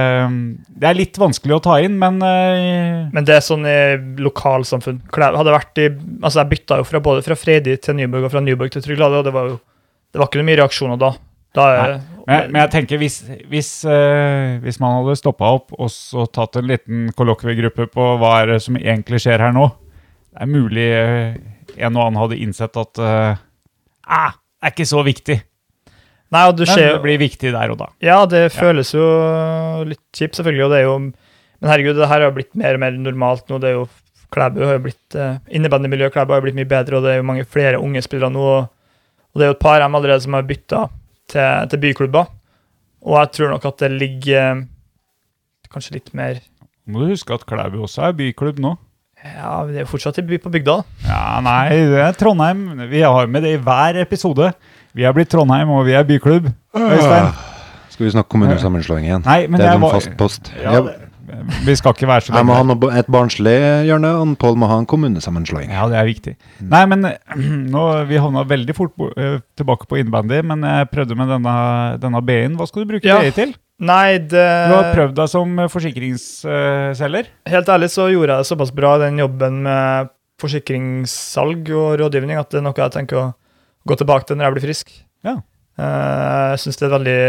det er litt vanskelig å ta inn, men eh,
Men det er sånn i lokalsamfunn. Klæ- Hadde vært i, altså jeg bytta jo fra både fra Fredi til Nyborg og fra Nyborg til Tryglade, og det var jo det var ikke noe mye reaksjoner da. da eh, er-
men, men jeg tenker hvis, hvis, eh, hvis man hadde stoppa opp og så tatt en liten kollokviegruppe på hva er det som egentlig skjer her nå Det er mulig eh, en og annen hadde innsett at eh, ah, det er ikke så viktig.
Nei, og du
Men
ser
det blir viktig der og da.
Ja, det føles jo litt kjipt, selvfølgelig. Og det er jo, men herregud, det her har jo blitt mer og mer normalt nå. det er jo Klæbu har jo blitt, eh, Innebandymiljøet i Klæbu har jo blitt mye bedre, og det er jo mange flere unge spillere nå. Og, og det er jo et par av dem allerede som har bytta til, til byklubber. Og jeg tror nok at det ligger eh, kanskje litt mer
Må du huske at Klæbu også er byklubb nå.
Ja, det er jo fortsatt i by på bygda. da.
Ja, nei, det er Trondheim. Vi har med det i hver episode. Vi er blitt Trondheim, og vi er byklubb. Øystein.
Skal vi snakke kommunesammenslåing igjen?
Nei, men
Ah. det er
jeg
en
var-
fast post.
Ja,
jeg,
Vi skal ikke være så
jeg må ha
lenge.
noe, et barnslig hjørne, og en Pål må ha en kommunesammenslåing.
Ja, det er viktig. Nei, men nå, vi havna veldig fort bo- eh, tilbake på innebandy, men jeg prøvde med denne, denne BI-en. Hva skal du bruke
Ja. Eh.
BI til?
Nei, det
Du har prøvd deg som forsikringsselger.
Helt ærlig så gjorde jeg såpass bra den jobben med forsikringssalg og rådgivning at det er noe jeg tenker å gå tilbake til når jeg blir frisk.
Ja.
Eh, Jeg synes det er et veldig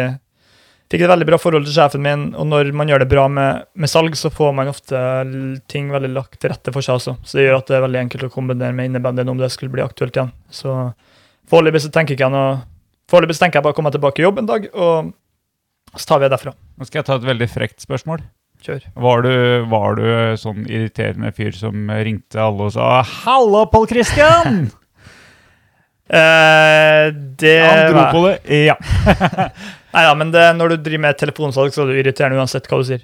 Fikk et veldig bra forhold til sjefen min, og når man gjør det bra med, med salg, så får man ofte l- ting veldig lagt til rette for seg også. Så det gjør at det er veldig enkelt å kombinere med innebandyen om det skulle bli aktuelt igjen. Så foreløpig så tenker ikke jeg noe Foreløpig så tenker jeg bare å komme meg tilbake i jobb en dag, og så tar vi det derfra.
Nå skal jeg ta et veldig frekt spørsmål.
Kjør.
Var du, var du sånn irriterende fyr som ringte alle og sa 'Hallo, Pål Christian!'
Eh, det
Han dro
var-
på det. Ja.
Nei da, men det, når du driver med telefonsalg, så er du irriterende uansett hva du sier.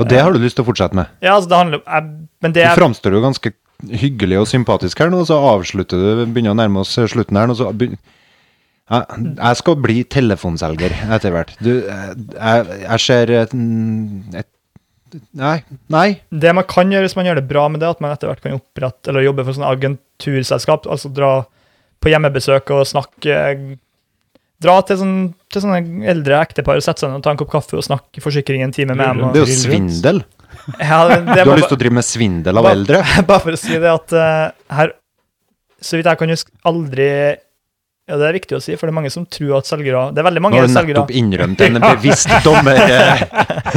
Og det har du lyst til å fortsette med.
Ja, altså, det handler jeg, Men det
Du
er
framstår jo ganske hyggelig og sympatisk her nå, og så avslutter du, begynner å nærme oss slutten her, nå, så begyn- jeg, jeg skal bli telefonselger etter hvert. Du, jeg, jeg- jeg ser et, et Nei. Nei.
det man kan gjøre hvis man gjør det bra med det, at man etter hvert kan opprette eller jobbe for sånne agenturselskap, altså dra på hjemmebesøk og snakke eh, Dra til, sånn, til sånne eldre ektepar og sette seg ned og ta en kopp kaffe og snakke forsikring en time med dem.
Det er jo
og-
svindel.
Ja, det- det
Du
er
har
bare-
lyst til å drive med svindel av
Ba-
eldre?
Bare for å si det at eh, her, så vidt jeg kan huske, aldri Ja, det er viktig å si, for det er mange som tror at selgere Det er veldig
Nå
mange
har du
selgere
nettopp innrømt en bevisst dommer. eh,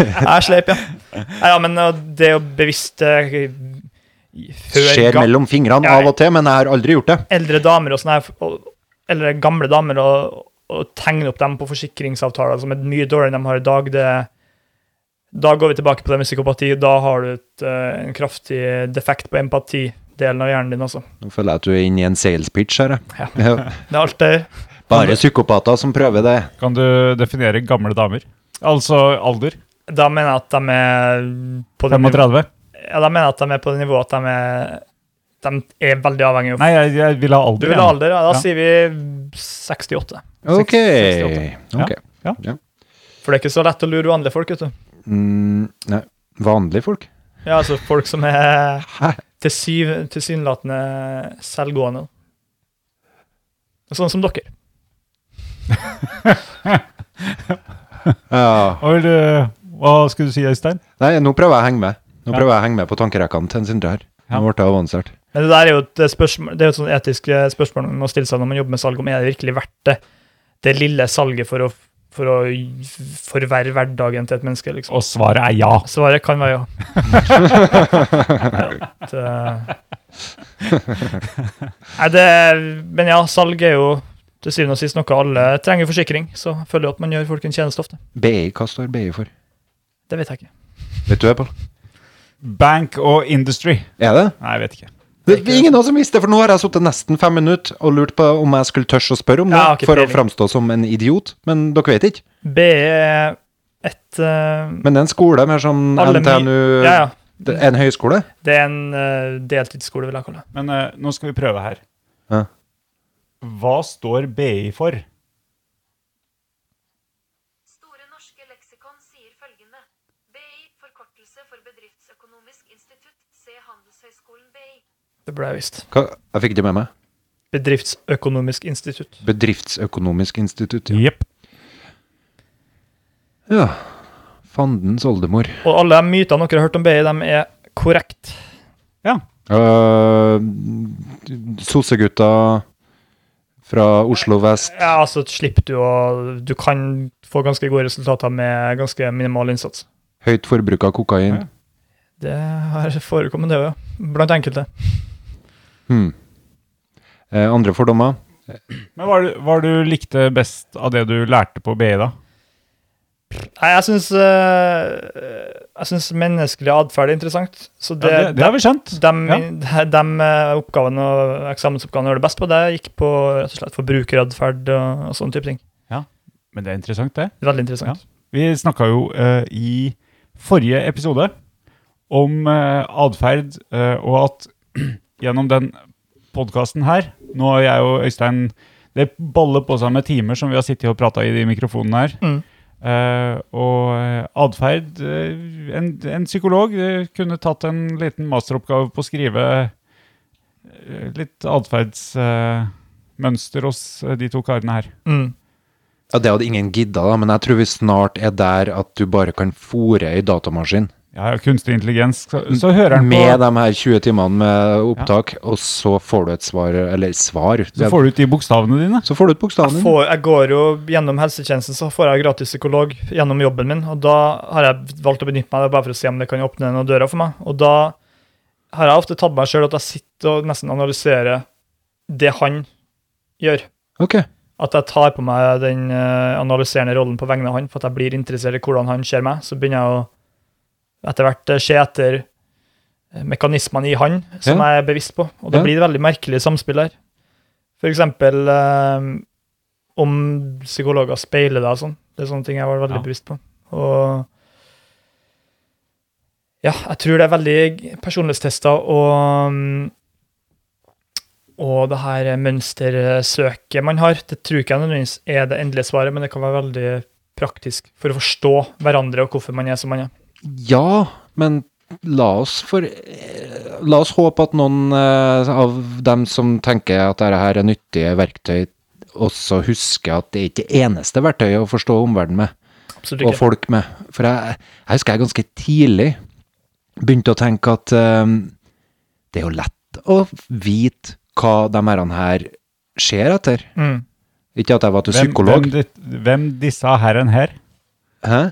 Jeg sleip, ja. Nei, ja, men uh, det å bevisst uh, før
Skjer
ga
mellom fingrene av og til, men jeg har aldri gjort det.
eldre damer og sånne her, og, eller gamle damer og, og tegne opp dem på forsikringsavtaler som er mye dårligere enn de har i dag, det da går vi tilbake på det med psykopati. Da har du et, uh, en kraftig defekt på empatidelen av hjernen din, altså.
Nå føler jeg at du er inne i en sales pitch her. jeg. Ja.
Det er alt det
Bare psykopater som prøver det.
Kan du definere gamle damer? Altså alder?
Da mener jeg at de er på det nivå-
35?
ja, da mener jeg at de er på det nivået at de er, de er veldig avhengige av
Nei, jeg, jeg vil ha
Du
alder.
vil ha
igjen.
alder, ja, da
Ja.
sier vi 68.
Ok.
68.
ok.
Ja.
For det er ikke så lett å lure vanlige folk, vet du.
Mm, nei. Vanlige folk?
Ja, altså folk som er tilsyv- tilsynelatende selvgående. Sånn som dere.
Ja.
Hva vil du- Hva skulle du si, Øystein?
Nei, nå prøver jeg å henge med. Nå
Ja.
prøver jeg å henge med på tankerekkene til en Sindre her.
Ja.
Nå ble det avansert.
Men det der er jo et spørsmål, det er jo et sånn etisk eh, spørsmål man må stille seg når man jobber med salg, om er det virkelig verdt det, det lille salget for å, for å forverre hverdagen til et menneske, liksom.
Og svaret er ja.
Svaret kan være ja. Ja, det- Nei, det, men ja, salg er jo til syvende og sist noe alle trenger forsikring, så jeg føler jo at man gjør folk en tjeneste ofte.
BI, hva står BI for?
Det vet jeg ikke.
Vet du det, Pål?
Bank og industry.
Er det?
Nei, jeg vet ikke.
Det er ingen av oss som visste, for nå har jeg sittet nesten fem minutter og lurt på om jeg skulle tørre å spørre om det,
Ja, ok,
for å
peiling.
framstå som en idiot, men dere vet ikke.
BE er et eh,
Men det er en skole, mer som
Alle my-
NTNU,
Ja, ja.
det er en høyskole.
Det er en eh, deltidsskole, vil jeg kalle det.
Men eh, nå skal vi prøve her.
Ja.
Hva står BI for?
Store norske leksikon sier følgende. BI, forkortelse for Bedriftsøkonomisk institutt, se Handelshøyskolen BI.
Det ble jeg visst.
Hva? Jeg fikk det med meg.
Bedriftsøkonomisk institutt.
Bedriftsøkonomisk institutt. Ja.
Jepp.
ja. Fandens oldemor.
Og alle de mytene dere har hørt om BI, de er korrekt.
Ja.
Uh, Sossegutta fra Oslo vest.
Ja, altså slipper du å Du kan få ganske gode resultater med ganske minimal innsats.
Høyt forbruk av kokain.
Det har forekommet, det òg, ja. Blant enkelte.
Hmm. Eh, andre fordommer.
Men hva er det- hva er det du likte best av det du lærte på BI, da?
Nei, jeg syns Jeg syns menneskelig atferd er interessant. Så det,
ja, det, det har vi skjønt.
de,
Ja.
de, eh, oppgavene og eksamensoppgavene jeg gjør det best på, det gikk på rett og slett forbrukeratferd og, og sånne type ting.
Men det er interessant, det.
Veldig interessant.
Vi snakka jo eh, i forrige episode om uh, atferd, eh, og at gjennom den podkasten her Nå har jeg og Øystein Det baller på seg med timer som vi har sittet og prata i de mikrofonene her.
Mm.
Eh, og eh, atferd eh, en, en psykolog eh, kunne tatt en liten masteroppgave på å skrive eh, litt atferdsmønster hos eh, de to karene her.
Mm.
Ja, Det hadde ingen gidda, da, men jeg tror vi snart er der at du bare kan fòre ei datamaskin
Ja, ja, kunstig intelligens. Så, så hører han på
med de her 20 timene med opptak, og så får du et svar Eller svar.
Så
det-
får du ut de bokstavene dine.
så får du et bokstav.
Jeg, får, jeg går jo gjennom helsetjenesten, så får jeg gratis psykolog gjennom jobben min. Og da har jeg valgt å benytte meg av det bare for å se om det kan åpne noen dører for meg. Og da har jeg ofte tatt meg sjøl at jeg sitter og nesten analyserer det han gjør.
Ok.
At jeg tar på meg den eh, analyserende rollen på vegne av han, for at jeg blir interessert i hvordan han ser meg. Så begynner jeg å etter hvert eh, se etter eh, mekanismene i han som
Ja.
jeg er bevisst på. Og da
Ja.
blir det veldig merkelig samspill her. For eksempel eh, om psykologer speiler deg og sånn. Det er sånne ting jeg var veldig
Ja.
bevisst på. Og ja, jeg tror det er veldig personlighetstester og mm, og det her mønstersøket man har, det tror ikke jeg nødvendigvis er det endelige svaret, men det kan være veldig praktisk for å forstå hverandre og hvorfor man er som man er.
Ja, men la oss for eh, La oss håpe at noen eh, av dem som tenker at dette her er nyttige verktøy, også husker at det er ikke det eneste verktøyet å forstå omverdenen med,
Absolutt
og
ikke.
folk med. For jeg, jeg husker jeg ganske tidlig begynte å tenke at eh, det er jo lett å vite hva de herrene her ser etter.
Mm.
Ikke at jeg var til
Hvem,
psykolog.
hvem, dit- hvem disse herren her?
Hæ?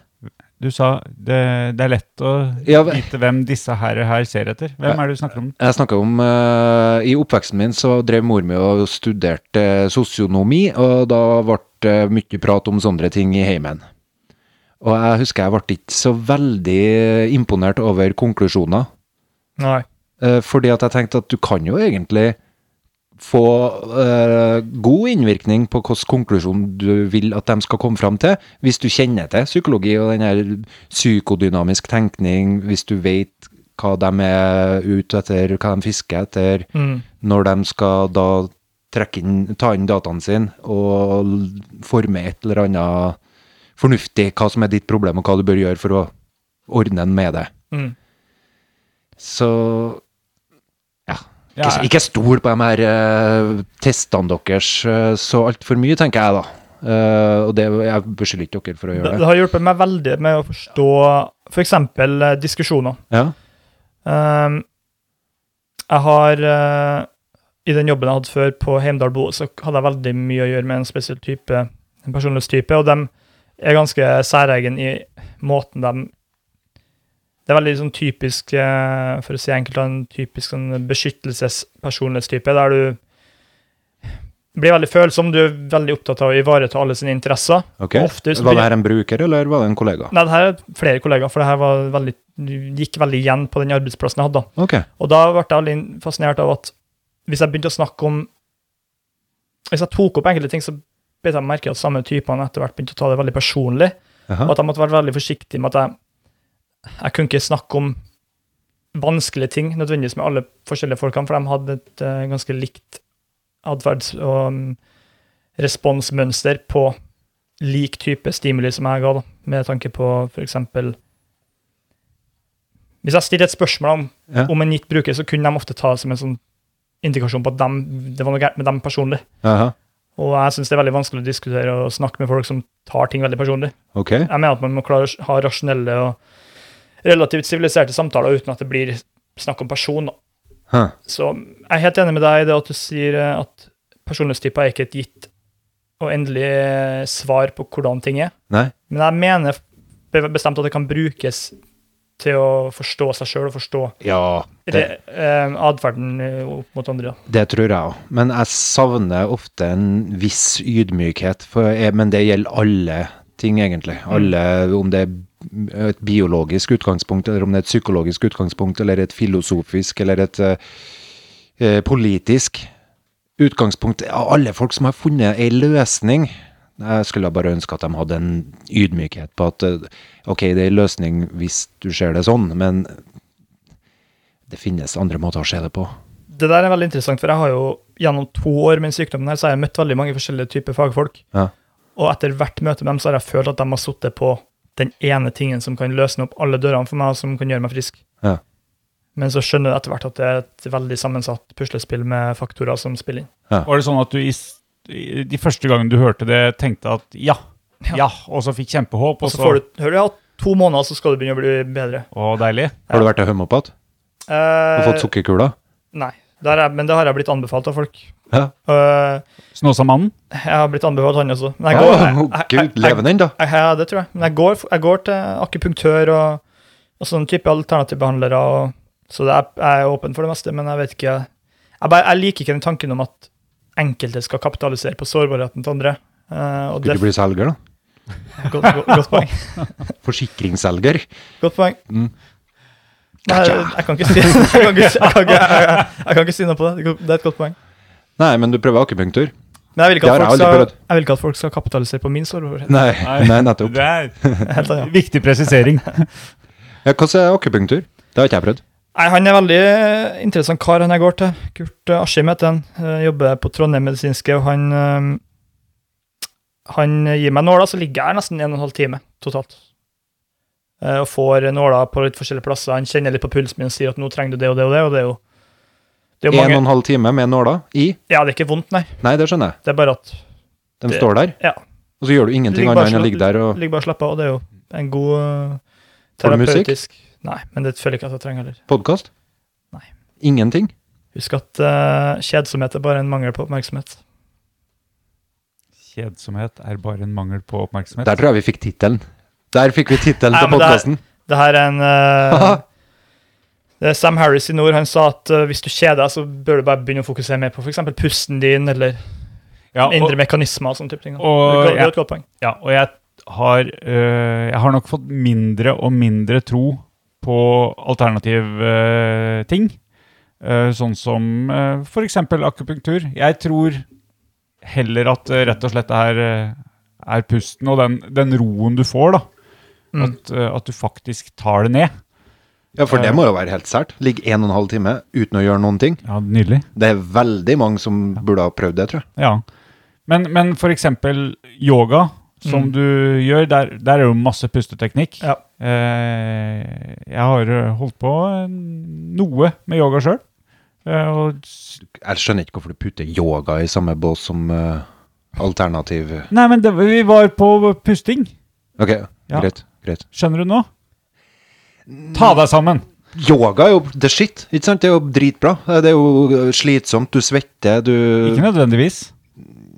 Du sa det, det er lett å
Ja, ve-
vite hvem disse herrer her ser etter. Hvem er det du snakker om?
Jeg snakket om eh, I oppveksten min så drev mor mi og studerte eh, sosionomi, og da ble det mye prat om sånne ting i heimen. Og jeg husker jeg ble ikke så veldig eh, imponert over konklusjoner,
Nei.
eh, fordi at jeg tenkte at du kan jo egentlig få eh, god innvirkning på hvilken konklusjon du vil at de skal komme fram til, hvis du kjenner til psykologi og den her psykodynamisk tenkning, hvis du vet hva de er ute etter, hva de fisker etter,
Mm.
når de skal da trekke inn, ta inn dataene sine og l- forme et eller annet fornuftig, hva som er ditt problem og hva du bør gjøre for å ordne en med det.
Mm.
Så ja.
Ja,
Ikke,
ja.
ikke stol på de her eh, testene deres eh, så altfor mye, tenker jeg da. Eh, og det, jeg beskylder ikke dere for å
Det,
gjøre
det
det.
har hjulpet meg veldig med å forstå f.eks. For eh, diskusjoner.
Ja,
Ehm, jeg har eh, I den jobben jeg hadde før på Heimdal Bo, så hadde jeg veldig mye å gjøre med en spesiell type, en personlighetstype, og de er ganske særegen i måten de Det er veldig sånn typisk, eh, for å si enkelt, en typisk sånn beskyttelsespersonlighetstype, der du blir veldig følsom, du er veldig opptatt av å ivareta alle sine interesser.
ok.
Ofte så
Var
blir-
det her en bruker, eller var det en kollega?
Nei, det her er flere kollegaer, for det her var veldig, gikk veldig igjen på den arbeidsplassen jeg hadde. da.
Ok.
Og da ble jeg veldig fascinert av at hvis jeg begynte å snakke om Hvis jeg tok opp enkelte ting, så bet jeg merke at samme typene etter hvert begynte å ta det veldig personlig.
Aha.
Og at jeg måtte være veldig forsiktig med at jeg Jeg kunne ikke snakke om vanskelige ting nødvendigvis med alle forskjellige folkene, for de hadde et eh, ganske likt atferds- og mm, responsmønster på lik type stimuli som jeg ga, da, med tanke på f.eks. Hvis jeg stiller et spørsmål om,
Ja.
om en gitt bruker, så kunne de ofte ta det som en sånn indikasjon på at dem, det var noe gærent med dem personlig.
Aha.
Og jeg syns det er veldig vanskelig å diskutere og snakke med folk som tar ting veldig personlig.
Ok.
Jeg mener at man må klare å ha rasjonelle og relativt siviliserte samtaler uten at det blir snakk om person. da.
Huh.
Så jeg er helt enig med deg i det at du sier eh, at personlighetstyper er ikke et gitt og endelig eh, svar på hvordan ting er.
Nei.
Men jeg mener be- bestemt at det kan brukes til å forstå seg sjøl og forstå
Ja, det,
re- eh, atferden eh, opp mot andre. da.
Det tror jeg òg. Men jeg savner ofte en viss ydmykhet. For jeg, men det gjelder alle ting, egentlig. Alle, Om det er et biologisk utgangspunkt, eller om det er et psykologisk utgangspunkt, eller et filosofisk, eller et eh, eh, politisk utgangspunkt. Ja, Alle folk som har funnet ei løsning. Jeg skulle bare ønske at de hadde en ydmykhet på at eh, ok, det er en løsning hvis du ser det sånn, men det finnes andre måter å se det på.
Det der er veldig interessant, for jeg har jo gjennom to år med sykdommen her, så har jeg møtt veldig mange forskjellige typer fagfolk.
Ja.
Og etter hvert møte med dem så har jeg følt at de har sittet på den ene tingen som kan løsne opp alle dørene for meg, og som kan gjøre meg frisk.
Ja.
Men så skjønner du etter hvert at det er et veldig sammensatt puslespill med faktorer som spiller inn.
Var det sånn at du i, s- i- de første gangene du hørte det, tenkte at ja, ja, og så fikk kjempehåp,
Og så får du hører du, ja, to måneder så skal du begynne å bli bedre.
Å, deilig.
Har du vært til homopat? Og
Eh,
fått sukkerkula?
Nei, der er, men det har jeg blitt anbefalt av folk.
Ja.
Eh,
Snåsamannen.
jeg har blitt anbefalt han også. Men jeg går,
Oh, Gud, leve den, da!
Jeg- Ja, det tror jeg. Men jeg går, jeg går til akupunktør og, og sånne type alternativbehandlere. Og, så det er, jeg er åpen for det meste, men jeg vet ikke Jeg, bare, jeg liker ikke den tanken om at enkelte skal kapitalisere på sårbarheten til andre. Eh, og det
Skulle du bli selger, da?
godt, godt, godt poeng.
Forsikringsselger?
Godt poeng.
Mm.
Nei, jeg, jeg kan ikke si jeg kan ikke, jeg kan ikke, jeg, jeg, jeg kan ikke si noe på det. Det er et godt poeng.
Nei, men du prøver akupunktur?
Men jeg vil, ikke
Det
at
har
folk
jeg aldri
skal,
prøvd.
jeg vil ikke at folk skal kapitalisere på min sårbarhet.
Nei, nei nettopp.
Det er
Helt annet.
viktig presisering.
Ja, Hva er akupunktur? Det har ikke jeg prøvd.
Nei, Han er veldig eh, interessant kar, han jeg går til. Kurt eh, Askim heter han. Eh, Jobber på Trondheim medisinske, og han eh, Han gir meg nåla, så ligger jeg her nesten en og en halv time totalt. Eh, Og får nåla på litt forskjellige plasser. Han kjenner litt på pulsen min og sier at nå trenger du det og det og det. og det er jo... Det er
En
jo
og
mange,
en halv time med nåla i?
ja, det er ikke vondt, nei.
Nei, det skjønner jeg.
Det er bare at
De
Det-
står der,
ja,
og så gjør du ingenting
Ligger bare
annet
sånn
enn å
slå-
ligge der og
ligger bare og slapper av. og Det er jo en god eh,
Får du musikk?
terapeutisk Nei, men det føler jeg ikke at jeg trenger heller.
podkast?
Nei.
Ingenting?
Husk at eh, kjedsomhet er bare en mangel på oppmerksomhet.
Kjedsomhet er bare en mangel på oppmerksomhet.
Der tror jeg vi fikk tittelen. Der fikk vi tittelen
Nei,
til
men det er-
podkasten.
Det her er en eh, det er Sam Harris i nord han sa at eh, hvis du kjeder deg, så bør du bare begynne å fokusere mer på f.eks. pusten din eller
Ja, og-
indre mekanismer. og sånne type ting. da.
og
det, er et godt- det
jeg-
er et godt poeng.
Ja, og jeg har, øh, jeg har nok fått mindre og mindre tro på alternativ øh, ting. Øh, sånn som øh, for f.eks. akupunktur. Jeg tror heller at øh, rett og slett det her øh, er pusten og den, den roen du får, da.
Mm.
At, øh, at du faktisk tar det ned.
Ja, for det må jo være helt sært. Ligge en og en halv time uten å gjøre noen ting.
Ja, Nydelig.
Det er veldig mange som burde ha prøvd det, tror jeg.
Ja. Men, men f.eks. yoga, som du gjør. Der, der er jo masse pusteteknikk.
Ja.
Eh, jeg har eh, holdt på eh, noe med yoga sjøl. Eh, og s-
Jeg skjønner ikke hvorfor du putter yoga i samme bås som eh, alternativ
Nei, men det, vi var på pusting.
Ok,
Ja.
greit. greit.
Skjønner du nå? Ta deg sammen!
Yoga er jo the shit, ikke sant? Det er jo dritbra. Eh, Det er jo slitsomt, du svetter, du
Ikke nødvendigvis.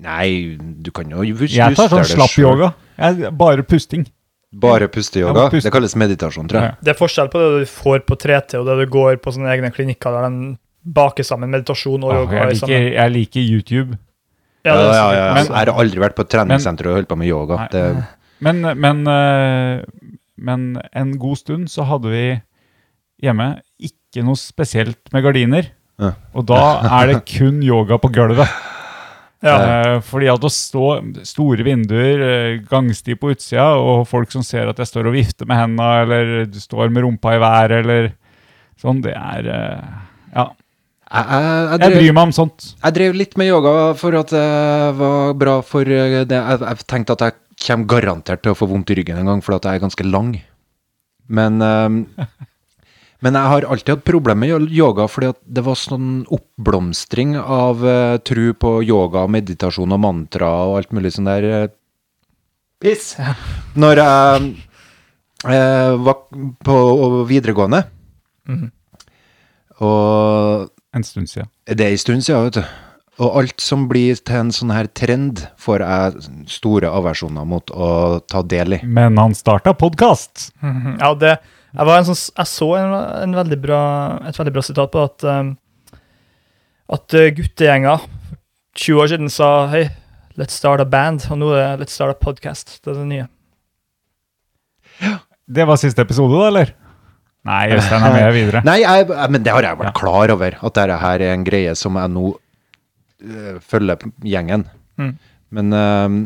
Nei, du kan jo juster
Jeg tar sånn
det
slapp
selv.
yoga. Jeg, bare pusting.
Bare pusteyoga.
Ja, puste.
Det kalles meditasjon, tror jeg.
Det er forskjell på det du får på 3T, og det du går på sånne egne klinikker der de baker sammen meditasjon og
Åh,
yoga.
jeg,
i
liker,
sammen.
jeg liker YouTube.
Ja, det er
ja,
sant.
ja, ja.
Men-
jeg har aldri vært på et treningssenter og holdt på med yoga.
Nei.
Det,
Men, men, eh, men en god stund så hadde vi hjemme ikke noe spesielt med gardiner.
Ja.
Og da er det kun yoga på gulvet.
Ja.
Eh, Fordi at å stå store vinduer, eh, gangsti på utsida, og folk som ser at jeg står og vifter med henda, eller du står med rumpa i været, eller sånn, det er eh, Ja.
jeg, jeg, jeg,
Jeg
drev,
bryr meg om sånt.
jeg drev litt med yoga for at det var bra for eh, det. Jeg, jeg tenkte at jeg kommer garantert til å få vondt i ryggen en gang, fordi at jeg er ganske lang. Men, eh, men jeg har alltid hatt problemer med yoga, fordi at det var sånn oppblomstring av eh, tru på yoga, meditasjon og mantra og alt mulig sånn der eh, Piss! Når jeg eh, var på videregående, og
En stund siden.
det er en stund siden, vet du. Og alt som blir til en sånn her trend, får jeg store aversjoner mot å ta del i.
Men han starta podkast!
Mhm. Ja, det, jeg, var en sånn, jeg så en, en veldig bra, et veldig bra sitat på at, um, at uh, guttegjenger for 20 år siden sa hei, let's start a band, og nå er det let's start a podcast. Det er det nye.
Det var siste episode, da, eller? Nei, Øystein er med videre.
Nei, jeg, jeg- men det har jeg vært klar over, at dette her er en greie som jeg nå øh, følger p- gjengen.
Mm.
Men, øhm,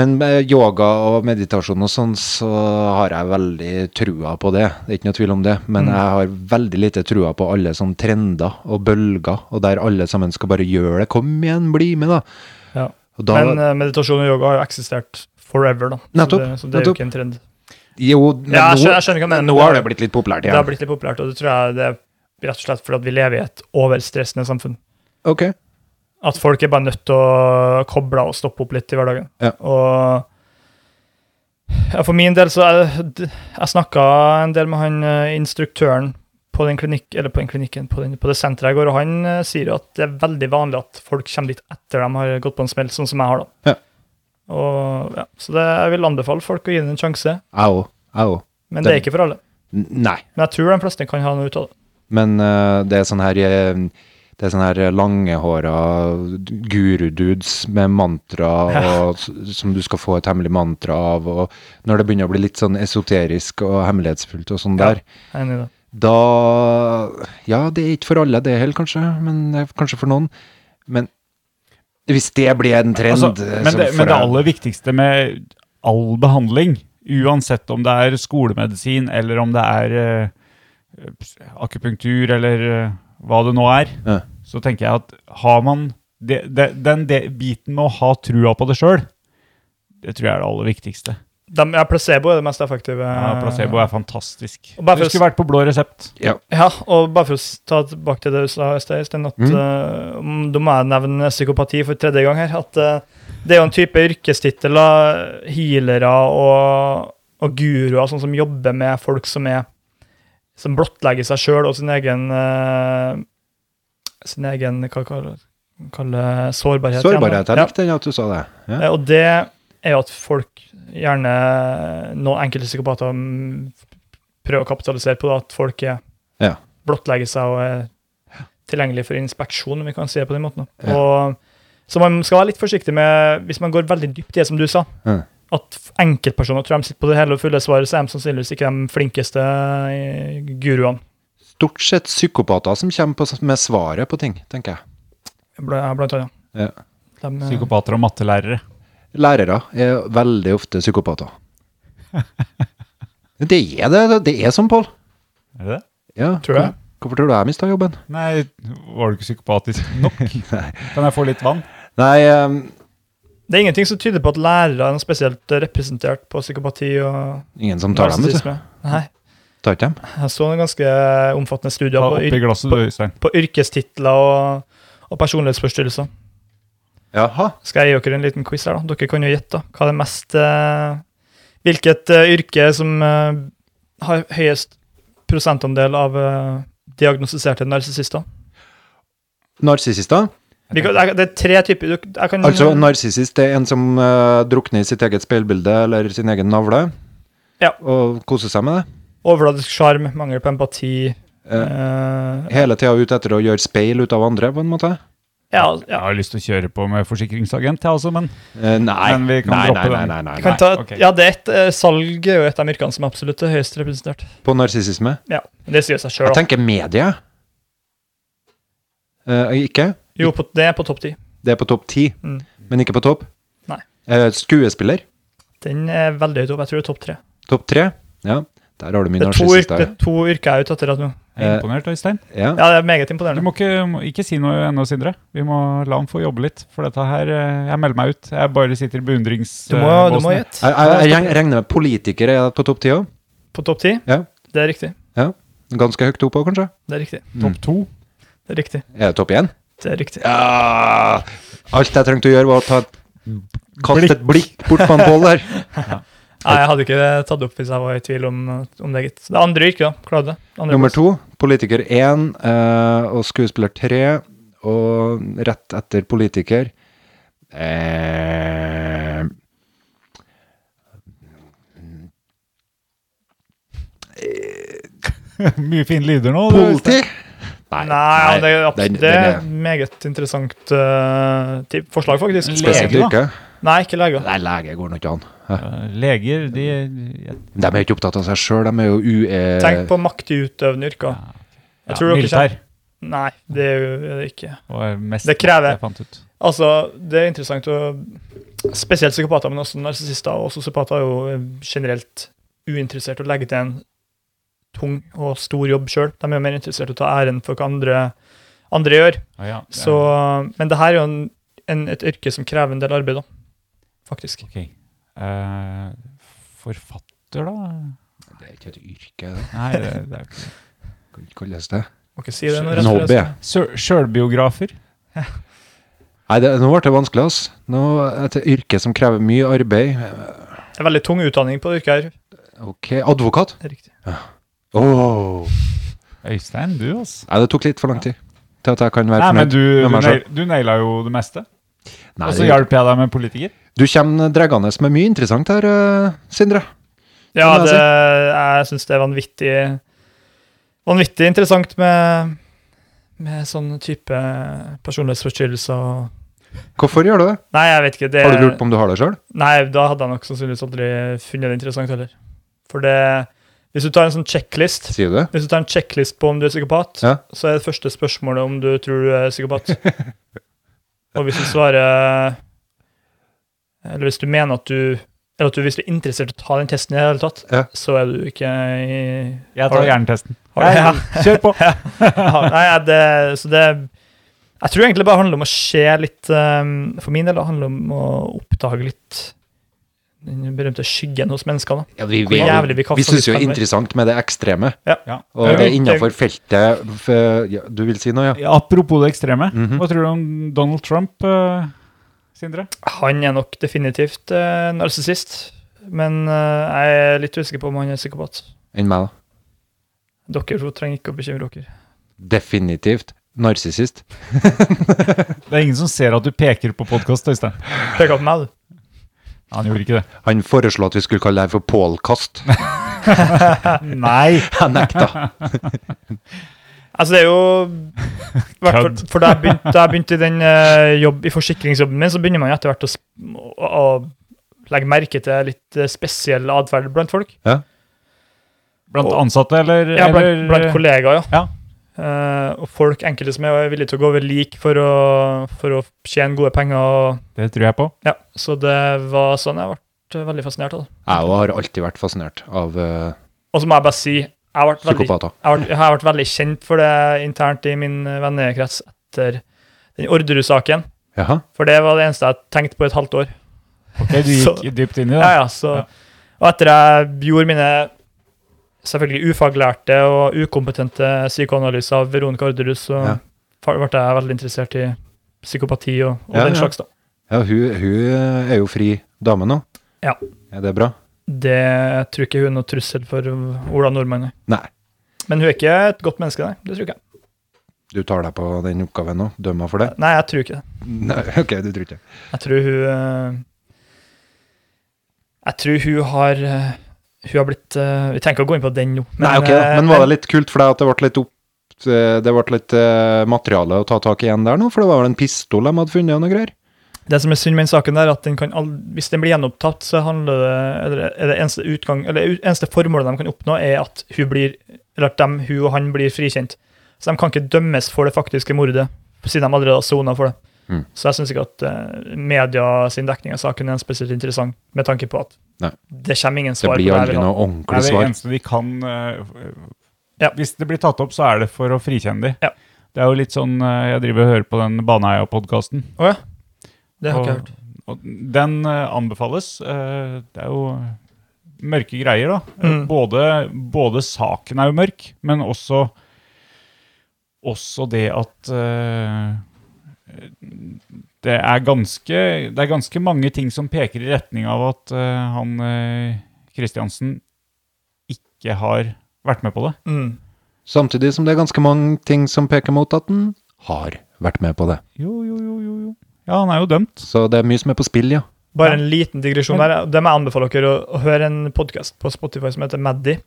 men med yoga og meditasjon og sånn, så har jeg veldig trua på det. Det er ikke noe tvil om det.
Mm.
Men jeg har veldig lite trua på alle sånne trender og bølger, og der alle sammen skal bare gjøre det. Kom igjen, bli med, da.
Ja.
Og da
Men uh, meditasjon og yoga har jo eksistert forever, da.
Nettopp,
Så det, så det er
nettopp.
jo ikke en trend.
Jo, men
Ja, jeg
nå,
skjønner- jeg skjønner hva du mener, men
nå
det-
har det blitt litt populært
Det har
igjen.
blitt litt populært, og det tror jeg det er rett og slett fordi at vi lever i et overstressende samfunn.
Ok.
At folk er bare nødt til å koble av og stoppe opp litt i hverdagen.
Ja.
Og ja, for min del så er, d- Jeg snakka en del med han eh, instruktøren på den klinikk, eller på den klinikken, på, den, på det senteret jeg går, og han eh, sier jo at det er veldig vanlig at folk kommer dit etter de har gått på en smell, sånn som jeg har, da.
Ja.
Og, ja, så det, jeg vil anbefale folk å gi det en sjanse,
Jeg òg. Jeg òg.
men det
Den-
er ikke for alle.
N- Nei.
Men jeg tror de fleste kan ha noe ut av det.
Men eh, det er sånn her eh, Det er sånn her langehåra gurududes med mantra og, s- som du skal få et hemmelig mantra av. Og når det begynner å bli litt sånn esoterisk og hemmelighetsfullt og sånn
Ja.
der,
Jeg er enig i det.
da Ja, det er ikke for alle, det heller, kanskje. Men det er kanskje for noen. Men hvis det blir en trend
Altså,
eh,
men,
så
det,
får
men det
jeg-
aller viktigste med all behandling, uansett om det er skolemedisin eller om det er eh, ps- akupunktur eller eh, hva det nå er,
Ja.
så tenker jeg at har man det, det, den de, biten med å ha trua på det sjøl, det tror jeg er det aller viktigste.
De, ja, placebo er det mest effektive.
Ja, placebo er fantastisk. Du
Og bare for å
skulle vært på blå resept.
ja.
Ja, og bare for å s- ta tilbake til det du sa i sted, Øystein, at
Mm.
eh, om- da må jeg nevne psykopati for tredje gang her. At eh, det er jo en type yrkestitler, healere og, og guruer, sånn som jobber med folk som er som blottlegger seg sjøl og sin egen eh, sin egen hva kaller kaller sårbarhet. igjen, da.
Sårbarhet. Jeg
Ja.
likte den at du sa det. Ja.
Eh, Og det er jo at folk, gjerne noen enkelte psykopater, mm, prøver å kapitalisere på det, at folk er
Ja.
blottlegger seg og er tilgjengelig for inspeksjon, om vi kan si det på den måten. da. Og, så man skal være litt forsiktig med, hvis man går veldig dypt i det som du sa,
Ja.
at f- enkeltpersoner tror de sitter på det hele og fulle svaret, så er de sannsynligvis ikke de flinkeste eh, guruene.
Stort sett psykopater som kommer på, s- med svaret på ting, tenker jeg.
Bl- Blant annet.
Ja.
De, eh,
Psykopater og mattelærere.
Lærere er veldig ofte psykopater. Det er det, det- det er sånn, Pål.
Er det det?
Ja.
Tror jeg.
Hvorfor tror du jeg mista jobben?
Nei, var du ikke psykopatisk nok? Kan jeg få litt vann?
Nei, ehm,
Det er ingenting som tyder på at lærere er spesielt representert på psykopati og
Ingen som tar dem, vet du.
narsissisme. Nei,
Tar ikke dem.
jeg så en ganske eh, omfattende studie
Ta
på,
oppi
yr
glasset, du, Øystein.
på yrkestitler og, og personlighetsforstyrrelser.
Jaha.
Skal jeg gi dere en liten quiz her, da? Dere kan jo gjette da. hva er det mest eh, Hvilket eh, yrke som eh, har høyest prosentandel av eh, diagnostiserte narsissister?
Narsissister.
Vi kan- jeg- Det er tre typer du- jeg kan,
Altså, narsissist er en som eh, drukner i sitt eget speilbilde eller sin egen navle.
Ja.
Og koser seg med det.
Overfladisk sjarm, mangel på empati eh,
Hele tida ute etter å gjøre speil ut av andre, på en måte.
ja,
Jeg
ja,
har lyst til å kjøre på med forsikringsagent, jeg også, men
Eh, nei.
Men vi kan
nei, nei,
droppe
nei,
den.
nei, nei, nei.
Jeg Kan ta,
ok.
ja, det er et, eh, salg er jo et av yrkene som absolutt er høyest representert.
På narsissisme.
Ja, men Det sier seg sjøl.
Jeg tenker medie. Eh, ikke?
Jo, på, det er på topp ti.
Det er på topp ti,
Mm.
men ikke på topp.
Nei.
Eh, skuespiller.
Den er veldig høyt opp. Jeg tror det er topp tre.
Topp tre. Ja, der har du min
Det er to, yr-
narsissister.
det er to yrker jeg er ute etter at nå.
jeg
Eh,
er imponert, Øystein.
Ja.
Ja, det er meget
Du
imponerende.
må ikke, må ikke si noe ennå, Sindre. Vi må la han få jobbe litt. For dette her eh, Jeg melder meg ut. Jeg bare sitter i eh,
Du må, du må
beundringsbåsen. jeg.
gjette.
Jeg, jeg, jeg regner- regner med politikere er på topp ti òg.
På topp ti?
Ja.
Det er riktig.
Ja. Ganske høyt opp òg, kanskje.
Det er riktig.
Topp to.
Det er riktig.
Er det topp igjen?
Det er riktig.
Ja. Alt jeg trengte å gjøre, var å ta et Kaste et blikk bort på han Pål der.
Nei, jeg hadde ikke tatt det opp hvis jeg var i tvil om, om det, gitt. Så Det er andre yrker, da. Klarte det. Andre
Nummer
plass.
to, politiker én eh, og skuespiller tre. Og rett etter politiker eh,
Mye fine lyder nå. du, Øystein.
Politi?
Nei, det, er
den-
absolutt, det er
den er-
meget interessant eh, typ- forslag, faktisk.
Lege,
Spesielt
da.
yrke.
Nei, ikke leger.
Nei, lege går nå ikke an.
Eh, Leger, de jeg-
De er ikke opptatt av seg sjøl, de er jo E- ue...
Tenk på maktutøvende yrker.
ja,
tror dere
Militær
Nei, det er jo det er det ikke.
var mest
Det krever-
jeg fant ut.
Altså, det er interessant å Spesielt psykopater, men også narsissister og sosiopater er jo eh, generelt uinteressert i å legge til en tung og stor jobb sjøl. De er jo mer interessert i å ta æren for hva andre, andre gjør.
Å ja,
Så, men det her er jo en, en, et yrke som krever en del arbeid, da. Faktisk.
ja, ok. Eh, forfatter, da?
Det er ikke et yrke, det
Nei, det, det er jo ikke
kan ikke kalles det.
Må ikke si det nå,
En
rett og slett.
hobby, ja.
Sjø- Sjølbiografer?
Nei, det, nå ble det vanskelig, ass. Nå er det et yrke som krever mye arbeid.
Det er veldig tung utdanning på det yrket her.
Ok, advokat.
Det er Riktig.
Åh.
Øystein, du, altså.
Nei, det tok litt for lang tid til at jeg kan være
Nei, men
fornøyd
du, du,
med meg
nail,
selv.
du naila jo det meste.
Nei,
Og
altså,
så
det-
hjalp jeg deg med politiker.
Du kommer dreggende med mye interessant her, eh, Sindre.
Ja,
Hva må jeg
det, jeg syns det er vanvittig Vanvittig interessant med, med sånn type personlighetsforstyrrelser og
Hvorfor gjør du det?
Nei, jeg vet ikke. Det,
Har du lurt på om du har det sjøl?
Nei, da hadde jeg nok sannsynligvis aldri funnet det interessant heller. For det Hvis du tar en sånn checklist
Sier du det?
hvis du tar en checklist på om du er psykopat,
Ja.
så er det første spørsmålet om du tror du er psykopat. Og hvis du svarer Eller hvis du mener at du Eller at du, hvis du er interessert i å ta den testen i det hele tatt,
Ja.
så er du ikke i
Jeg
Har
tar
du-
hjernetesten.
har du-
Ja, Kjør på!
Ja, Nei, ja, det, så det Jeg tror egentlig bare det handler om å se litt eh, For min del det handler om å oppdage litt den berømte skyggen hos mennesker. da.
Ja, vi
Hvor jævlig vi kaster
vi syns jo det
litt
er interessant med det ekstreme.
Ja.
Og det er innafor feltet f- ja, Du vil si noe, ja?
Ja, Apropos det ekstreme,
Mhm.
hva tror du om Donald Trump, eh, Sindre?
Han er nok definitivt uh, narsissist, men eh, jeg er litt usikker på om han er psykopat.
Enn meg, da?
Dere to trenger ikke å bekymre dere.
Definitivt narsissist.
Det er ingen som ser at du peker på podkast, Øystein.
Pek på meg, du.
Han gjorde ikke det.
Han foreslo at vi skulle kalle det her for Pålkast.
Nei!
Jeg nekta.
Altså, det er jo hvert fall- For da jeg begynte, da jeg begynte i den eh, jobb, i forsikringsjobben min, så begynner man jo etter hvert å, sp- å, å legge merke til litt eh, spesiell atferd blant folk.
Blant ansatte, eller?
Ja, blant,
eller-
blant kollegaer, ja.
Ja.
Eh, og folk enkelte som er villige til å gå over lik for å, for å tjene gode penger. Og,
Det tror jeg på.
ja. Så det var sånn jeg ble veldig fascinert av det.
Jeg òg har alltid vært fascinert av eh,
Og så må jeg bare si, jeg ble veldig,
psykopater.
jeg har vært- jeg eh, har vært veldig kjent for det internt i min vennekrets etter den Orderud-saken.
Jaha.
For det var det eneste jeg tenkte på i et halvt år.
Ok, Du gikk dypt inn i det?
Ja, ja, så,
Ja.
Og etter jeg gjorde mine selvfølgelig ufaglærte og ukompetente psykoanalyser av Veronica Orderud, så
Ja.
fa- ble jeg veldig interessert i psykopati og, og
Ja,
den
ja.
slags. da.
Ja, hun, hun er jo fri dame nå.
Ja.
Er det bra?
Det jeg tror ikke hun er noe trussel for Ola Nordmann. nei.
Nei.
Men hun er ikke et godt menneske, nei. Det tror jeg ikke.
Du tar deg på den oppgaven nå? Dømmer for det?
Nei, jeg tror ikke det.
Nei, ok, du tror ikke.
Jeg tror hun eh, Jeg tror hun har eh, Hun har blitt eh, Vi trenger ikke å gå inn på den nå. eh,
Nei, ok, da. Men var det litt kult for deg at det ble litt opp... Det ble litt eh, materiale å ta tak i igjen der nå, for det var vel en pistol de hadde funnet og noe greier?
Det som er synd med den saken, der, er at den kan ald- hvis den blir gjenopptatt, så handler det, eller er det eneste, utgang, eller u- eneste formålet de kan oppnå, er at hun, blir, eller at dem, hun og han blir frikjent. Så de kan ikke dømmes for det faktiske mordet, siden de allerede har sona for det.
Mm.
Så jeg syns ikke at eh, media sin dekning av saken er spesielt interessant, med tanke på at
Nei.
det kommer ingen
Det
svar.
blir
på det
aldri
her.
noe
Det
ordentlig
er det
svar.
eneste de kan eh, f-
Ja.
Hvis det blir tatt opp, så er det for å frikjenne de.
Ja.
Det er jo litt sånn eh, Jeg driver og hører på den Baneheia-podkasten.
Å ja. Det har ikke jeg hørt.
Og den eh, anbefales. Eh, det er jo mørke greier, da. Eh,
Mm.
Både, både saken er jo mørk, men også, også det at eh, det er, ganske, det er ganske mange ting som peker i retning av at eh, han eh, Kristiansen ikke har vært med på det.
Mm.
Samtidig som det er ganske mange ting som peker mot at den har vært med på det.
Jo, jo, jo, jo. jo. Ja, han er jo dømt.
Så det er mye som er på spill, ja.
Bare en liten digresjon der. Det må jeg anbefale dere å, å høre en podkast på Spotify som heter Maddy.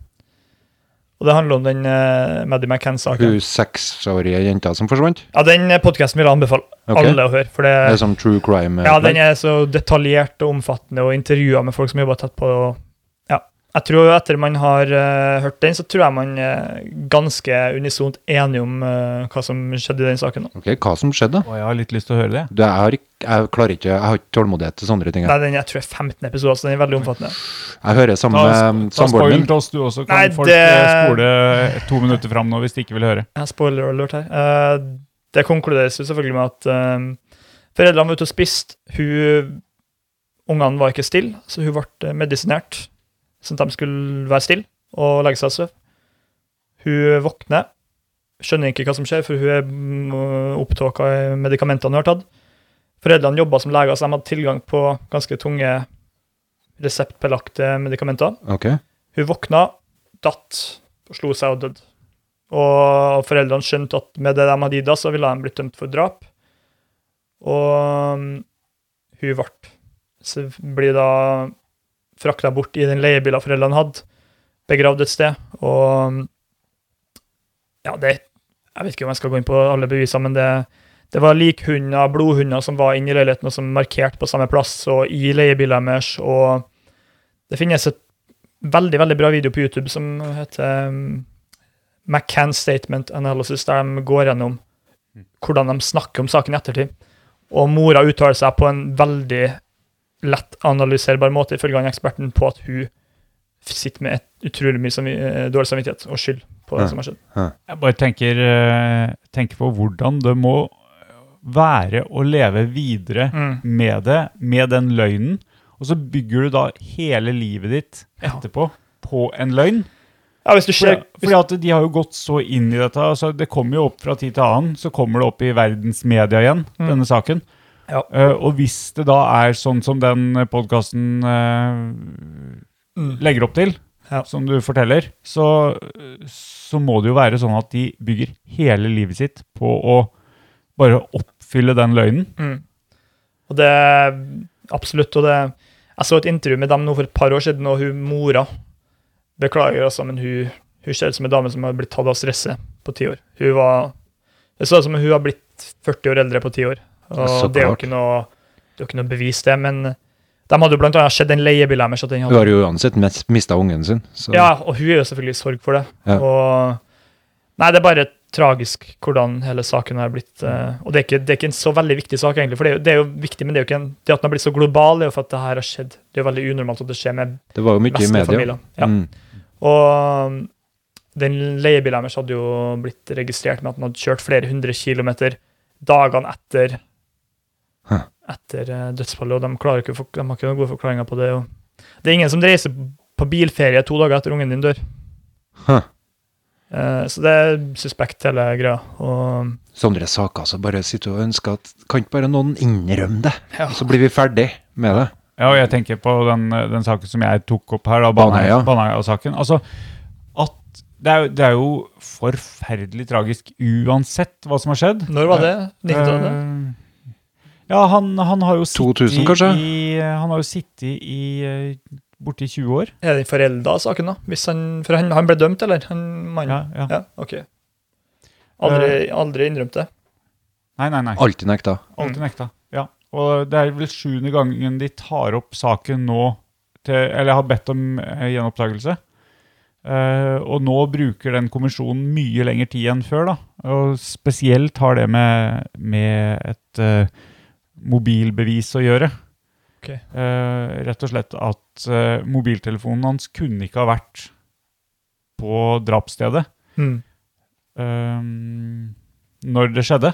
Og det handler om den uh, Maddy McCann-saken.
Hun seksårige jenta som forsvant.
Ja, den podkasten vil jeg anbefale
Ok.
alle å høre. For det,
Det er sånn true crime.
ja, den er så detaljert og omfattende, og intervjuer med folk som jobber tett på. Og, ja. Jeg tror etter man har eh, hørt den, så tror jeg man er ganske unisont enig om eh, hva som skjedde i den saken. da.
Ok, hva som skjedde?
Og jeg har litt lyst til å høre det.
Du, jeg, har ikke, jeg klarer ikke, jeg har ikke tålmodighet til sånne ting. jeg.
Nei, den, jeg tror det er 15 episoder, så den er veldig omfattende.
Jeg hører
Ta,
sammen med mm,
ta spoil
samboeren min.
til oss, du også. Kan
Nei,
folk
det-
eh, spole to minutter fram nå hvis de ikke vil høre?
Ja, spoiler alert her. Eh, det konkluderes jo selvfølgelig med at eh, foreldrene var ute og spiste. Hun- Ungene var ikke stille, så hun ble eh, medisinert sånn at de skulle være stille og legge seg og sove. Hun våkner, skjønner ikke hva som skjer, for hun er mm, opptåka i medikamentene hun har tatt. Foreldrene jobba som leger, så de hadde tilgang på ganske tunge reseptbelagte medikamenter.
Ok,
Hun våkna, datt og slo seg og døde. Og foreldrene skjønte at med det de hadde gitt henne, så ville de blitt dømt for drap. Og mm, hun ble så blir da frakta bort i den leiebilen foreldrene hadde, begravd et sted. Og mm, ja, det Jeg vet ikke om jeg skal gå inn på alle bevisene, men det, det var likhunder, blodhunder, som var inne i leiligheten, og som markerte på samme plass, og i leiebilen deres, og det finnes et veldig veldig bra video på YouTube som heter um, McCann Statement Analysis, der de går gjennom hvordan de snakker om saken i ettertid. Og mora uttaler seg på en veldig lett analyserbar måte, ifølge han eksperten, på at hun sitter med et utrolig mye samvi- eh, dårlig samvittighet og skyld på det
Ja.
som har skjedd.
Jeg bare tenker, eh, tenker på hvordan det må være å leve videre
Mm.
med det, med den løgnen. Og så bygger du da hele livet ditt etterpå på en løgn.
Ja, hvis du
Fordi,
ser,
fordi at de har jo gått så inn i dette. Altså det kommer jo opp fra tid til annen. Så kommer det opp i verdensmedia igjen, denne saken.
Mm. Ja.
Eh, og hvis det da er sånn som den podkasten legger opp til,
Mm. Ja.
som du forteller, så, så må det jo være sånn at de bygger hele livet sitt på å bare oppfylle den løgnen.
Og det Absolutt. Og det Jeg så et intervju med dem nå for et par år siden, og hun mora Beklager, altså, men hun, hun ser ut som en dame som har blitt tatt av stresset på ti år. Hun var Det så ut som hun har blitt 40 år eldre på ti år. Og
Ja, så
det er jo
klart.
ikke noe Det er jo ikke noe bevis, det, men de hadde jo blant annet sett den leiebilen deres. at den
Hun
hadde-
har jo uansett mista ungen sin. Så.
Ja, og hun er jo selvfølgelig i sorg for det.
Ja.
Og Nei, det er bare tragisk hvordan hele saken har blitt. eh, og det er, ikke, det er ikke en så veldig viktig sak, egentlig. For det er jo, det er jo viktig, men det er jo ikke en, det at den har blitt så global, det er jo for at det her har skjedd. Det er jo veldig unormalt at det skjer med
Det var jo mye i
vestlige
media.
familier. Ja.
Mm.
Og um, den leiebilen deres hadde jo blitt registrert med at den hadde kjørt flere hundre kilometer dagene etter etter eh, dødsfallet, og de, klarer ikke, å fork- de har ikke noen gode forklaringer på det. Og det er ingen som reiser på bilferie to dager etter ungen din dør.
Huh.
Eh, Så det er suspekt, hele greia. Og
Sånne saker så bare sitter og ønsker at Kan ikke bare noen innrømme det?
Ja.
Så blir vi ferdig med det.
Ja, og jeg tenker på den, den saken som jeg tok opp her, da,
Baneheia.
Baneheia- Baneheia-saken. Altså, at det er, jo- det er jo forferdelig tragisk uansett hva som har skjedd.
når var det? 90-tallet?
Eh, Ja, han, han har jo sittet
2000 kanskje?
i eh, Han har jo sittet i eh, borti 20 år.
Er den forelda, saken, da? Hvis han, for han, han ble dømt, eller? Han
Ja,
mannen?
ja.
Ja, ok. Aldri, aldri innrømt det.
Nei, nei, nei.
Alltid nekta.
Alltid nekta. Ja. Og det er vel sjuende gangen de tar opp saken nå, til, eller har bedt om eh, gjenopptakelse. Eh, og nå bruker den kommisjonen mye lengre tid enn før. da. Og spesielt har det med, med et eh, mobilbevis å gjøre.
Ok.
Eh, rett og slett at eh, mobiltelefonen hans kunne ikke ha vært på drapsstedet
Mm.
eh, når det skjedde.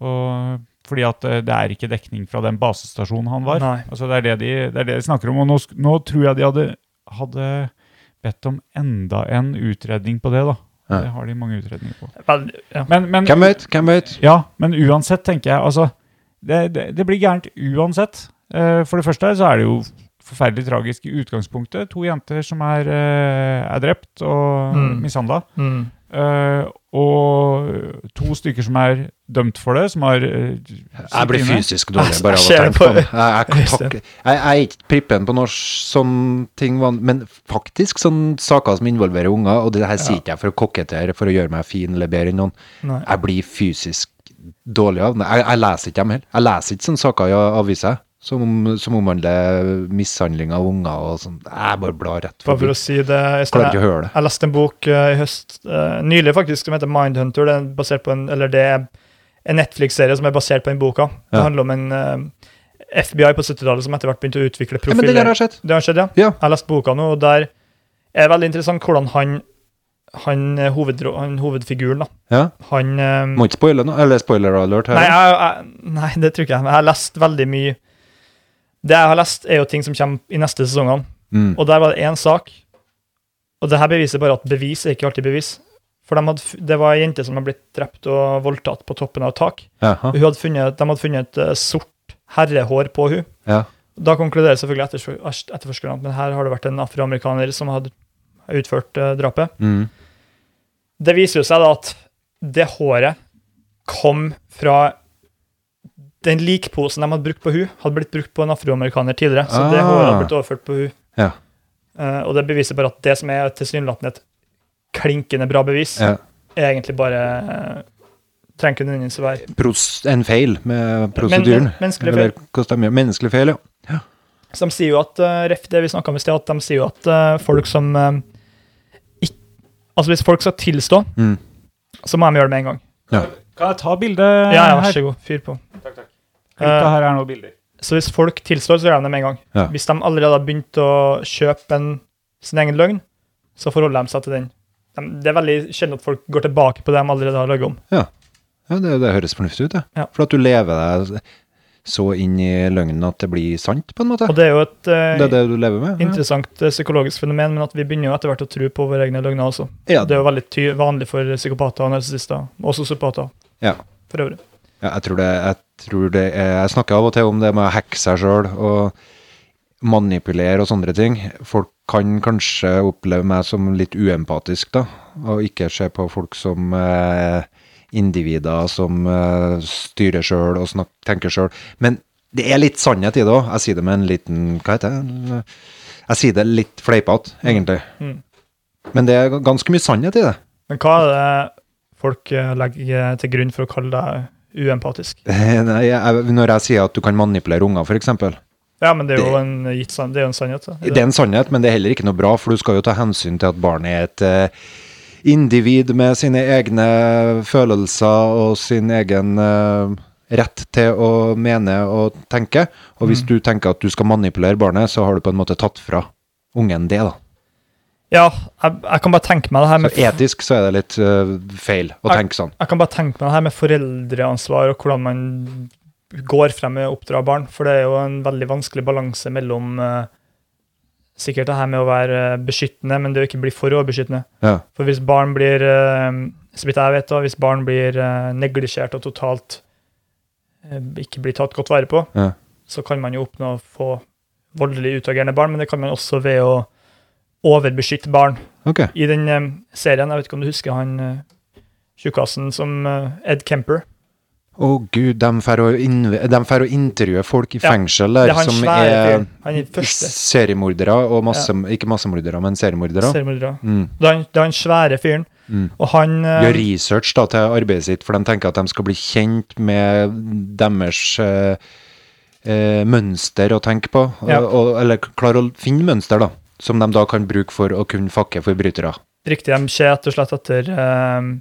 Og fordi at eh, det er ikke dekning fra den basestasjonen han var.
Nei.
Altså det, er det, de, det er det de snakker om. Og nå, sk- nå tror jeg de hadde, hadde bedt om enda en utredning på det. da.
Ja.
Det har de mange utredninger på.
Vel, ja.
Men, men,
Hvem vet? Hvem vet?
ja, men uansett, tenker jeg. altså, Det, det, det blir gærent uansett. Eh, for det første så er det jo forferdelig tragisk i utgangspunktet. To jenter som er, eh, er drept og
Mm.
mishandla.
Mm.
Eh, og to stykker som er dømt for det, som har eh,
Jeg
sittet
blir
inne.
fysisk dårlig
Jeg
bare av å
ser
tenke
på
på det. Jeg, jeg,
Øystein.
takk- jeg, jeg er ikke prippen på norsk sånn ting, van- men faktisk sånne saker som involverer unger, og det her sier ikke jeg for å kokettere, for å gjøre meg fin eller bedre enn noen.
Nei.
Jeg blir fysisk dårlig av det. Jeg, jeg leser ikke dem heller. Jeg leser ikke sånne saker i aviser som, som omhandler mishandling av unger og sånn. Jeg bare blar rett
Bare for
forbi.
å si det
Klarer
Øystein,
ikke å høre det.
Jeg leste en bok eh, i høst, eh, nylig faktisk, som heter Mindhunter. Det er basert på en, eller det er en Netflix-serie som er basert på den boka. Det
Ja.
handler om en eh, FBI på 70-tallet som etter hvert begynte å utvikle
Ja, men det
profiler.
der har skjedd.
Det har skjedd, ja.
Ja.
Jeg har lest boka nå, og der er det veldig interessant hvordan han, han, eh, hovedro, han hovedfiguren, da,
Ja.
han eh,
Må ikke spoile noe, eller spoiler alert her.
Nei, jeg, jeg, nei, det tror ikke jeg. Men jeg har lest veldig mye Det jeg har lest, er jo ting som kommer i neste sesongene.
Mm.
Og der var det én sak. Og det her beviser bare at bevis er ikke alltid bevis. For de hadde, f- Det var ei jente som hadde blitt drept og voldtatt på toppen av et tak.
Jaha.
Hun hadde funnet, de hadde funnet et eh, sort herrehår på hun.
Ja.
Da konkluderer selvfølgelig etters- etterforskerne at men her har det vært en afroamerikaner som hadde utført eh, drapet.
Mm.
Det viser jo seg da at det håret kom fra den likposen de hadde brukt på hun, hadde blitt brukt på en afroamerikaner tidligere. Så det
Ah.
håret hadde blitt overført på hun.
Ja.
Eh, og det beviser bare at det som er tilsynelatende et klinkende bra bevis,
Ja.
er egentlig bare eh, Trenger ikke nødvendigvis å være
Pros en feil med
Men-
prosedyren.
men- menneskelig
Eller hvordan de gjør- Menneskelig feil, ja.
Så de sier jo at eh, ref det vi snakket om i sted, at de sier jo at eh, folk som eh, ikk- Altså hvis folk skal tilstå,
Mm.
så må de gjøre det med en gang.
Kan jeg ta bilde
Ja, ja, vær
her?
så god. Fyr på.
Dette her er noen bilder.
Så hvis folk tilstår, så gjør de det med en gang.
Ja.
Hvis de allerede har begynt å kjøpe en, sin egen løgn, så forholder de seg til den. De, det er veldig sjelden at folk går tilbake på det de allerede har løyet om.
ja det, det høres fornuftig ut,
Ja.
ja. For at du lever deg så inn i løgnen at det blir sant, på en måte.
Og det er jo et eh,
Det er det du lever med? ja.
interessant eh, psykologisk fenomen, men at vi begynner jo etter hvert å tro på våre egne løgner også.
Ja,
Det er jo veldig ty vanlig for psykopater og narsissister, og sosiopater
Ja.
for øvrig.
Ja, jeg tror det, jeg tror det er, Jeg snakker av og til om det med å hacke seg sjøl og manipulere og sånne ting. Folk kan kanskje oppleve meg som litt uempatisk, da. Og ikke se på folk som eh, individer som eh, styrer sjøl og snak, tenker sjøl. Men det er litt sannhet i det òg. Jeg sier det med en liten Hva heter det? eh, Jeg sier det litt fleipete, egentlig.
Mm.
Men det er ganske mye sannhet i det.
Men hva er det folk eh, legger til grunn for å kalle deg uempatisk?
Nei, jeg, når jeg sier at du kan manipulere unger, f.eks.
Ja, men det er jo en gitt sann- det er jo en sannhet. da.
Det er en sannhet, men det er heller ikke noe bra, for du skal jo ta hensyn til at barnet er et eh, individ med sine egne følelser og sin egen eh, rett til å mene og tenke. Og
Mm.
hvis du tenker at du skal manipulere barnet, så har du på en måte tatt fra ungen det, da.
Ja, jeg, jeg kan bare tenke meg det her
Så
med
etisk så er det litt eh, feil å
Jeg-
tenke sånn.
Jeg kan bare tenke meg det her med foreldreansvar og hvordan man går frem med å oppdra barn. For det er jo en veldig vanskelig balanse mellom eh, sikkert det her med å være eh, beskyttende, men det å ikke bli for overbeskyttende.
Ja.
For hvis barn blir eh, så vidt jeg vet da, hvis barn blir eh, neglisjert og totalt eh, ikke blir tatt godt vare på,
Ja.
så kan man jo oppnå å få voldelig utagerende barn, men det kan man også ved å overbeskytte barn.
Ok.
I den eh, serien, jeg vet ikke om du husker han eh, tjukkasen som eh, Ed Kemper
Å gud, de får å innve- de får å intervjue folk i
Ja,
fengsel
Det
der
er han
som
svære
er
fyren. Han er første
seriemordere og masse, Ikke massemordere, men seriemordere.
seriemordere.
Mm.
Det er han, det er han svære fyren.
Mm.
Og han eh,
Gjør research da til arbeidet sitt, for de tenker at de skal bli kjent med deres eh, eh, mønster å tenke på. eh,
Ja.
Og, eller klare å finne mønster, da. Som de da kan bruke for å kunne fakke forbrytere.
Riktig, de ser rett og slett etter eh,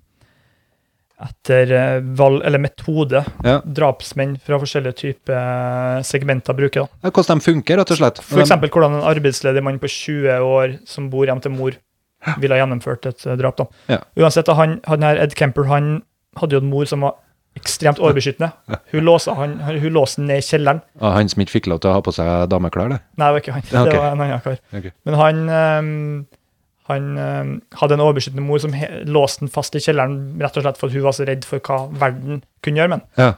etter eh, valg, eller metode,
Ja.
drapsmenn fra forskjellige typer eh, segmenter bruker. da.
Ja, Hvordan de funker, rett og slett.
For eksempel hvordan en arbeidsledig mann på 20 år som bor hjem til mor, ville ha gjennomført et eh, drap. da.
Ja.
Uansett, da, han, han her Ed Kemper han hadde jo en mor som var ekstremt overbeskyttende. Hun låste han, han- hun låste han ned i kjelleren.
Ah, han som ikke fikk lov til å ha på seg dameklær, det.
Nei, det var ikke han.
Ja, ok.
Det var en annen kar.
Ok.
Men han, ehm, han ehm, hadde en overbeskyttende mor som he låste den fast i kjelleren rett og slett for at hun var så redd for hva verden kunne gjøre med den.
Ja.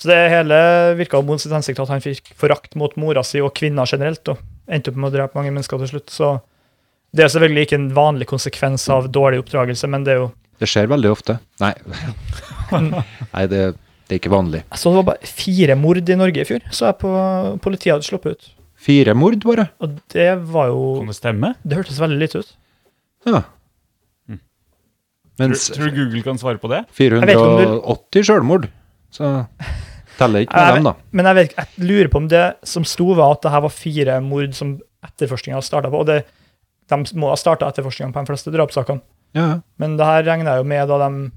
Så det hele virka mot sitt hensikt at han fikk forakt mot mora si og kvinner generelt, og endte opp med å drepe mange mennesker til slutt. Så det er selvfølgelig ikke en vanlig konsekvens av dårlig oppdragelse, men det er jo
Det skjer veldig ofte. Nei, Nei det, det er ikke vanlig.
Jeg så det var bare fire mord i Norge i fjor, så jeg på politiet hadde sluppet ut.
Fire mord, bare.
Og det var jo
Kan det stemme?
Det hørtes veldig lite ut.
Ja.
Tror,
Mm.
Mens
tror du Google kan svare på det?
vet ikke om
480 selvmord, så teller ikke
Jeg
med dem, da.
vet- Men jeg, vet, jeg lurer på om det som sto, var at det her var fire mord som etterforskninga starta på. Og det, de må ha starta etterforskninga på de fleste drapssakene.
Ja, ja.
Men det her regna jeg jo med da de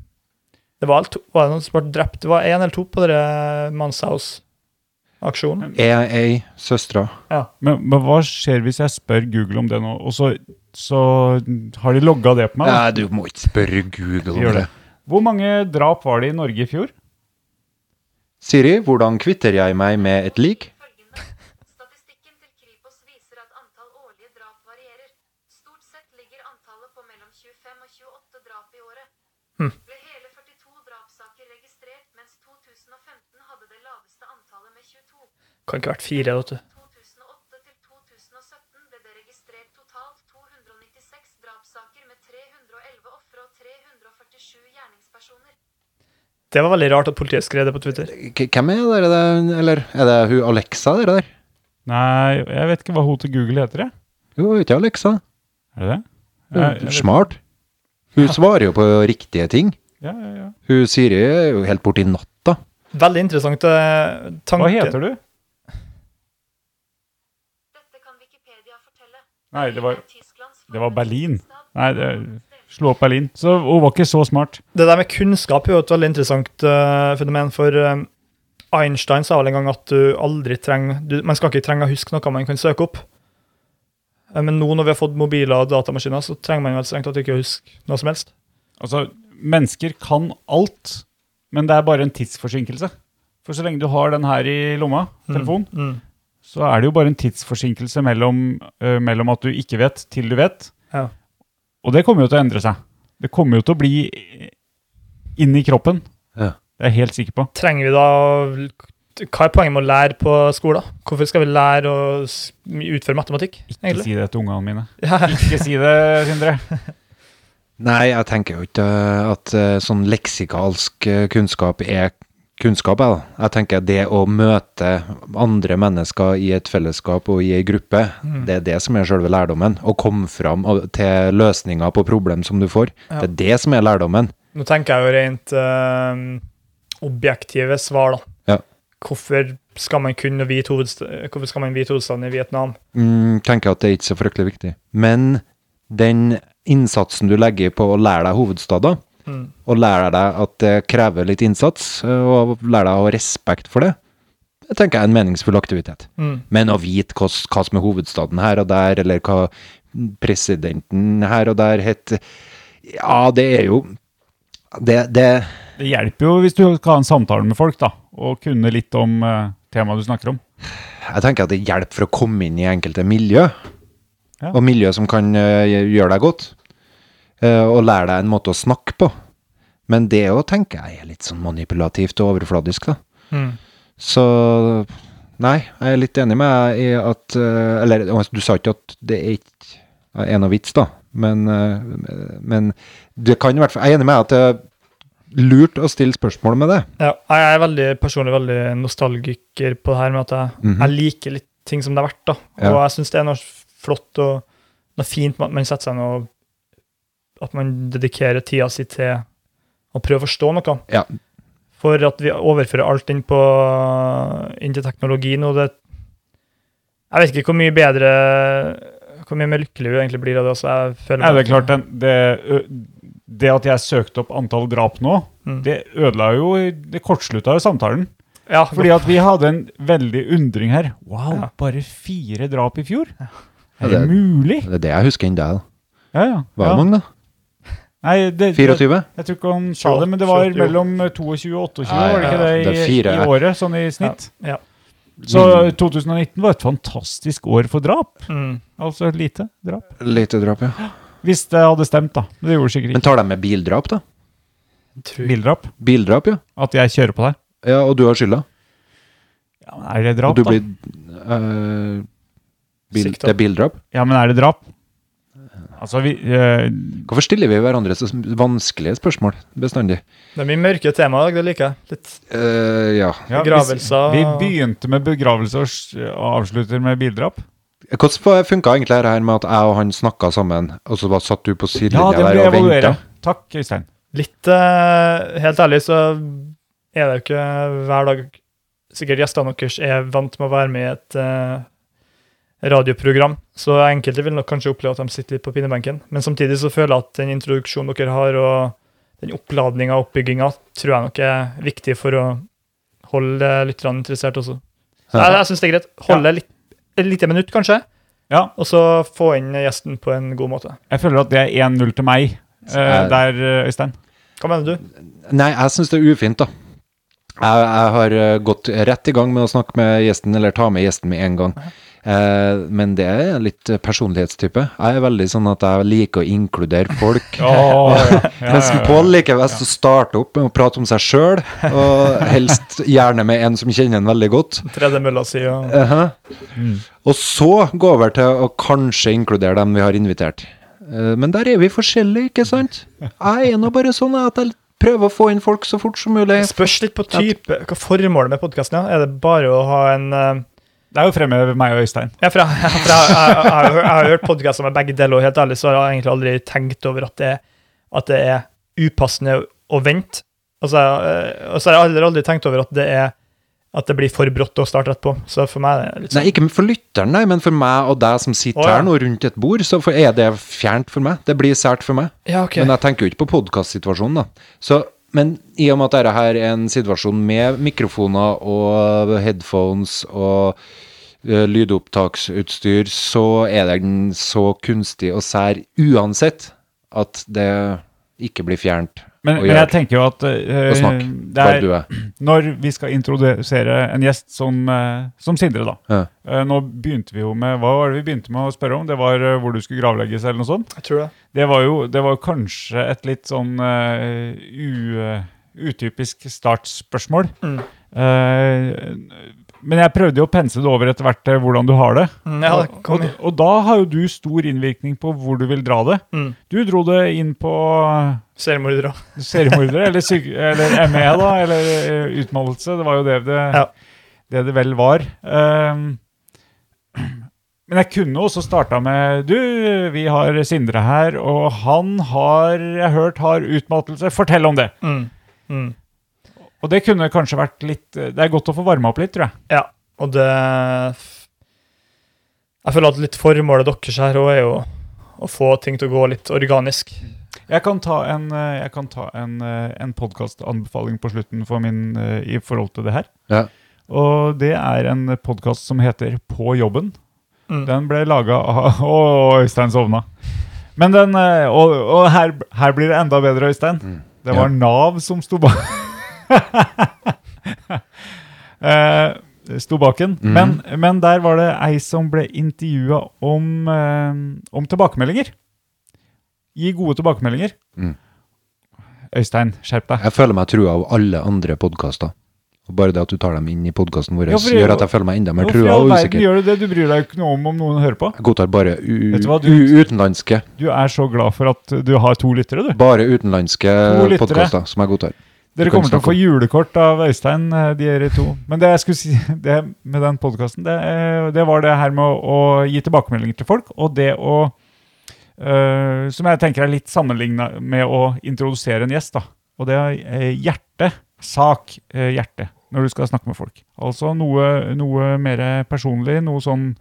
Det var, alt, var det noen som ble drept? Det var én eller to på denne Manshaus-aksjonen.
Jeg er søstera.
Men, men hva skjer hvis jeg spør Google om det nå, og så, så har de logga det på meg? da?
Nei, du må ikke spørre Google om
Ah. Gjør
det.
det. Hvor mange drap var det i Norge i fjor?
Siri, hvordan kvitter jeg meg med et lik?
Følgende. Statistikken til Kripos viser at antall årlige drap varierer. Stort sett ligger antallet på mellom 25 og 28 drap i året. Ble hele 42 drapssaker registrert, mens 2015 hadde det laveste antallet med 22.
Kan ikke ha vært fire, vet du.
2008 til 2017 ble det registrert totalt 296 drapssaker med 311 ofre og 347 gjerningspersoner.
Det var veldig rart at politiet skrev det på Twitter.
K hvem er dere der, eller er det hun Alexa dere der?
Nei, jeg vet ikke hva hun til Google heter, jeg.
Jo, hun heter Alexa.
Er det det?
Hun
Jeg-
er
jeg vet-
Mm, Smart. Hun svarer jo på riktige ting.
Ja, ja, ja.
Hun Siri er jo helt borti natta.
Veldig interessant eh, tanke.
Hva heter du?
Dette kan Wikipedia fortelle.
Nei, det var,
er Tysklands
det var Berlin.
forbundsstat.
Nei, det, slå opp Berlin. Så hun var ikke så smart.
Det der med kunnskap er jo et veldig interessant eh, fenomen, for eh, Einstein sa vel en gang at du aldri trenger du, Man skal ikke trenge å huske noe man kan søke opp. Eh, Men nå når vi har fått mobiler og datamaskiner, så trenger man vel strengt tatt ikke å huske noe som helst.
Altså, mennesker kan alt, men det er bare en tidsforsinkelse. For så lenge du har den her i lomma, telefonen,
Mm.
så er det jo bare en tidsforsinkelse mellom, eh, mellom at du ikke vet, til du vet.
Ja.
Og det kommer jo til å endre seg. Det kommer jo til å bli inni kroppen.
Ja.
Det er jeg helt sikker på.
Trenger vi da å- Hva er poenget med å lære på skolen? Hvorfor skal vi lære å s- utføre matematikk,
Ikke
egentlig?
si det til ungene mine.
Ja.
Ikke si det, Sindre.
Nei, jeg tenker jo ikke eh, at eh, sånn leksikalsk eh, kunnskap er kunnskap, jeg, da. Jeg tenker det å møte andre mennesker i et fellesskap og i ei gruppe, det er det som er selve lærdommen. Å komme fram av- til løsninger på problem som du får. Det er det som er lærdommen.
Nå tenker jeg jo rent eh, objektive svar, da.
Ja.
Hvorfor skal man kunne vite hovedstaden, hvorfor skal man vite hovedstaden i Vietnam?
Mm, tenker at det er ikke så fryktelig viktig. Men den innsatsen du legger på å lære deg hovedstader, og lære deg at det krever litt innsats, eh, og lære deg å ha respekt for det, det tenker jeg er en meningsfull aktivitet. Men å vite hva, s- hva som er hovedstaden her og der, eller hva presidenten her og der het, ja, det er jo Det, det,
Det hjelper jo hvis du skal ha en samtale med folk, da, og kunne litt om eh, temaet du snakker om.
jeg tenker at det hjelper for å komme inn i enkelte miljø,
Ja.
og miljø som kan eh, gjøre deg godt, eh, og lære deg en måte å snakke på. Men det òg tenker jeg er litt sånn manipulativt og overfladisk, da.
Mm.
Så nei, jeg er litt enig med deg i at eh, Eller altså, du sa ikke at det er ikke eh, er noe vits, da. Men, eh, men det kan i hvert fall Jeg er enig med deg at det er lurt å stille spørsmål med det.
Ja, jeg er veldig, personlig veldig nostalgiker på det her med at jeg,
Mhm.
jeg liker litt ting som det er verdt. da. Og
Ja.
jeg syns det er noe flott og noe fint med at man setter seg ned og at man dedikerer tida si til å prøve å forstå noe.
Ja.
For at vi overfører alt inn, på, inn til teknologi nå, det Jeg vet ikke hvor mye bedre Hvor mye mer lykkelig vi egentlig blir av det. Altså, jeg føler
Nei, det
meg-
er klart, den- det, ø- det at jeg søkte opp antall drap nå,
Mm.
det ødela jo Det kortslutta jo samtalen.
Ja,
Fordi at vi hadde en veldig undring her. Wow,
Ja.
bare fire drap i fjor?
Ja,
Er det
det-
mulig?
Det er det jeg husker ennå. da.
Ja, ja.
Var
ja.
det mange, da?
Nei, det, det,
24?
jeg tror ikke han sa det, men det var
28.
mellom 22 og 28,
Nei,
var det ikke
ja,
det, i,
det er fire, ja.
i året, sånn i snitt?
Ja.
Så 2019 var et fantastisk år for drap.
Mm.
Altså et lite drap.
Lite drap, ja.
Hvis det hadde stemt, da. Men det gjorde det sikkert
Men
ikke.
tar de med bildrap, da?
Tror-
Bildrap.
Bildrap, ja.
At jeg kjører på deg.
ja og du har skylda?
Ja, men er det drap,
Og du
da?
blir eh, bil,
Sikta.
Det er bildrap?
Ja, men er det drap? Altså, vi eh,
Hvorfor stiller vi hverandre så vanskelige spørsmål bestandig?
Det er mye mørke temaer i dag, det liker jeg. Litt
Eh, ja.
ja, hvis-
Begravelser.
Vi begynte med begravelse og s- avslutter med bildrap.
Hvordan funka egentlig det her med at jeg og han snakka sammen, og så bare satt du på
Ja,
sidelinja
det
der
blir
og venta?
evaluere. Takk, Øystein.
Litt eh, Helt ærlig så er det jo ikke hver dag Sikkert gjestene deres er vant med å være med i et eh, radioprogram, så enkelte vil nok kanskje oppleve at de sitter litt på pinebenken. Men samtidig så føler jeg at den introduksjonen dere har, og den oppladninga og oppbygginga, tror jeg nok er viktig for å holde lytterne interessert også. Så jeg, jeg syns det er greit. Holde litt, et lite minutt, kanskje,
Ja,
og så få inn gjesten på en god måte.
jeg føler at det er 1-0 til meg eh,
er-
der, eh, Øystein.
Hva mener du?
Nei, jeg syns det er ufint, da. Jeg, jeg har eh, gått rett i gang med å snakke med gjesten, eller ta med gjesten med en gang. Eh, men det er litt eh, personlighetstype. Jeg er veldig sånn at jeg liker å inkludere folk. Mens Pål liker best å starte opp med å prate om seg sjøl, og helst gjerne med en som kjenner en veldig godt.
Tredje mølla si og
Aha.
Mm.
Og så gå over til å kanskje inkludere dem vi har invitert. Eh, Men der er vi forskjellige, ikke sant? Jeg er nå bare sånn at jeg prøver å få inn folk så fort som mulig.
Det spørs litt på type, hva formålet med podkasten er. Er det bare å ha en eh,
Det er jo fremheve meg og Øystein.
ja, for jeg, for jeg, jeg, jeg, jeg, har jo hørt- jeg har jo hørt podkaster med begge deler, og helt ærlig så har jeg egentlig aldri tenkt over at det, at det er upassende å vente. Og så har jeg- eh, og så har jeg aldri, aldri tenkt over at det, er, at det blir for brått å starte rett på. Så for meg er det litt sånn.
Nei, ikke for lytteren, nei, men for meg og deg som sitter
Å, ja.
her nå rundt et bord, så for- er det fjernt for meg. Det blir sært for meg.
Ja, ok.
Men jeg tenker jo ikke på podkastsituasjonen, da. Så, men i og med at dette her er en situasjon med mikrofoner og headphones og eh, lydopptaksutstyr, så er den så kunstig og sær uansett at det ikke blir fjernt
Men,
å
men jeg
gjøre.
tenker jo at eh,
Og snakk,
det
bare
er,
du er.
når vi skal introdusere en gjest som, eh, som Sindre, da.
Ja.
Eh, Nå begynte vi jo med Hva var det vi begynte med å spørre om? Det var eh, hvor du skulle gravlegges, eller noe sånt?
Jeg tror det.
Det var jo det var kanskje et litt sånn eh, u, utypisk startspørsmål.
Mm.
Eh, men jeg prøvde jo å pense det over etter hvert eh, hvordan du har det.
Mm, Ja,
og,
kom
og,
igjen.
og da har jo du stor innvirkning på hvor du vil dra det.
Mm.
Du dro det inn på
Seriemorder òg.
seriemordere, eller, syk, eller ME, da, eller eh, utmattelse. Det var jo det det,
Ja.
det, det vel var. Ehm, men jeg kunne også starta med Du, vi har Sindre her, og han har, jeg hørt, har utmattelse. Fortell om det!
Mm. Mm.
Og det kunne kanskje vært litt Det er godt å få varma opp litt, tror jeg.
Ja, og det Jeg føler at litt formålet deres her også er jo å få ting til å gå litt organisk.
Jeg kan ta en, eh, jeg kan ta en, eh, en podkastanbefaling på slutten for min, eh, i forhold til det her.
Ja.
Og det er en podkast som heter På jobben.
Mm.
Den ble laga av Å, Øystein sovna. Men den, eh, og, og her, her blir det enda bedre, Øystein. Det var
Mm. Ja.
Nav som sto bak Eh, Sto baken.
Mm.
Men, men der var det ei som ble intervjua om, eh, om tilbakemeldinger. Gi gode tilbakemeldinger.
Mm.
Øystein, skjerp deg.
Jeg føler meg trua av alle andre podkaster. Og bare det at du tar dem inn i podkasten vår,
Ja, for-
gjør at jeg føler meg enda mer
Hvorfor i
trua
all
og
verden
usikker.
gjør du det? Du bryr deg jo ikke noe om om noen hører på.
Jeg godtar bare u
Vet du hva, du-
u utenlandske
Du er så glad for at du har to lyttere, du.
Bare utenlandske
To lyttere.
podkaster som jeg godtar.
Dere
Du kan
kommer til å
snakke
få
om-
julekort av Øystein, eh, dere to. Men det jeg skulle si det med den podkasten, det, eh, det var det her med å, å gi tilbakemeldinger til folk, og det å eh, Som jeg tenker er litt sammenligna med å introdusere en gjest, da. Og det er eh, hjerte. Sak. eh, hjerte. Når du skal snakke med folk. Altså noe, noe mer personlig, noe sånn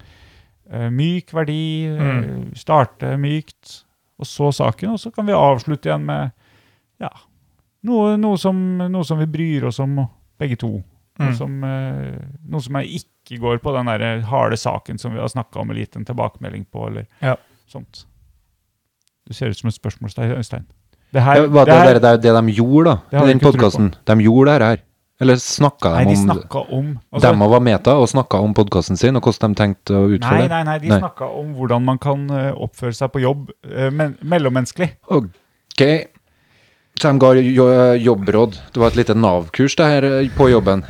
eh, myk verdi. eh,
Mm.
Starte mykt, og så saken. Og så kan vi avslutte igjen med ja, noe, noe, som, noe som vi bryr oss om, begge to. Noe,
Mm.
som, eh, noe som jeg ikke går på den der harde saken som vi har snakka om en liten tilbakemelding på, eller
Ja.
sånt. Du ser ut som et spørsmålstegn, Øystein. Det her,
Ja, Hva
det
det,
her,
det, det, det de gjorde,
Det
da,
har
i
jeg ikke
den
tro på.
podkasten. De gjorde det her. Eller snakka
nei,
de
de
om det?
snakka om altså,
Dem og var meta og snakka om podkasten sin og hvordan de tenkte å
Nei,
utføre det?
nei, nei, de
Nei.
snakka om hvordan man kan eh, oppføre seg på jobb eh, men, mellommenneskelig.
Ok. Så de ga jo, jobbråd. Det var et lite Nav-kurs det her eh, på jobben.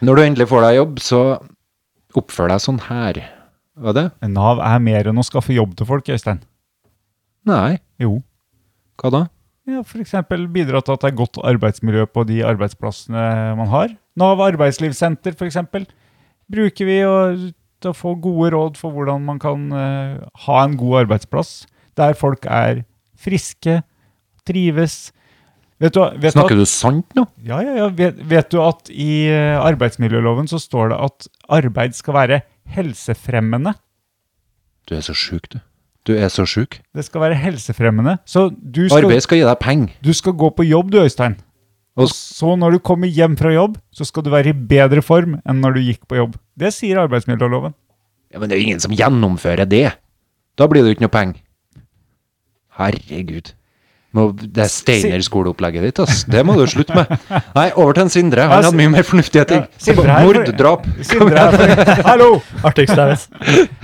Når du endelig får deg jobb, så oppfør deg sånn her. Var det?
Nav er mer enn å skaffe jobb til folk, Øystein.
Nei.
Jo.
Hva da?
Ja, F.eks. bidra til at det er godt arbeidsmiljø på de arbeidsplassene man har. Nav arbeidslivssenter, f.eks., bruker vi å, til å få gode råd for hvordan man kan eh, ha en god arbeidsplass der folk er friske, trives. Vet du, hva- vet du at-
Snakker du sant nå?
ja, ja, ja. Vet, vet du at i eh, arbeidsmiljøloven så står det at arbeid skal være helsefremmende?
Du er så sjuk, du. Du er så sjuk.
Det skal være helsefremmende. Så du skal,
Arbeid skal gi deg penger.
du skal gå på jobb du, Øystein.
Og
Og så når du kommer hjem fra jobb, så skal du være i bedre form enn når du gikk på jobb. Det sier arbeidsmiljøloven.
Ja, men det er jo ingen som gjennomfører det. Da blir det jo ikke noe penger. Herregud. Må, det er Steiner-skoleopplegget ditt, ass. Det må du slutte med. Nei, over til en Sindre. Han hadde mye mer fornuftige ting.
Sindre her-
Morddrap.
Sindre er for, hallo!
Artigste jeg vet.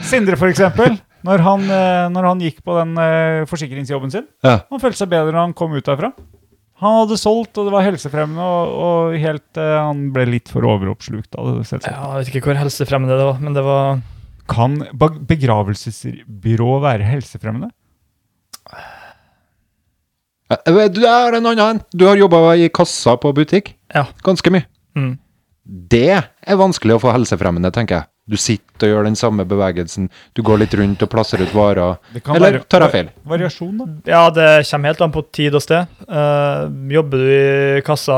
Sindre, for eksempel. Når han, eh, når han gikk på den eh, forsikringsjobben sin,
Ja.
han følte seg bedre når han kom ut derfra. Han hadde solgt, og det var helsefremmende, og, og helt, eh, han ble litt for overoppslukt av det. selvsagt.
Ja, jeg vet ikke hvor helsefremmende det var, men det var
Kan bag- begravelsesbyrå være helsefremmende?
Eh, Du er en annen. Du har jobba i kassa på butikk.
Ja.
Ganske mye.
Mm.
Det er vanskelig å få helsefremmende, tenker jeg. Du sitter og gjør den samme bevegelsen. Du går litt rundt og plasser ut varer.
Det kan
Eller
være-
tar jeg feil?
Variasjon, da.
Ja, det kommer helt an på tid og sted. Eh, jobber du i kassa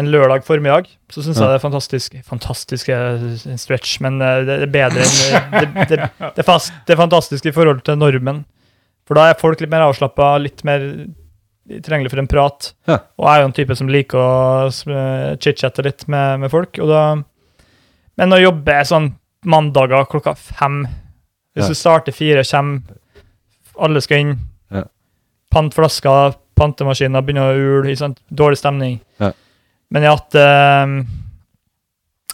en lørdag formiddag, så syns jeg det er fantastisk Fantastisk er en stretch, men eh, det er bedre enn eh, det, det, det, er fast, det er fantastisk i forhold til normen. For da er folk litt mer avslappa, litt mer tilgjengelig for en prat.
Ja.
Og jeg er jo en type som liker å eh, chit-chatte litt med, med folk. Og da, men å jobbe sånn mandager klokka fem Hvis
Ja.
du starter fire, kommer Alle skal inn.
Ja.
Pant flasker, pantemaskiner begynner å ule. ikke sant? Dårlig stemning.
Ja.
Men i at eh,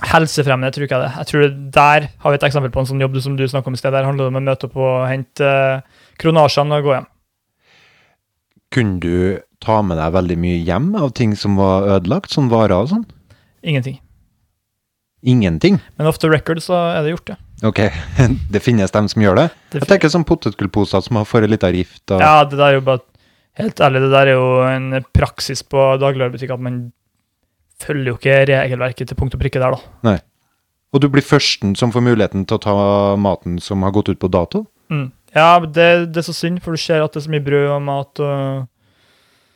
Helsefremmende tror ikke jeg det. Jeg tror det Der har vi et eksempel på en sånn jobb som du snakker om i sted. Der handler det om å møte opp og hente eh, kronasjene og gå hjem.
Kunne du ta med deg veldig mye hjem av ting som var ødelagt, sånn varer og sånn?
Ingenting.
Ingenting.
Men off the record så er det gjort, ja.
Ok, det finnes dem som gjør det.
Det
Jeg tenker sånn potetgullposer som har fått litt av rift. Og,
Ja, det der er jo bare Helt ærlig, det der er jo en praksis på dagligvarebutikker at man følger jo ikke regelverket til punkt og prikke der, da.
og du blir førsten som får muligheten til å ta maten som har gått ut på dato.
Mm. Ja, men det, det er så synd, for du ser at det er så mye brød og mat og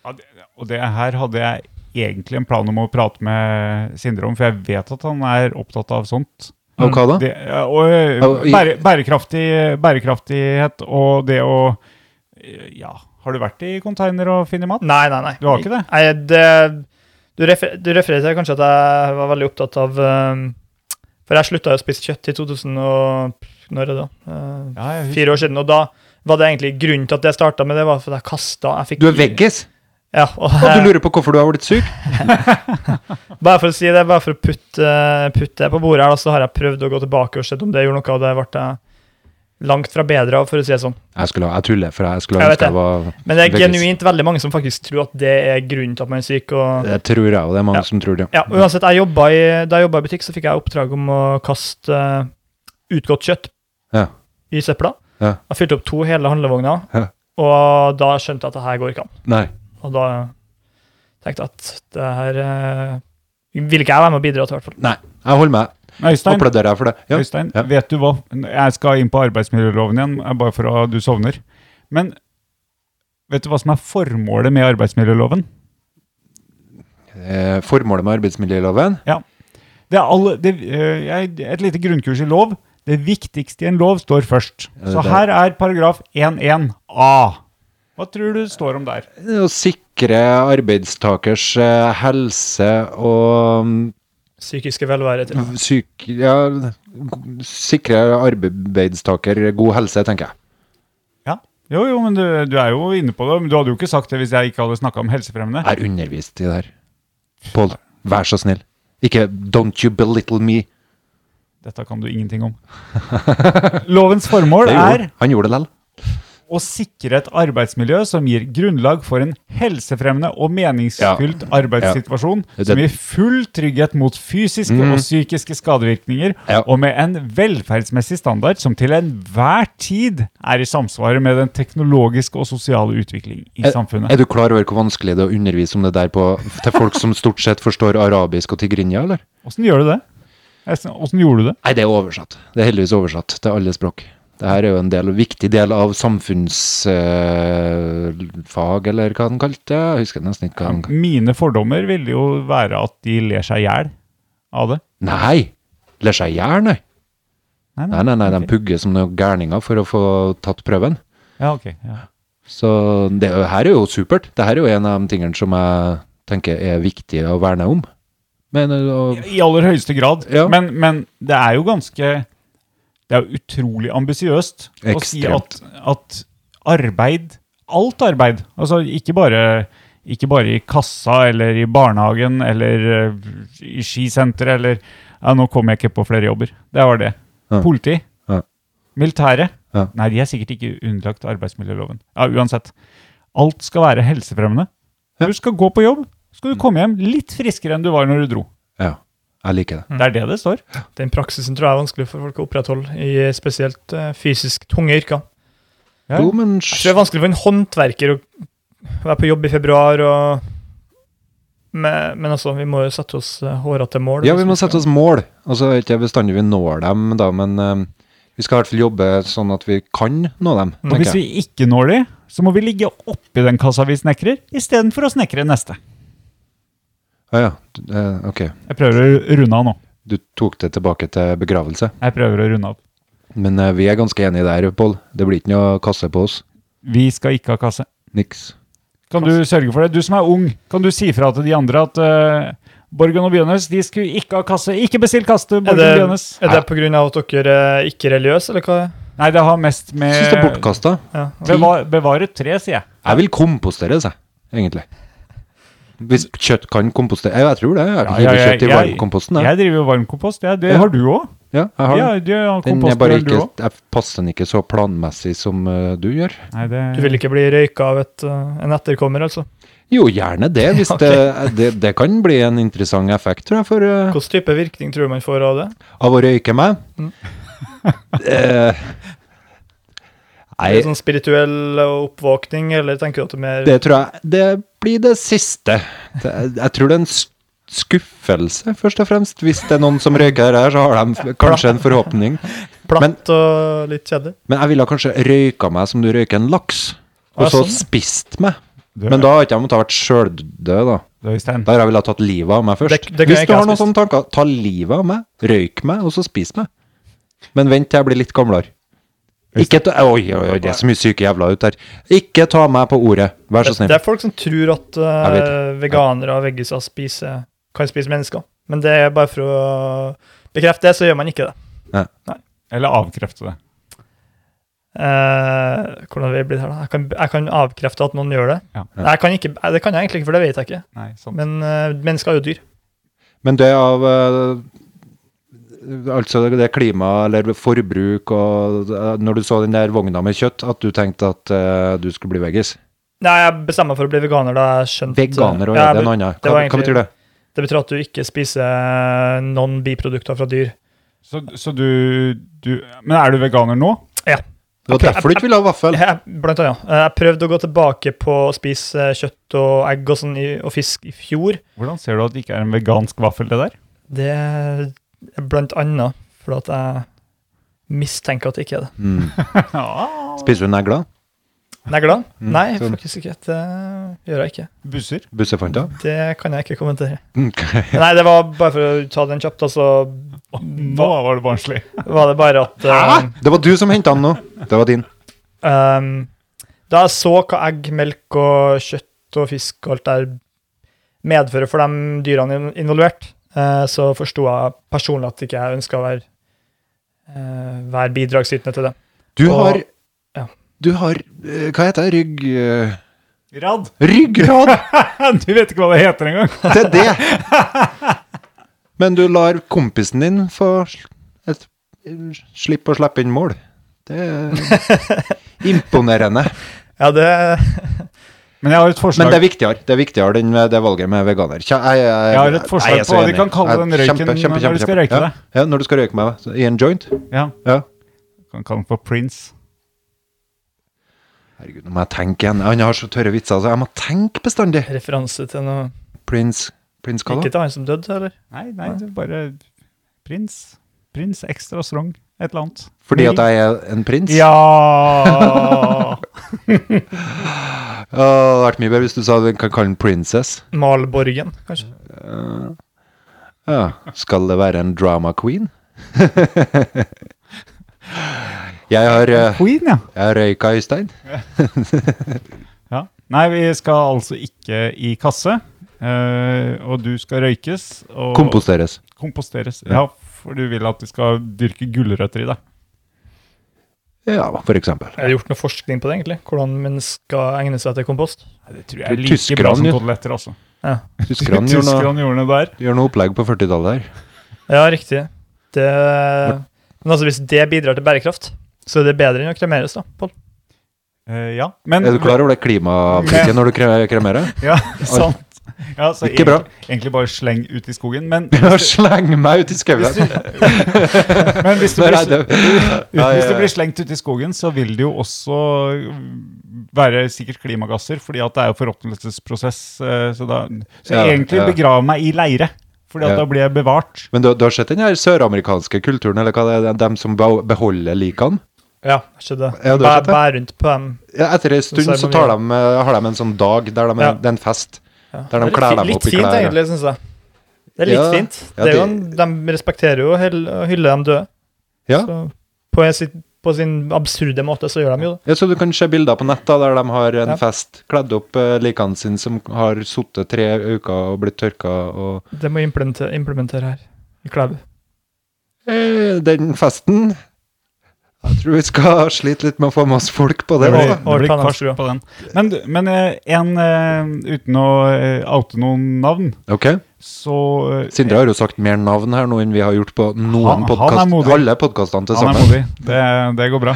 Ja, det, og det her hadde jeg egentlig en plan om å prate med Sindre om, for jeg vet at han er opptatt av sånt.
Mm.
Og hva da?
Det, ja, og eh,
Og i-
bære, bærekraftig, bærekraftighet og det å eh, Ja, har du vært i container og funnet mat?
Nei, nei, nei.
Du har ikke det?
Nei, det Du, refer, du refererer til kanskje at jeg var veldig opptatt av eh, For jeg slutta jo å spise kjøtt i 2000 og Når er det da? Eh,
Ja, jeg husker-
fire år siden. Og da var det egentlig grunnen til at jeg starta med det, var for at jeg kasta jeg fikk-
Du er veggis!
Ja, og
Og du lurer på hvorfor du har blitt syk?
Bare for å si det, bare for å putte, putte det på bordet her, da, så har jeg prøvd å gå tilbake og sett om det gjorde noe, og det ble jeg langt fra bedre av, for å si det sånn.
Jeg skulle ha, jeg tuller, for jeg skulle
Jeg
ha
vet
ønsket jeg var
Men det er
veggis.
genuint veldig mange som faktisk tror at det er grunnen til at man er syk. og...
Det tror jeg, og det er mange
Ja.
som tror det.
Ja, og uansett, jeg jobbet i, Da jeg jobba i butikk, så fikk jeg oppdrag om å kaste eh, utgått kjøtt
Ja.
i søpla.
Ja.
Jeg fylte opp to hele handlevogner,
Ja.
og da skjønte jeg at det her går ikke an.
Nei.
Og da tenkte jeg at det her eh, vil ikke jeg være med og bidra til, i hvert fall.
Nei. Jeg holder meg.
Øystein,
Applauderer jeg for det. Ja.
Øystein vet du hva? Jeg skal inn på arbeidsmiljøloven igjen, eh, bare for at du sovner. Men vet du hva som er formålet med arbeidsmiljøloven?
Eh, Formålet med arbeidsmiljøloven
Det er alle, det, eh, jeg- et lite grunnkurs i lov. Det viktigste i en lov står først.
det
Så
der-
her er paragraf 1-1a. Hva tror du står om der?
Det er å sikre arbeidstakers eh, helse og mm,
Psykiske velvære til.
syk... Ja, g- sikre arbeidstaker god helse, tenker jeg.
Ja. Jo, jo, men du, du er jo inne på det. Men du hadde jo ikke sagt det hvis jeg ikke hadde snakka om helsefremmende.
Jeg er undervist i det her. Pål, vær så snill. Ikke 'don't you belittle me'.
Dette kan du ingenting om. Lovens formål
Det
er
gjorde, han gjorde det lell.
å sikre et arbeidsmiljø som gir grunnlag for en helsefremmende og meningsfylt arbeidssituasjon,
Det-
som gir full trygghet mot fysiske og psykiske skadevirkninger,
Ja.
og med en velferdsmessig standard som til enhver tid er i samsvar med den teknologiske og sosiale utvikling i
Er-
samfunnet.
Er du klar over hvor vanskelig det er å undervise om det der på, til folk som stort sett forstår arabisk og tigrinja, eller?
Åssen gjør du det? Åssen gjorde du det?
Nei, det er oversatt. Det er heldigvis oversatt til alle språk. Det her er jo en del, viktig del av samfunnsfag, eller hva den kalte det. Jeg husker nesten ikke hva den kalte
Mine fordommer ville jo være at de ler seg i hjel av det.
Nei! Ler seg i hjel, nei.
Nei,
Nei, nei, nei, de pugger som noen gærninger for å få tatt prøven.
Ja, ok. Ja.
Så det er jo- her er jo supert. Det her er jo en av de tingene som jeg tenker er viktig å verne om. Men, eh, og,
I aller høyeste grad.
Ja.
Men, men det er jo ganske Det er jo utrolig ambisiøst å si at,
Ekstremt.
at arbeid Alt arbeid, altså ikke bare ikke bare i kassa eller i barnehagen eller eh, i skisenteret eller ja, Nå kom jeg ikke på flere jobber. Det var det.
Ja.
Politi.
Ja.
Militære.
Ja.
Nei, de er sikkert ikke underlagt arbeidsmiljøloven. Ja, Uansett. Alt skal være helsefremmende. Du skal gå på jobb, skal du komme hjem litt friskere enn du var når du dro.
ja, jeg liker det.
Mm. Det er det det står.
Den praksisen tror jeg er vanskelig for folk å opprettholde, i spesielt eh, fysisk tunge yrker.
Ja.
Jo, men
Jeg tror det er vanskelig for en håndverker å være på jobb i februar og men, men altså, vi må jo sette oss eh, hårete til mål.
Ja, vi må sette oss mål. Altså, ikke bestandig vi når dem, da, men eh, vi skal i hvert fall jobbe sånn at vi kan nå dem.
Og hvis
tenker
vi
jeg.
ikke når de, så må vi ligge oppi den kassa vi snekrer, istedenfor å snekre neste.
Ah, ja. d- eh, ok,
Jeg prøver å runde av nå.
du tok det tilbake til begravelse.
Jeg prøver å runde av.
Men eh, vi er ganske enige der, Pål. Det blir ikke noe kasse på oss.
Vi skal ikke ha kasse.
Niks.
Kan du sørge for det? Du som er ung, kan du si fra til de andre at eh, Borgen og Bjørnes de skulle ikke ha kasse. Ikke bestill kasse,
Er
Borgen
det,
og Bjørnes.
er det på grunn av at dere er ikke religiøse, eller hva?
Nei, det har mest med
Syns det er bortkasta.
Ja.
Beva- bevare tre, sier jeg.
Jeg vil komposteres, jeg, egentlig. Hvis kjøtt kan kompostere Jeg, jeg tror det. Jeg hiver kjøtt i varmkomposten.
jeg,
Jeg.
jeg driver jo varmkompost. Ja, det
Ja.
har du òg.
Ja, jeg har
Ja,
den.
du har
Den er bare
kompost, du
ikke,
òg.
jeg passer den ikke så planmessig som eh, du gjør.
Du vil ikke bli røyka av et, eh, en etterkommer, altså?
Jo, gjerne det. Hvis
Ok.
det, det, det kan bli en interessant effekt, tror jeg, for, eh,
Hvilken type virkning tror du man får av det?
av å røyke meg.
Mm.
Eh,
Er det
nei,
sånn spirituell oppvåkning, eller tenker du at det er mer
det tror jeg Det blir det siste. Det, jeg tror det er en s- skuffelse, først og fremst. Hvis det er noen som røyker her, så har de f- kanskje en forhåpning.
platt
men-
og litt kjedelig?
Men jeg ville kanskje røyka meg som du røyker en laks, og
Ah,
så
sånn, ja.
spist meg. Men da har ikke jeg måttet ha vært sjøldød, da.
Øystein.
Der har jeg villet ha tatt livet av meg først.
Det- det kan
Hvis
jeg
du
ikke ha
har noen sånne
spist.
tanker, ta livet av meg, røyk meg, og så spis meg. Men vent til jeg blir litt gamlere. Ikke ta, oi, oi, oi, det er så mye syke jævla ut her. Ikke ta meg på ordet, vær så
Det,
snill.
er folk som tror at eh,
Jeg vet.
veganere og veggiser spiser, kan spise mennesker. Men det er bare for å bekrefte det, så gjør man ikke det.
Eller avkrefte det.
Eh, hvordan vi blir her da? Jeg kan, jeg kan avkrefte at noen gjør det.
Ja.
Nei, Jeg kan ikke, eh, det kan jeg egentlig ikke, for det vet jeg ikke.
Nei, sånn. sant.
Men eh, mennesker er jo dyr.
Men det av eh, Altså det klima eller forbruk og eh, Når du så den der vogna med kjøtt, at du tenkte at eh, du skulle bli veggis.
Nei, jeg bestemmer meg for å bli veganer da jeg skjønte
Veganer og
Ja,
er det
jeg-
noe annet.
det
Hva,
var
hva
egentlig-
betyr det?
Det betyr at du ikke spiser non-biprodukter fra dyr.
Så, så du, du Men er du veganer nå?
Det var derfor du ikke ville ha vaffel.
Jeg, blant annet. eh, Jeg prøvde å gå tilbake på å spise eh, kjøtt og egg og, sånn i, og fisk i fjor.
Hvordan ser du at det ikke er en vegansk vaffel, det der?
Det er blant annet fordi at jeg mistenker at det ikke er det.
Mm.
Ah,
Spiser du negler?
Negler?
Mm,
Nei,
sånn.
faktisk ikke. Det gjør jeg ikke.
busser?
Bussefanter?
Det kan jeg ikke kommentere.
Mm.
Nei, det var bare for å ta den kjapt, da, så
Nå var det barnslig.
var det bare at eh,
Hæ? Det var du som henta den nå. Det var din.
Um, da jeg så hva egg, melk og kjøtt og fisk og alt der medfører for de dyrene in- involvert, eh, så forsto jeg personlig at ikke jeg ønska å være, eh, være bidragsytende til det.
Du
Og-
har
ja.
Du har eh, Hva heter det? Rygg... eh,
Rad!
Ryggrad!
Du vet ikke hva det heter engang.
Det er det! Men du lar kompisen din få sl- et, slippe å slippe inn mål. Det er imponerende.
Ja, det
Men jeg har et
Men
forslag.
det er viktigere det, er viktigere, den, det valget med veganer. Kja- Jeg, jeg-
Jeg har et forslag
jeg er så
på hva de
enig.
kan kalle
Jeg-
den røyken når du skal røyke
ja.
det.
Ja, når du skal røyke meg så i en joint.
Ja.
Ja.
Kan kalle den for Prince.
Herregud, nå må jeg tenke igjen. Han har så tørre vitser, så jeg må tenke bestandig.
er referanse til noe
Prince Prince hva
Ikke
da?
til han som døde, eller?
Nei, nei, du bare Prins. Prins extra strong. Et eller annet.
Fordi at jeg er en prins?
Ja!
Å, det hadde vært mye bedre hvis du sa du kan kalle den princess.
Malborgen, kanskje?
Ja, skal det være en drama queen? jeg har, eh,
Queen, ja.
jeg har røyka Øystein.
Ja. Nei, vi skal altså ikke i kasse. eh, og du skal røykes. Og
Komposteres.
Komposteres. Ja, for du vil at vi skal dyrke gulrøtter i deg.
Ja, for eksempel.
Jeg har gjort noe forskning på det, egentlig. Hvordan mennesker egner seg til kompost.
Nei, det tror
Tror
jeg er like
tyskerne
bra som
gjør-
koteletter, altså.
Ja,
Tyskerne gjorde noe,
Tyskerne gjorde det der.
gjør noe opplegg på 40-tallet her.
ja riktig. Det, men altså, hvis det bidrar til bærekraft, så er det bedre enn å kremeres, da, Pål.
Eh, ja. Men
Er du klar over det klimaavtrykket når du kre- kremerer?
Ja, sant. Ja, så
Ikke bra.
egentlig- Egentlig bare sleng ut i skogen. Men
Sleng meg ut i skauen!
Men hvis du
Der
blir,
er det. Ja,
hvis
ja,
du
ja.
blir slengt ut i skogen, så vil det jo også være sikkert klimagasser, fordi at det er jo forråtnelsesprosess. eh, Så, da, så
Ja,
egentlig
ja.
begrav meg i leire, fordi at
Ja.
da blir jeg bevart.
Men du, du har sett den her søramerikanske kulturen, eller hva det er, dem som be- beholder likene?
Ja, jeg skjønner det.
Ja, du har skjønt
Bæ-
det.
Bær rundt på dem.
Ja, etter en
Sånn
stund så tar de, eh, har de en sånn dag der de,
Ja.
det er en fest.
Ja.
Der de
Det er
kler
litt
dem
fi-
opp i
Litt fint,
klær, ja.
egentlig, syns jeg. Det er litt
Ja,
fint.
ja,
det er jo en, de respekterer jo og hell- og hyller de døde.
Ja.
Så på, en sitt, på sin absurde måte så gjør de jo det.
Ja, så du kan se bilder på nett da, der de har en
Ja.
fest kledd opp eh, likene sine som har sittet tre uker og blitt tørka. Og
Det må vi implementere, implementere her i Klæbu.
eh, den festen Jeg tror vi skal slite litt med å få med oss folk på det.
Det
da.
blir- over Tanastrua.
på den. Men, men eh, en eh, uten å eh, oute noen navn,
Ok,
så eh,
Sindre har jo sagt mer navn her nå enn vi har gjort på noen
Han- han er
podkast.
modig.
Alle podkastene til
Han er
sammen.
modig. Det, det går bra.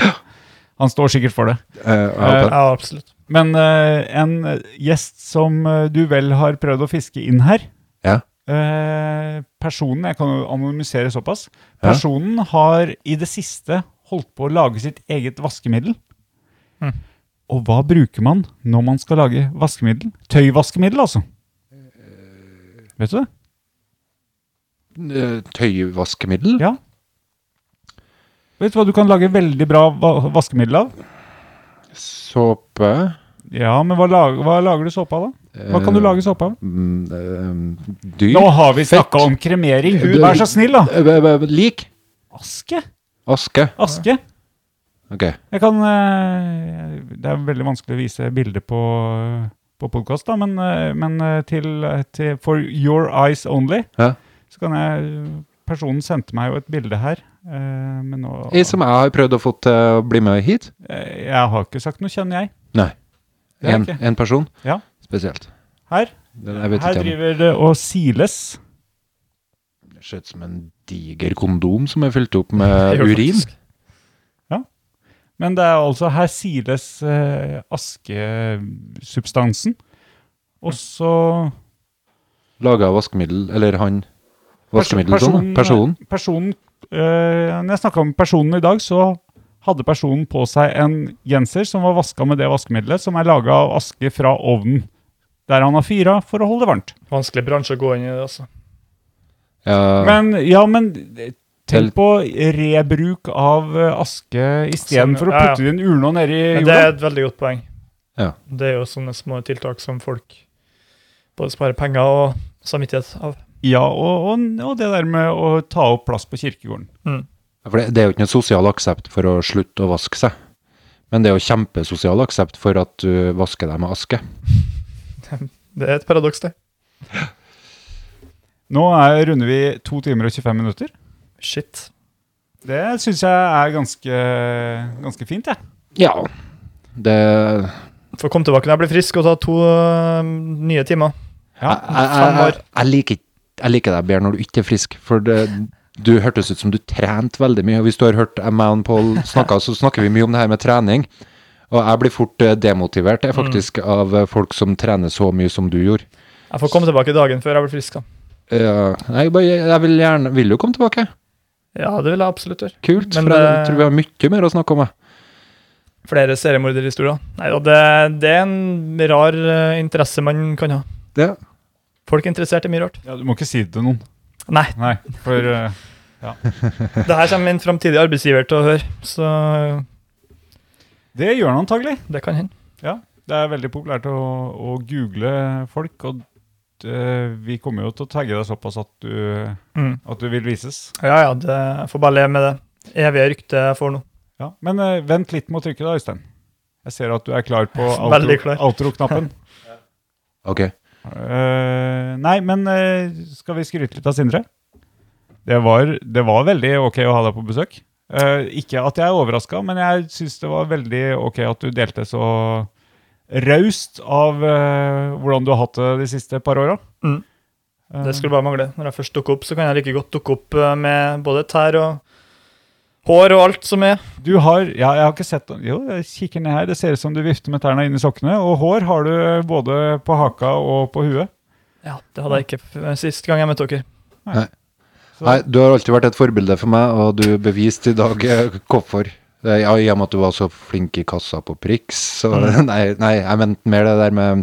Han står sikkert for det.
Eh, ja, ok.
Ja, absolutt.
Men eh, en gjest som eh, du vel har prøvd å fiske inn her
Ja.
eh, Personen, jeg kan jo anonymisere såpass
Ja.
Personen har i det siste holdt på å lage sitt eget vaskemiddel.
Mhm.
Og hva bruker man når man skal lage vaskemiddel? Tøyvaskemiddel, altså. Vet du det?
Eh, Tøyvaskemiddel?
Ja. Vet du hva du kan lage veldig bra va vaskemiddel av?
Såpe
Ja, men hva, lag hva lager du såpe av, da? Hva kan du
Eh,
lage såpe av?
mm, eh, Dyr?
Nå har vi
Fett.
snakka om kremering.
Du-
Vær så snill, da.
Eh, eh, eh, Lik?
Aske?
Aske?
Aske?
Ok.
Jeg kan eh, Det er veldig vanskelig å vise bilde på, på podkast, da, men, eh, men eh, til, til For your eyes only
Ja.
så kan jeg Personen sendte meg jo et bilde her Eh, men nå
Jeg, som jeg har prøvd å få til å bli med hit.
Eh, Jeg har ikke sagt noe, kjenner jeg.
Nei.
Det er
En,
ikke.
en person
Ja.
spesielt.
Her,
Den jeg vet
her
ikke om.
driver det og siles.
Det ser ut som en diger kondom som er fylt opp
Jeg
med
gjør
urin.
faktisk.
Men det er altså her siles eh, askesubstansen. Og så
Laga av vaskemiddel, eller han Vaskemiddel, sånn. da. Personen.
personen eh, når jeg snakka om personen i dag, så hadde personen på seg en genser som var vaska med det vaskemiddelet, som er laga av aske fra ovnen. Der han har fyra for å holde det varmt.
Vanskelig bransje å gå inn i, det, altså.
Ja,
Men ja, men tenk på rebruk av eh, aske istedenfor å
Ja, ja.
putte det i en urne og nedi
Men det
jorda.
er et veldig godt poeng.
Ja.
Det er jo sånne små tiltak som folk både sparer penger og samvittighet av.
Ja, og, og, og det der med å ta opp plass på kirkegården.
for det, det er jo ikke noen sosial aksept for å slutte å vaske seg. Men det er jo kjempesosial aksept for at du vasker deg med aske.
Det er et paradoks, det.
Nå er, runder vi to timer og 25 minutter.
Shit.
Det syns jeg er ganske, ganske fint, jeg.
Ja. Det jeg,
Får komme tilbake når jeg blir frisk og ta to øh, nye timer.
Ja.
jeg, jeg, jeg, liker, ikke- jeg liker deg bedre når du ikke er frisk, for det, du hørtes ut som du trente veldig mye. Og hvis du har hørt meg og Pål snakke, så snakker vi mye om det her med trening. Og jeg blir fort eh, demotivert jeg, faktisk
Mm.
av eh, folk som trener så mye som du gjorde.
Jeg får komme tilbake dagen før jeg blir frisk, da.
Ja, nei, bare, jeg vil gjerne Vil jo komme tilbake.
Ja, det vil jeg absolutt gjøre.
Kult.
Men
for jeg
det-
tror vi har mye mer å snakke om. Jeg.
Flere seriemorderhistorier. Nei, og det, det er en rar øh, interesse man kan ha.
Det.
Folk er interessert i mye rart.
Ja, du må ikke si det til noen.
Nei,
Nei, for eh,
det her kommer min framtidige arbeidsgiver til å høre, så
det gjør han antagelig.
det kan hende.
Ja, det er veldig populært å, å google folk, og eh, vi kommer jo til å tagge deg såpass at du,
Mm.
at du vil vises.
Ja, ja, det, jeg får bare leve med det evige ryktet jeg får nå.
Ja. Men eh, vent litt med å trykke, da, Øystein. Jeg ser at du er klar på
Veldig
outro-
klar.
outro-knappen.
Ok.
Eh, nei, men eh, skal vi skryte litt av Sindre? Det var, det var veldig ok å ha deg på besøk. Eh, ikke at jeg er overraska, men jeg syns det var veldig ok at du delte så raust av eh, hvordan du har hatt det de siste par åra.
Mm. Det skulle bare mangle. Når jeg først dukker opp, så kan jeg like godt dukke opp eh, med både tær og hår og alt som er.
Du har ja, jeg har ikke sett Jo, jeg kikker ned her. Det ser ut som du vifter med tærne inni sokkene. Og hår har du eh, både på haka og på huet.
Ja, det hadde jeg ikke f- sist gang jeg møtte dere.
Så-
Nei, du har alltid vært et forbilde for meg, og du beviste i dag eh, hvorfor. Eh, Ja, I og med at du var så flink i kassa på Prix. Så, nei, nei, jeg mente mer det der med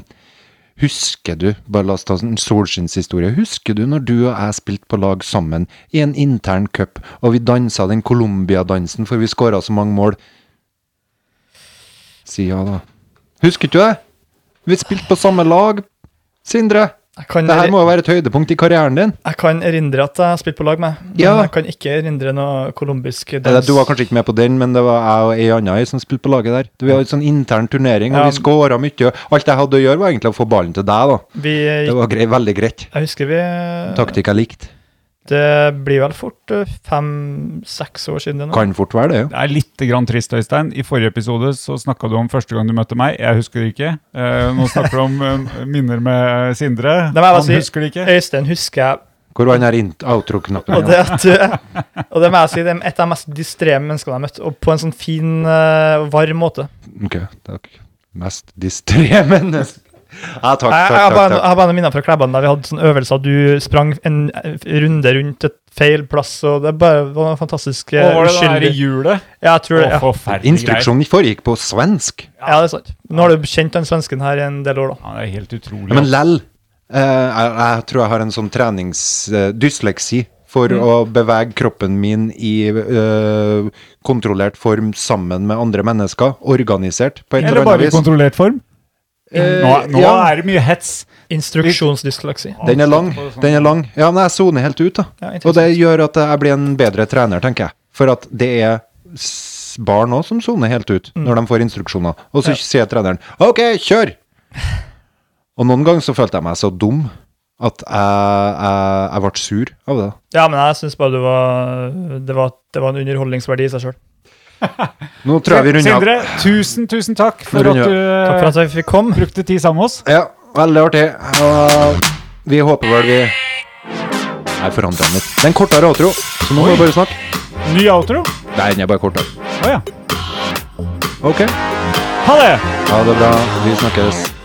Husker du bare la oss ta en solskinnshistorie. Husker du når du og jeg spilte på lag sammen i en intern cup, og vi dansa den Colombia-dansen for vi skåra så mange mål? Si ja, da. Husker ikke du det? Vi spilte på samme lag, Sindre.
Jeg kan,
Det her må jo være et høydepunkt i karrieren din.
jeg kan erindre at jeg spilte på lag med, men
Ja.
jeg kan ikke erindre noe colombisk
Eller,
dans.
Du var kanskje ikke med på den, men det var jeg og ei anna ei som spilte på laget der. Det var en sånn intern turnering, og
Ja.
vi skåra mye. og Alt jeg hadde å gjøre, var egentlig å få ballen til deg, da.
Vi
Det
gikk,
var grei, veldig greit.
jeg husker vi
Taktikk jeg likte.
Det blir vel fort eh, fem-seks år siden det nå.
Kan fort være det, jo.
Det er litt grann trist, Øystein. I forrige episode så snakka du om første gang du møtte meg. Jeg husker det ikke. Eh, nå snakker du om eh, minner med Sindre.
Det må jeg bare
Han
si.
husker det ikke.
Øystein husker jeg,
Hvor var den her int- outro-knappen?
og det, at, du- og det må jeg si, det er et av de mest distré menneskene jeg har møtt, og på en sånn fin, eh, varm måte.
Ok, takk. Mest distré menneske. Ja, takk,
Jeg,
takk,
jeg, har
takk.
bare, jeg
takk.
har bare noen minner fra Klæban der vi hadde sånn øvelser. Du sprang en eh, runde rundt et feil plass, og det er bare det var fantastisk eh,
Og var det det der i
uskyldig.
hjulet?
Ja, jeg tror det.
Å,
Ja.
forferdelige greier.
Instruksjonen foregikk på svensk.
ja, det er sant. Nå har du kjent den svensken her i en del år, da.
Ja, det er helt utrolig.
Ja, men
altså.
lell. eh, jeg, jeg tror jeg har en sånn treningsdysleksi for
Mm.
å bevege kroppen min i eh, kontrollert form sammen med andre mennesker. Organisert, på et eller
Eller bare i
annet vis.
kontrollert form.
Eh,
Nå, nå
ja,
er det mye hets.
Instruksjonsdysleksi.
den er lang. Den er lang. Ja, men jeg soner helt ut, da.
Ja,
Og det gjør at jeg blir en bedre trener, tenker jeg. For at det er s- barn òg som soner helt ut når de får instruksjoner. Og så sier treneren 'OK, kjør!' Og noen ganger så følte jeg meg så dum at jeg, jeg, jeg ble sur av det.
Ja, men jeg syns bare det var, det, var, det var en underholdningsverdi i seg sjøl.
Nå tror jeg vi runder av.
Sindre, tusen, tusen takk for
Runder
at du
Takk for
eh,
at jeg fikk komme.
brukte tid sammen med oss.
Ja, veldig artig. Og vi håper vel vi Jeg forandrer den litt. Det er en kortere outro, så nå må vi bare snakke.
Ny outro.
Nei, den er bare kortere.
Å ja.
OK.
Ha det!
Ha det bra. Vi snakkes.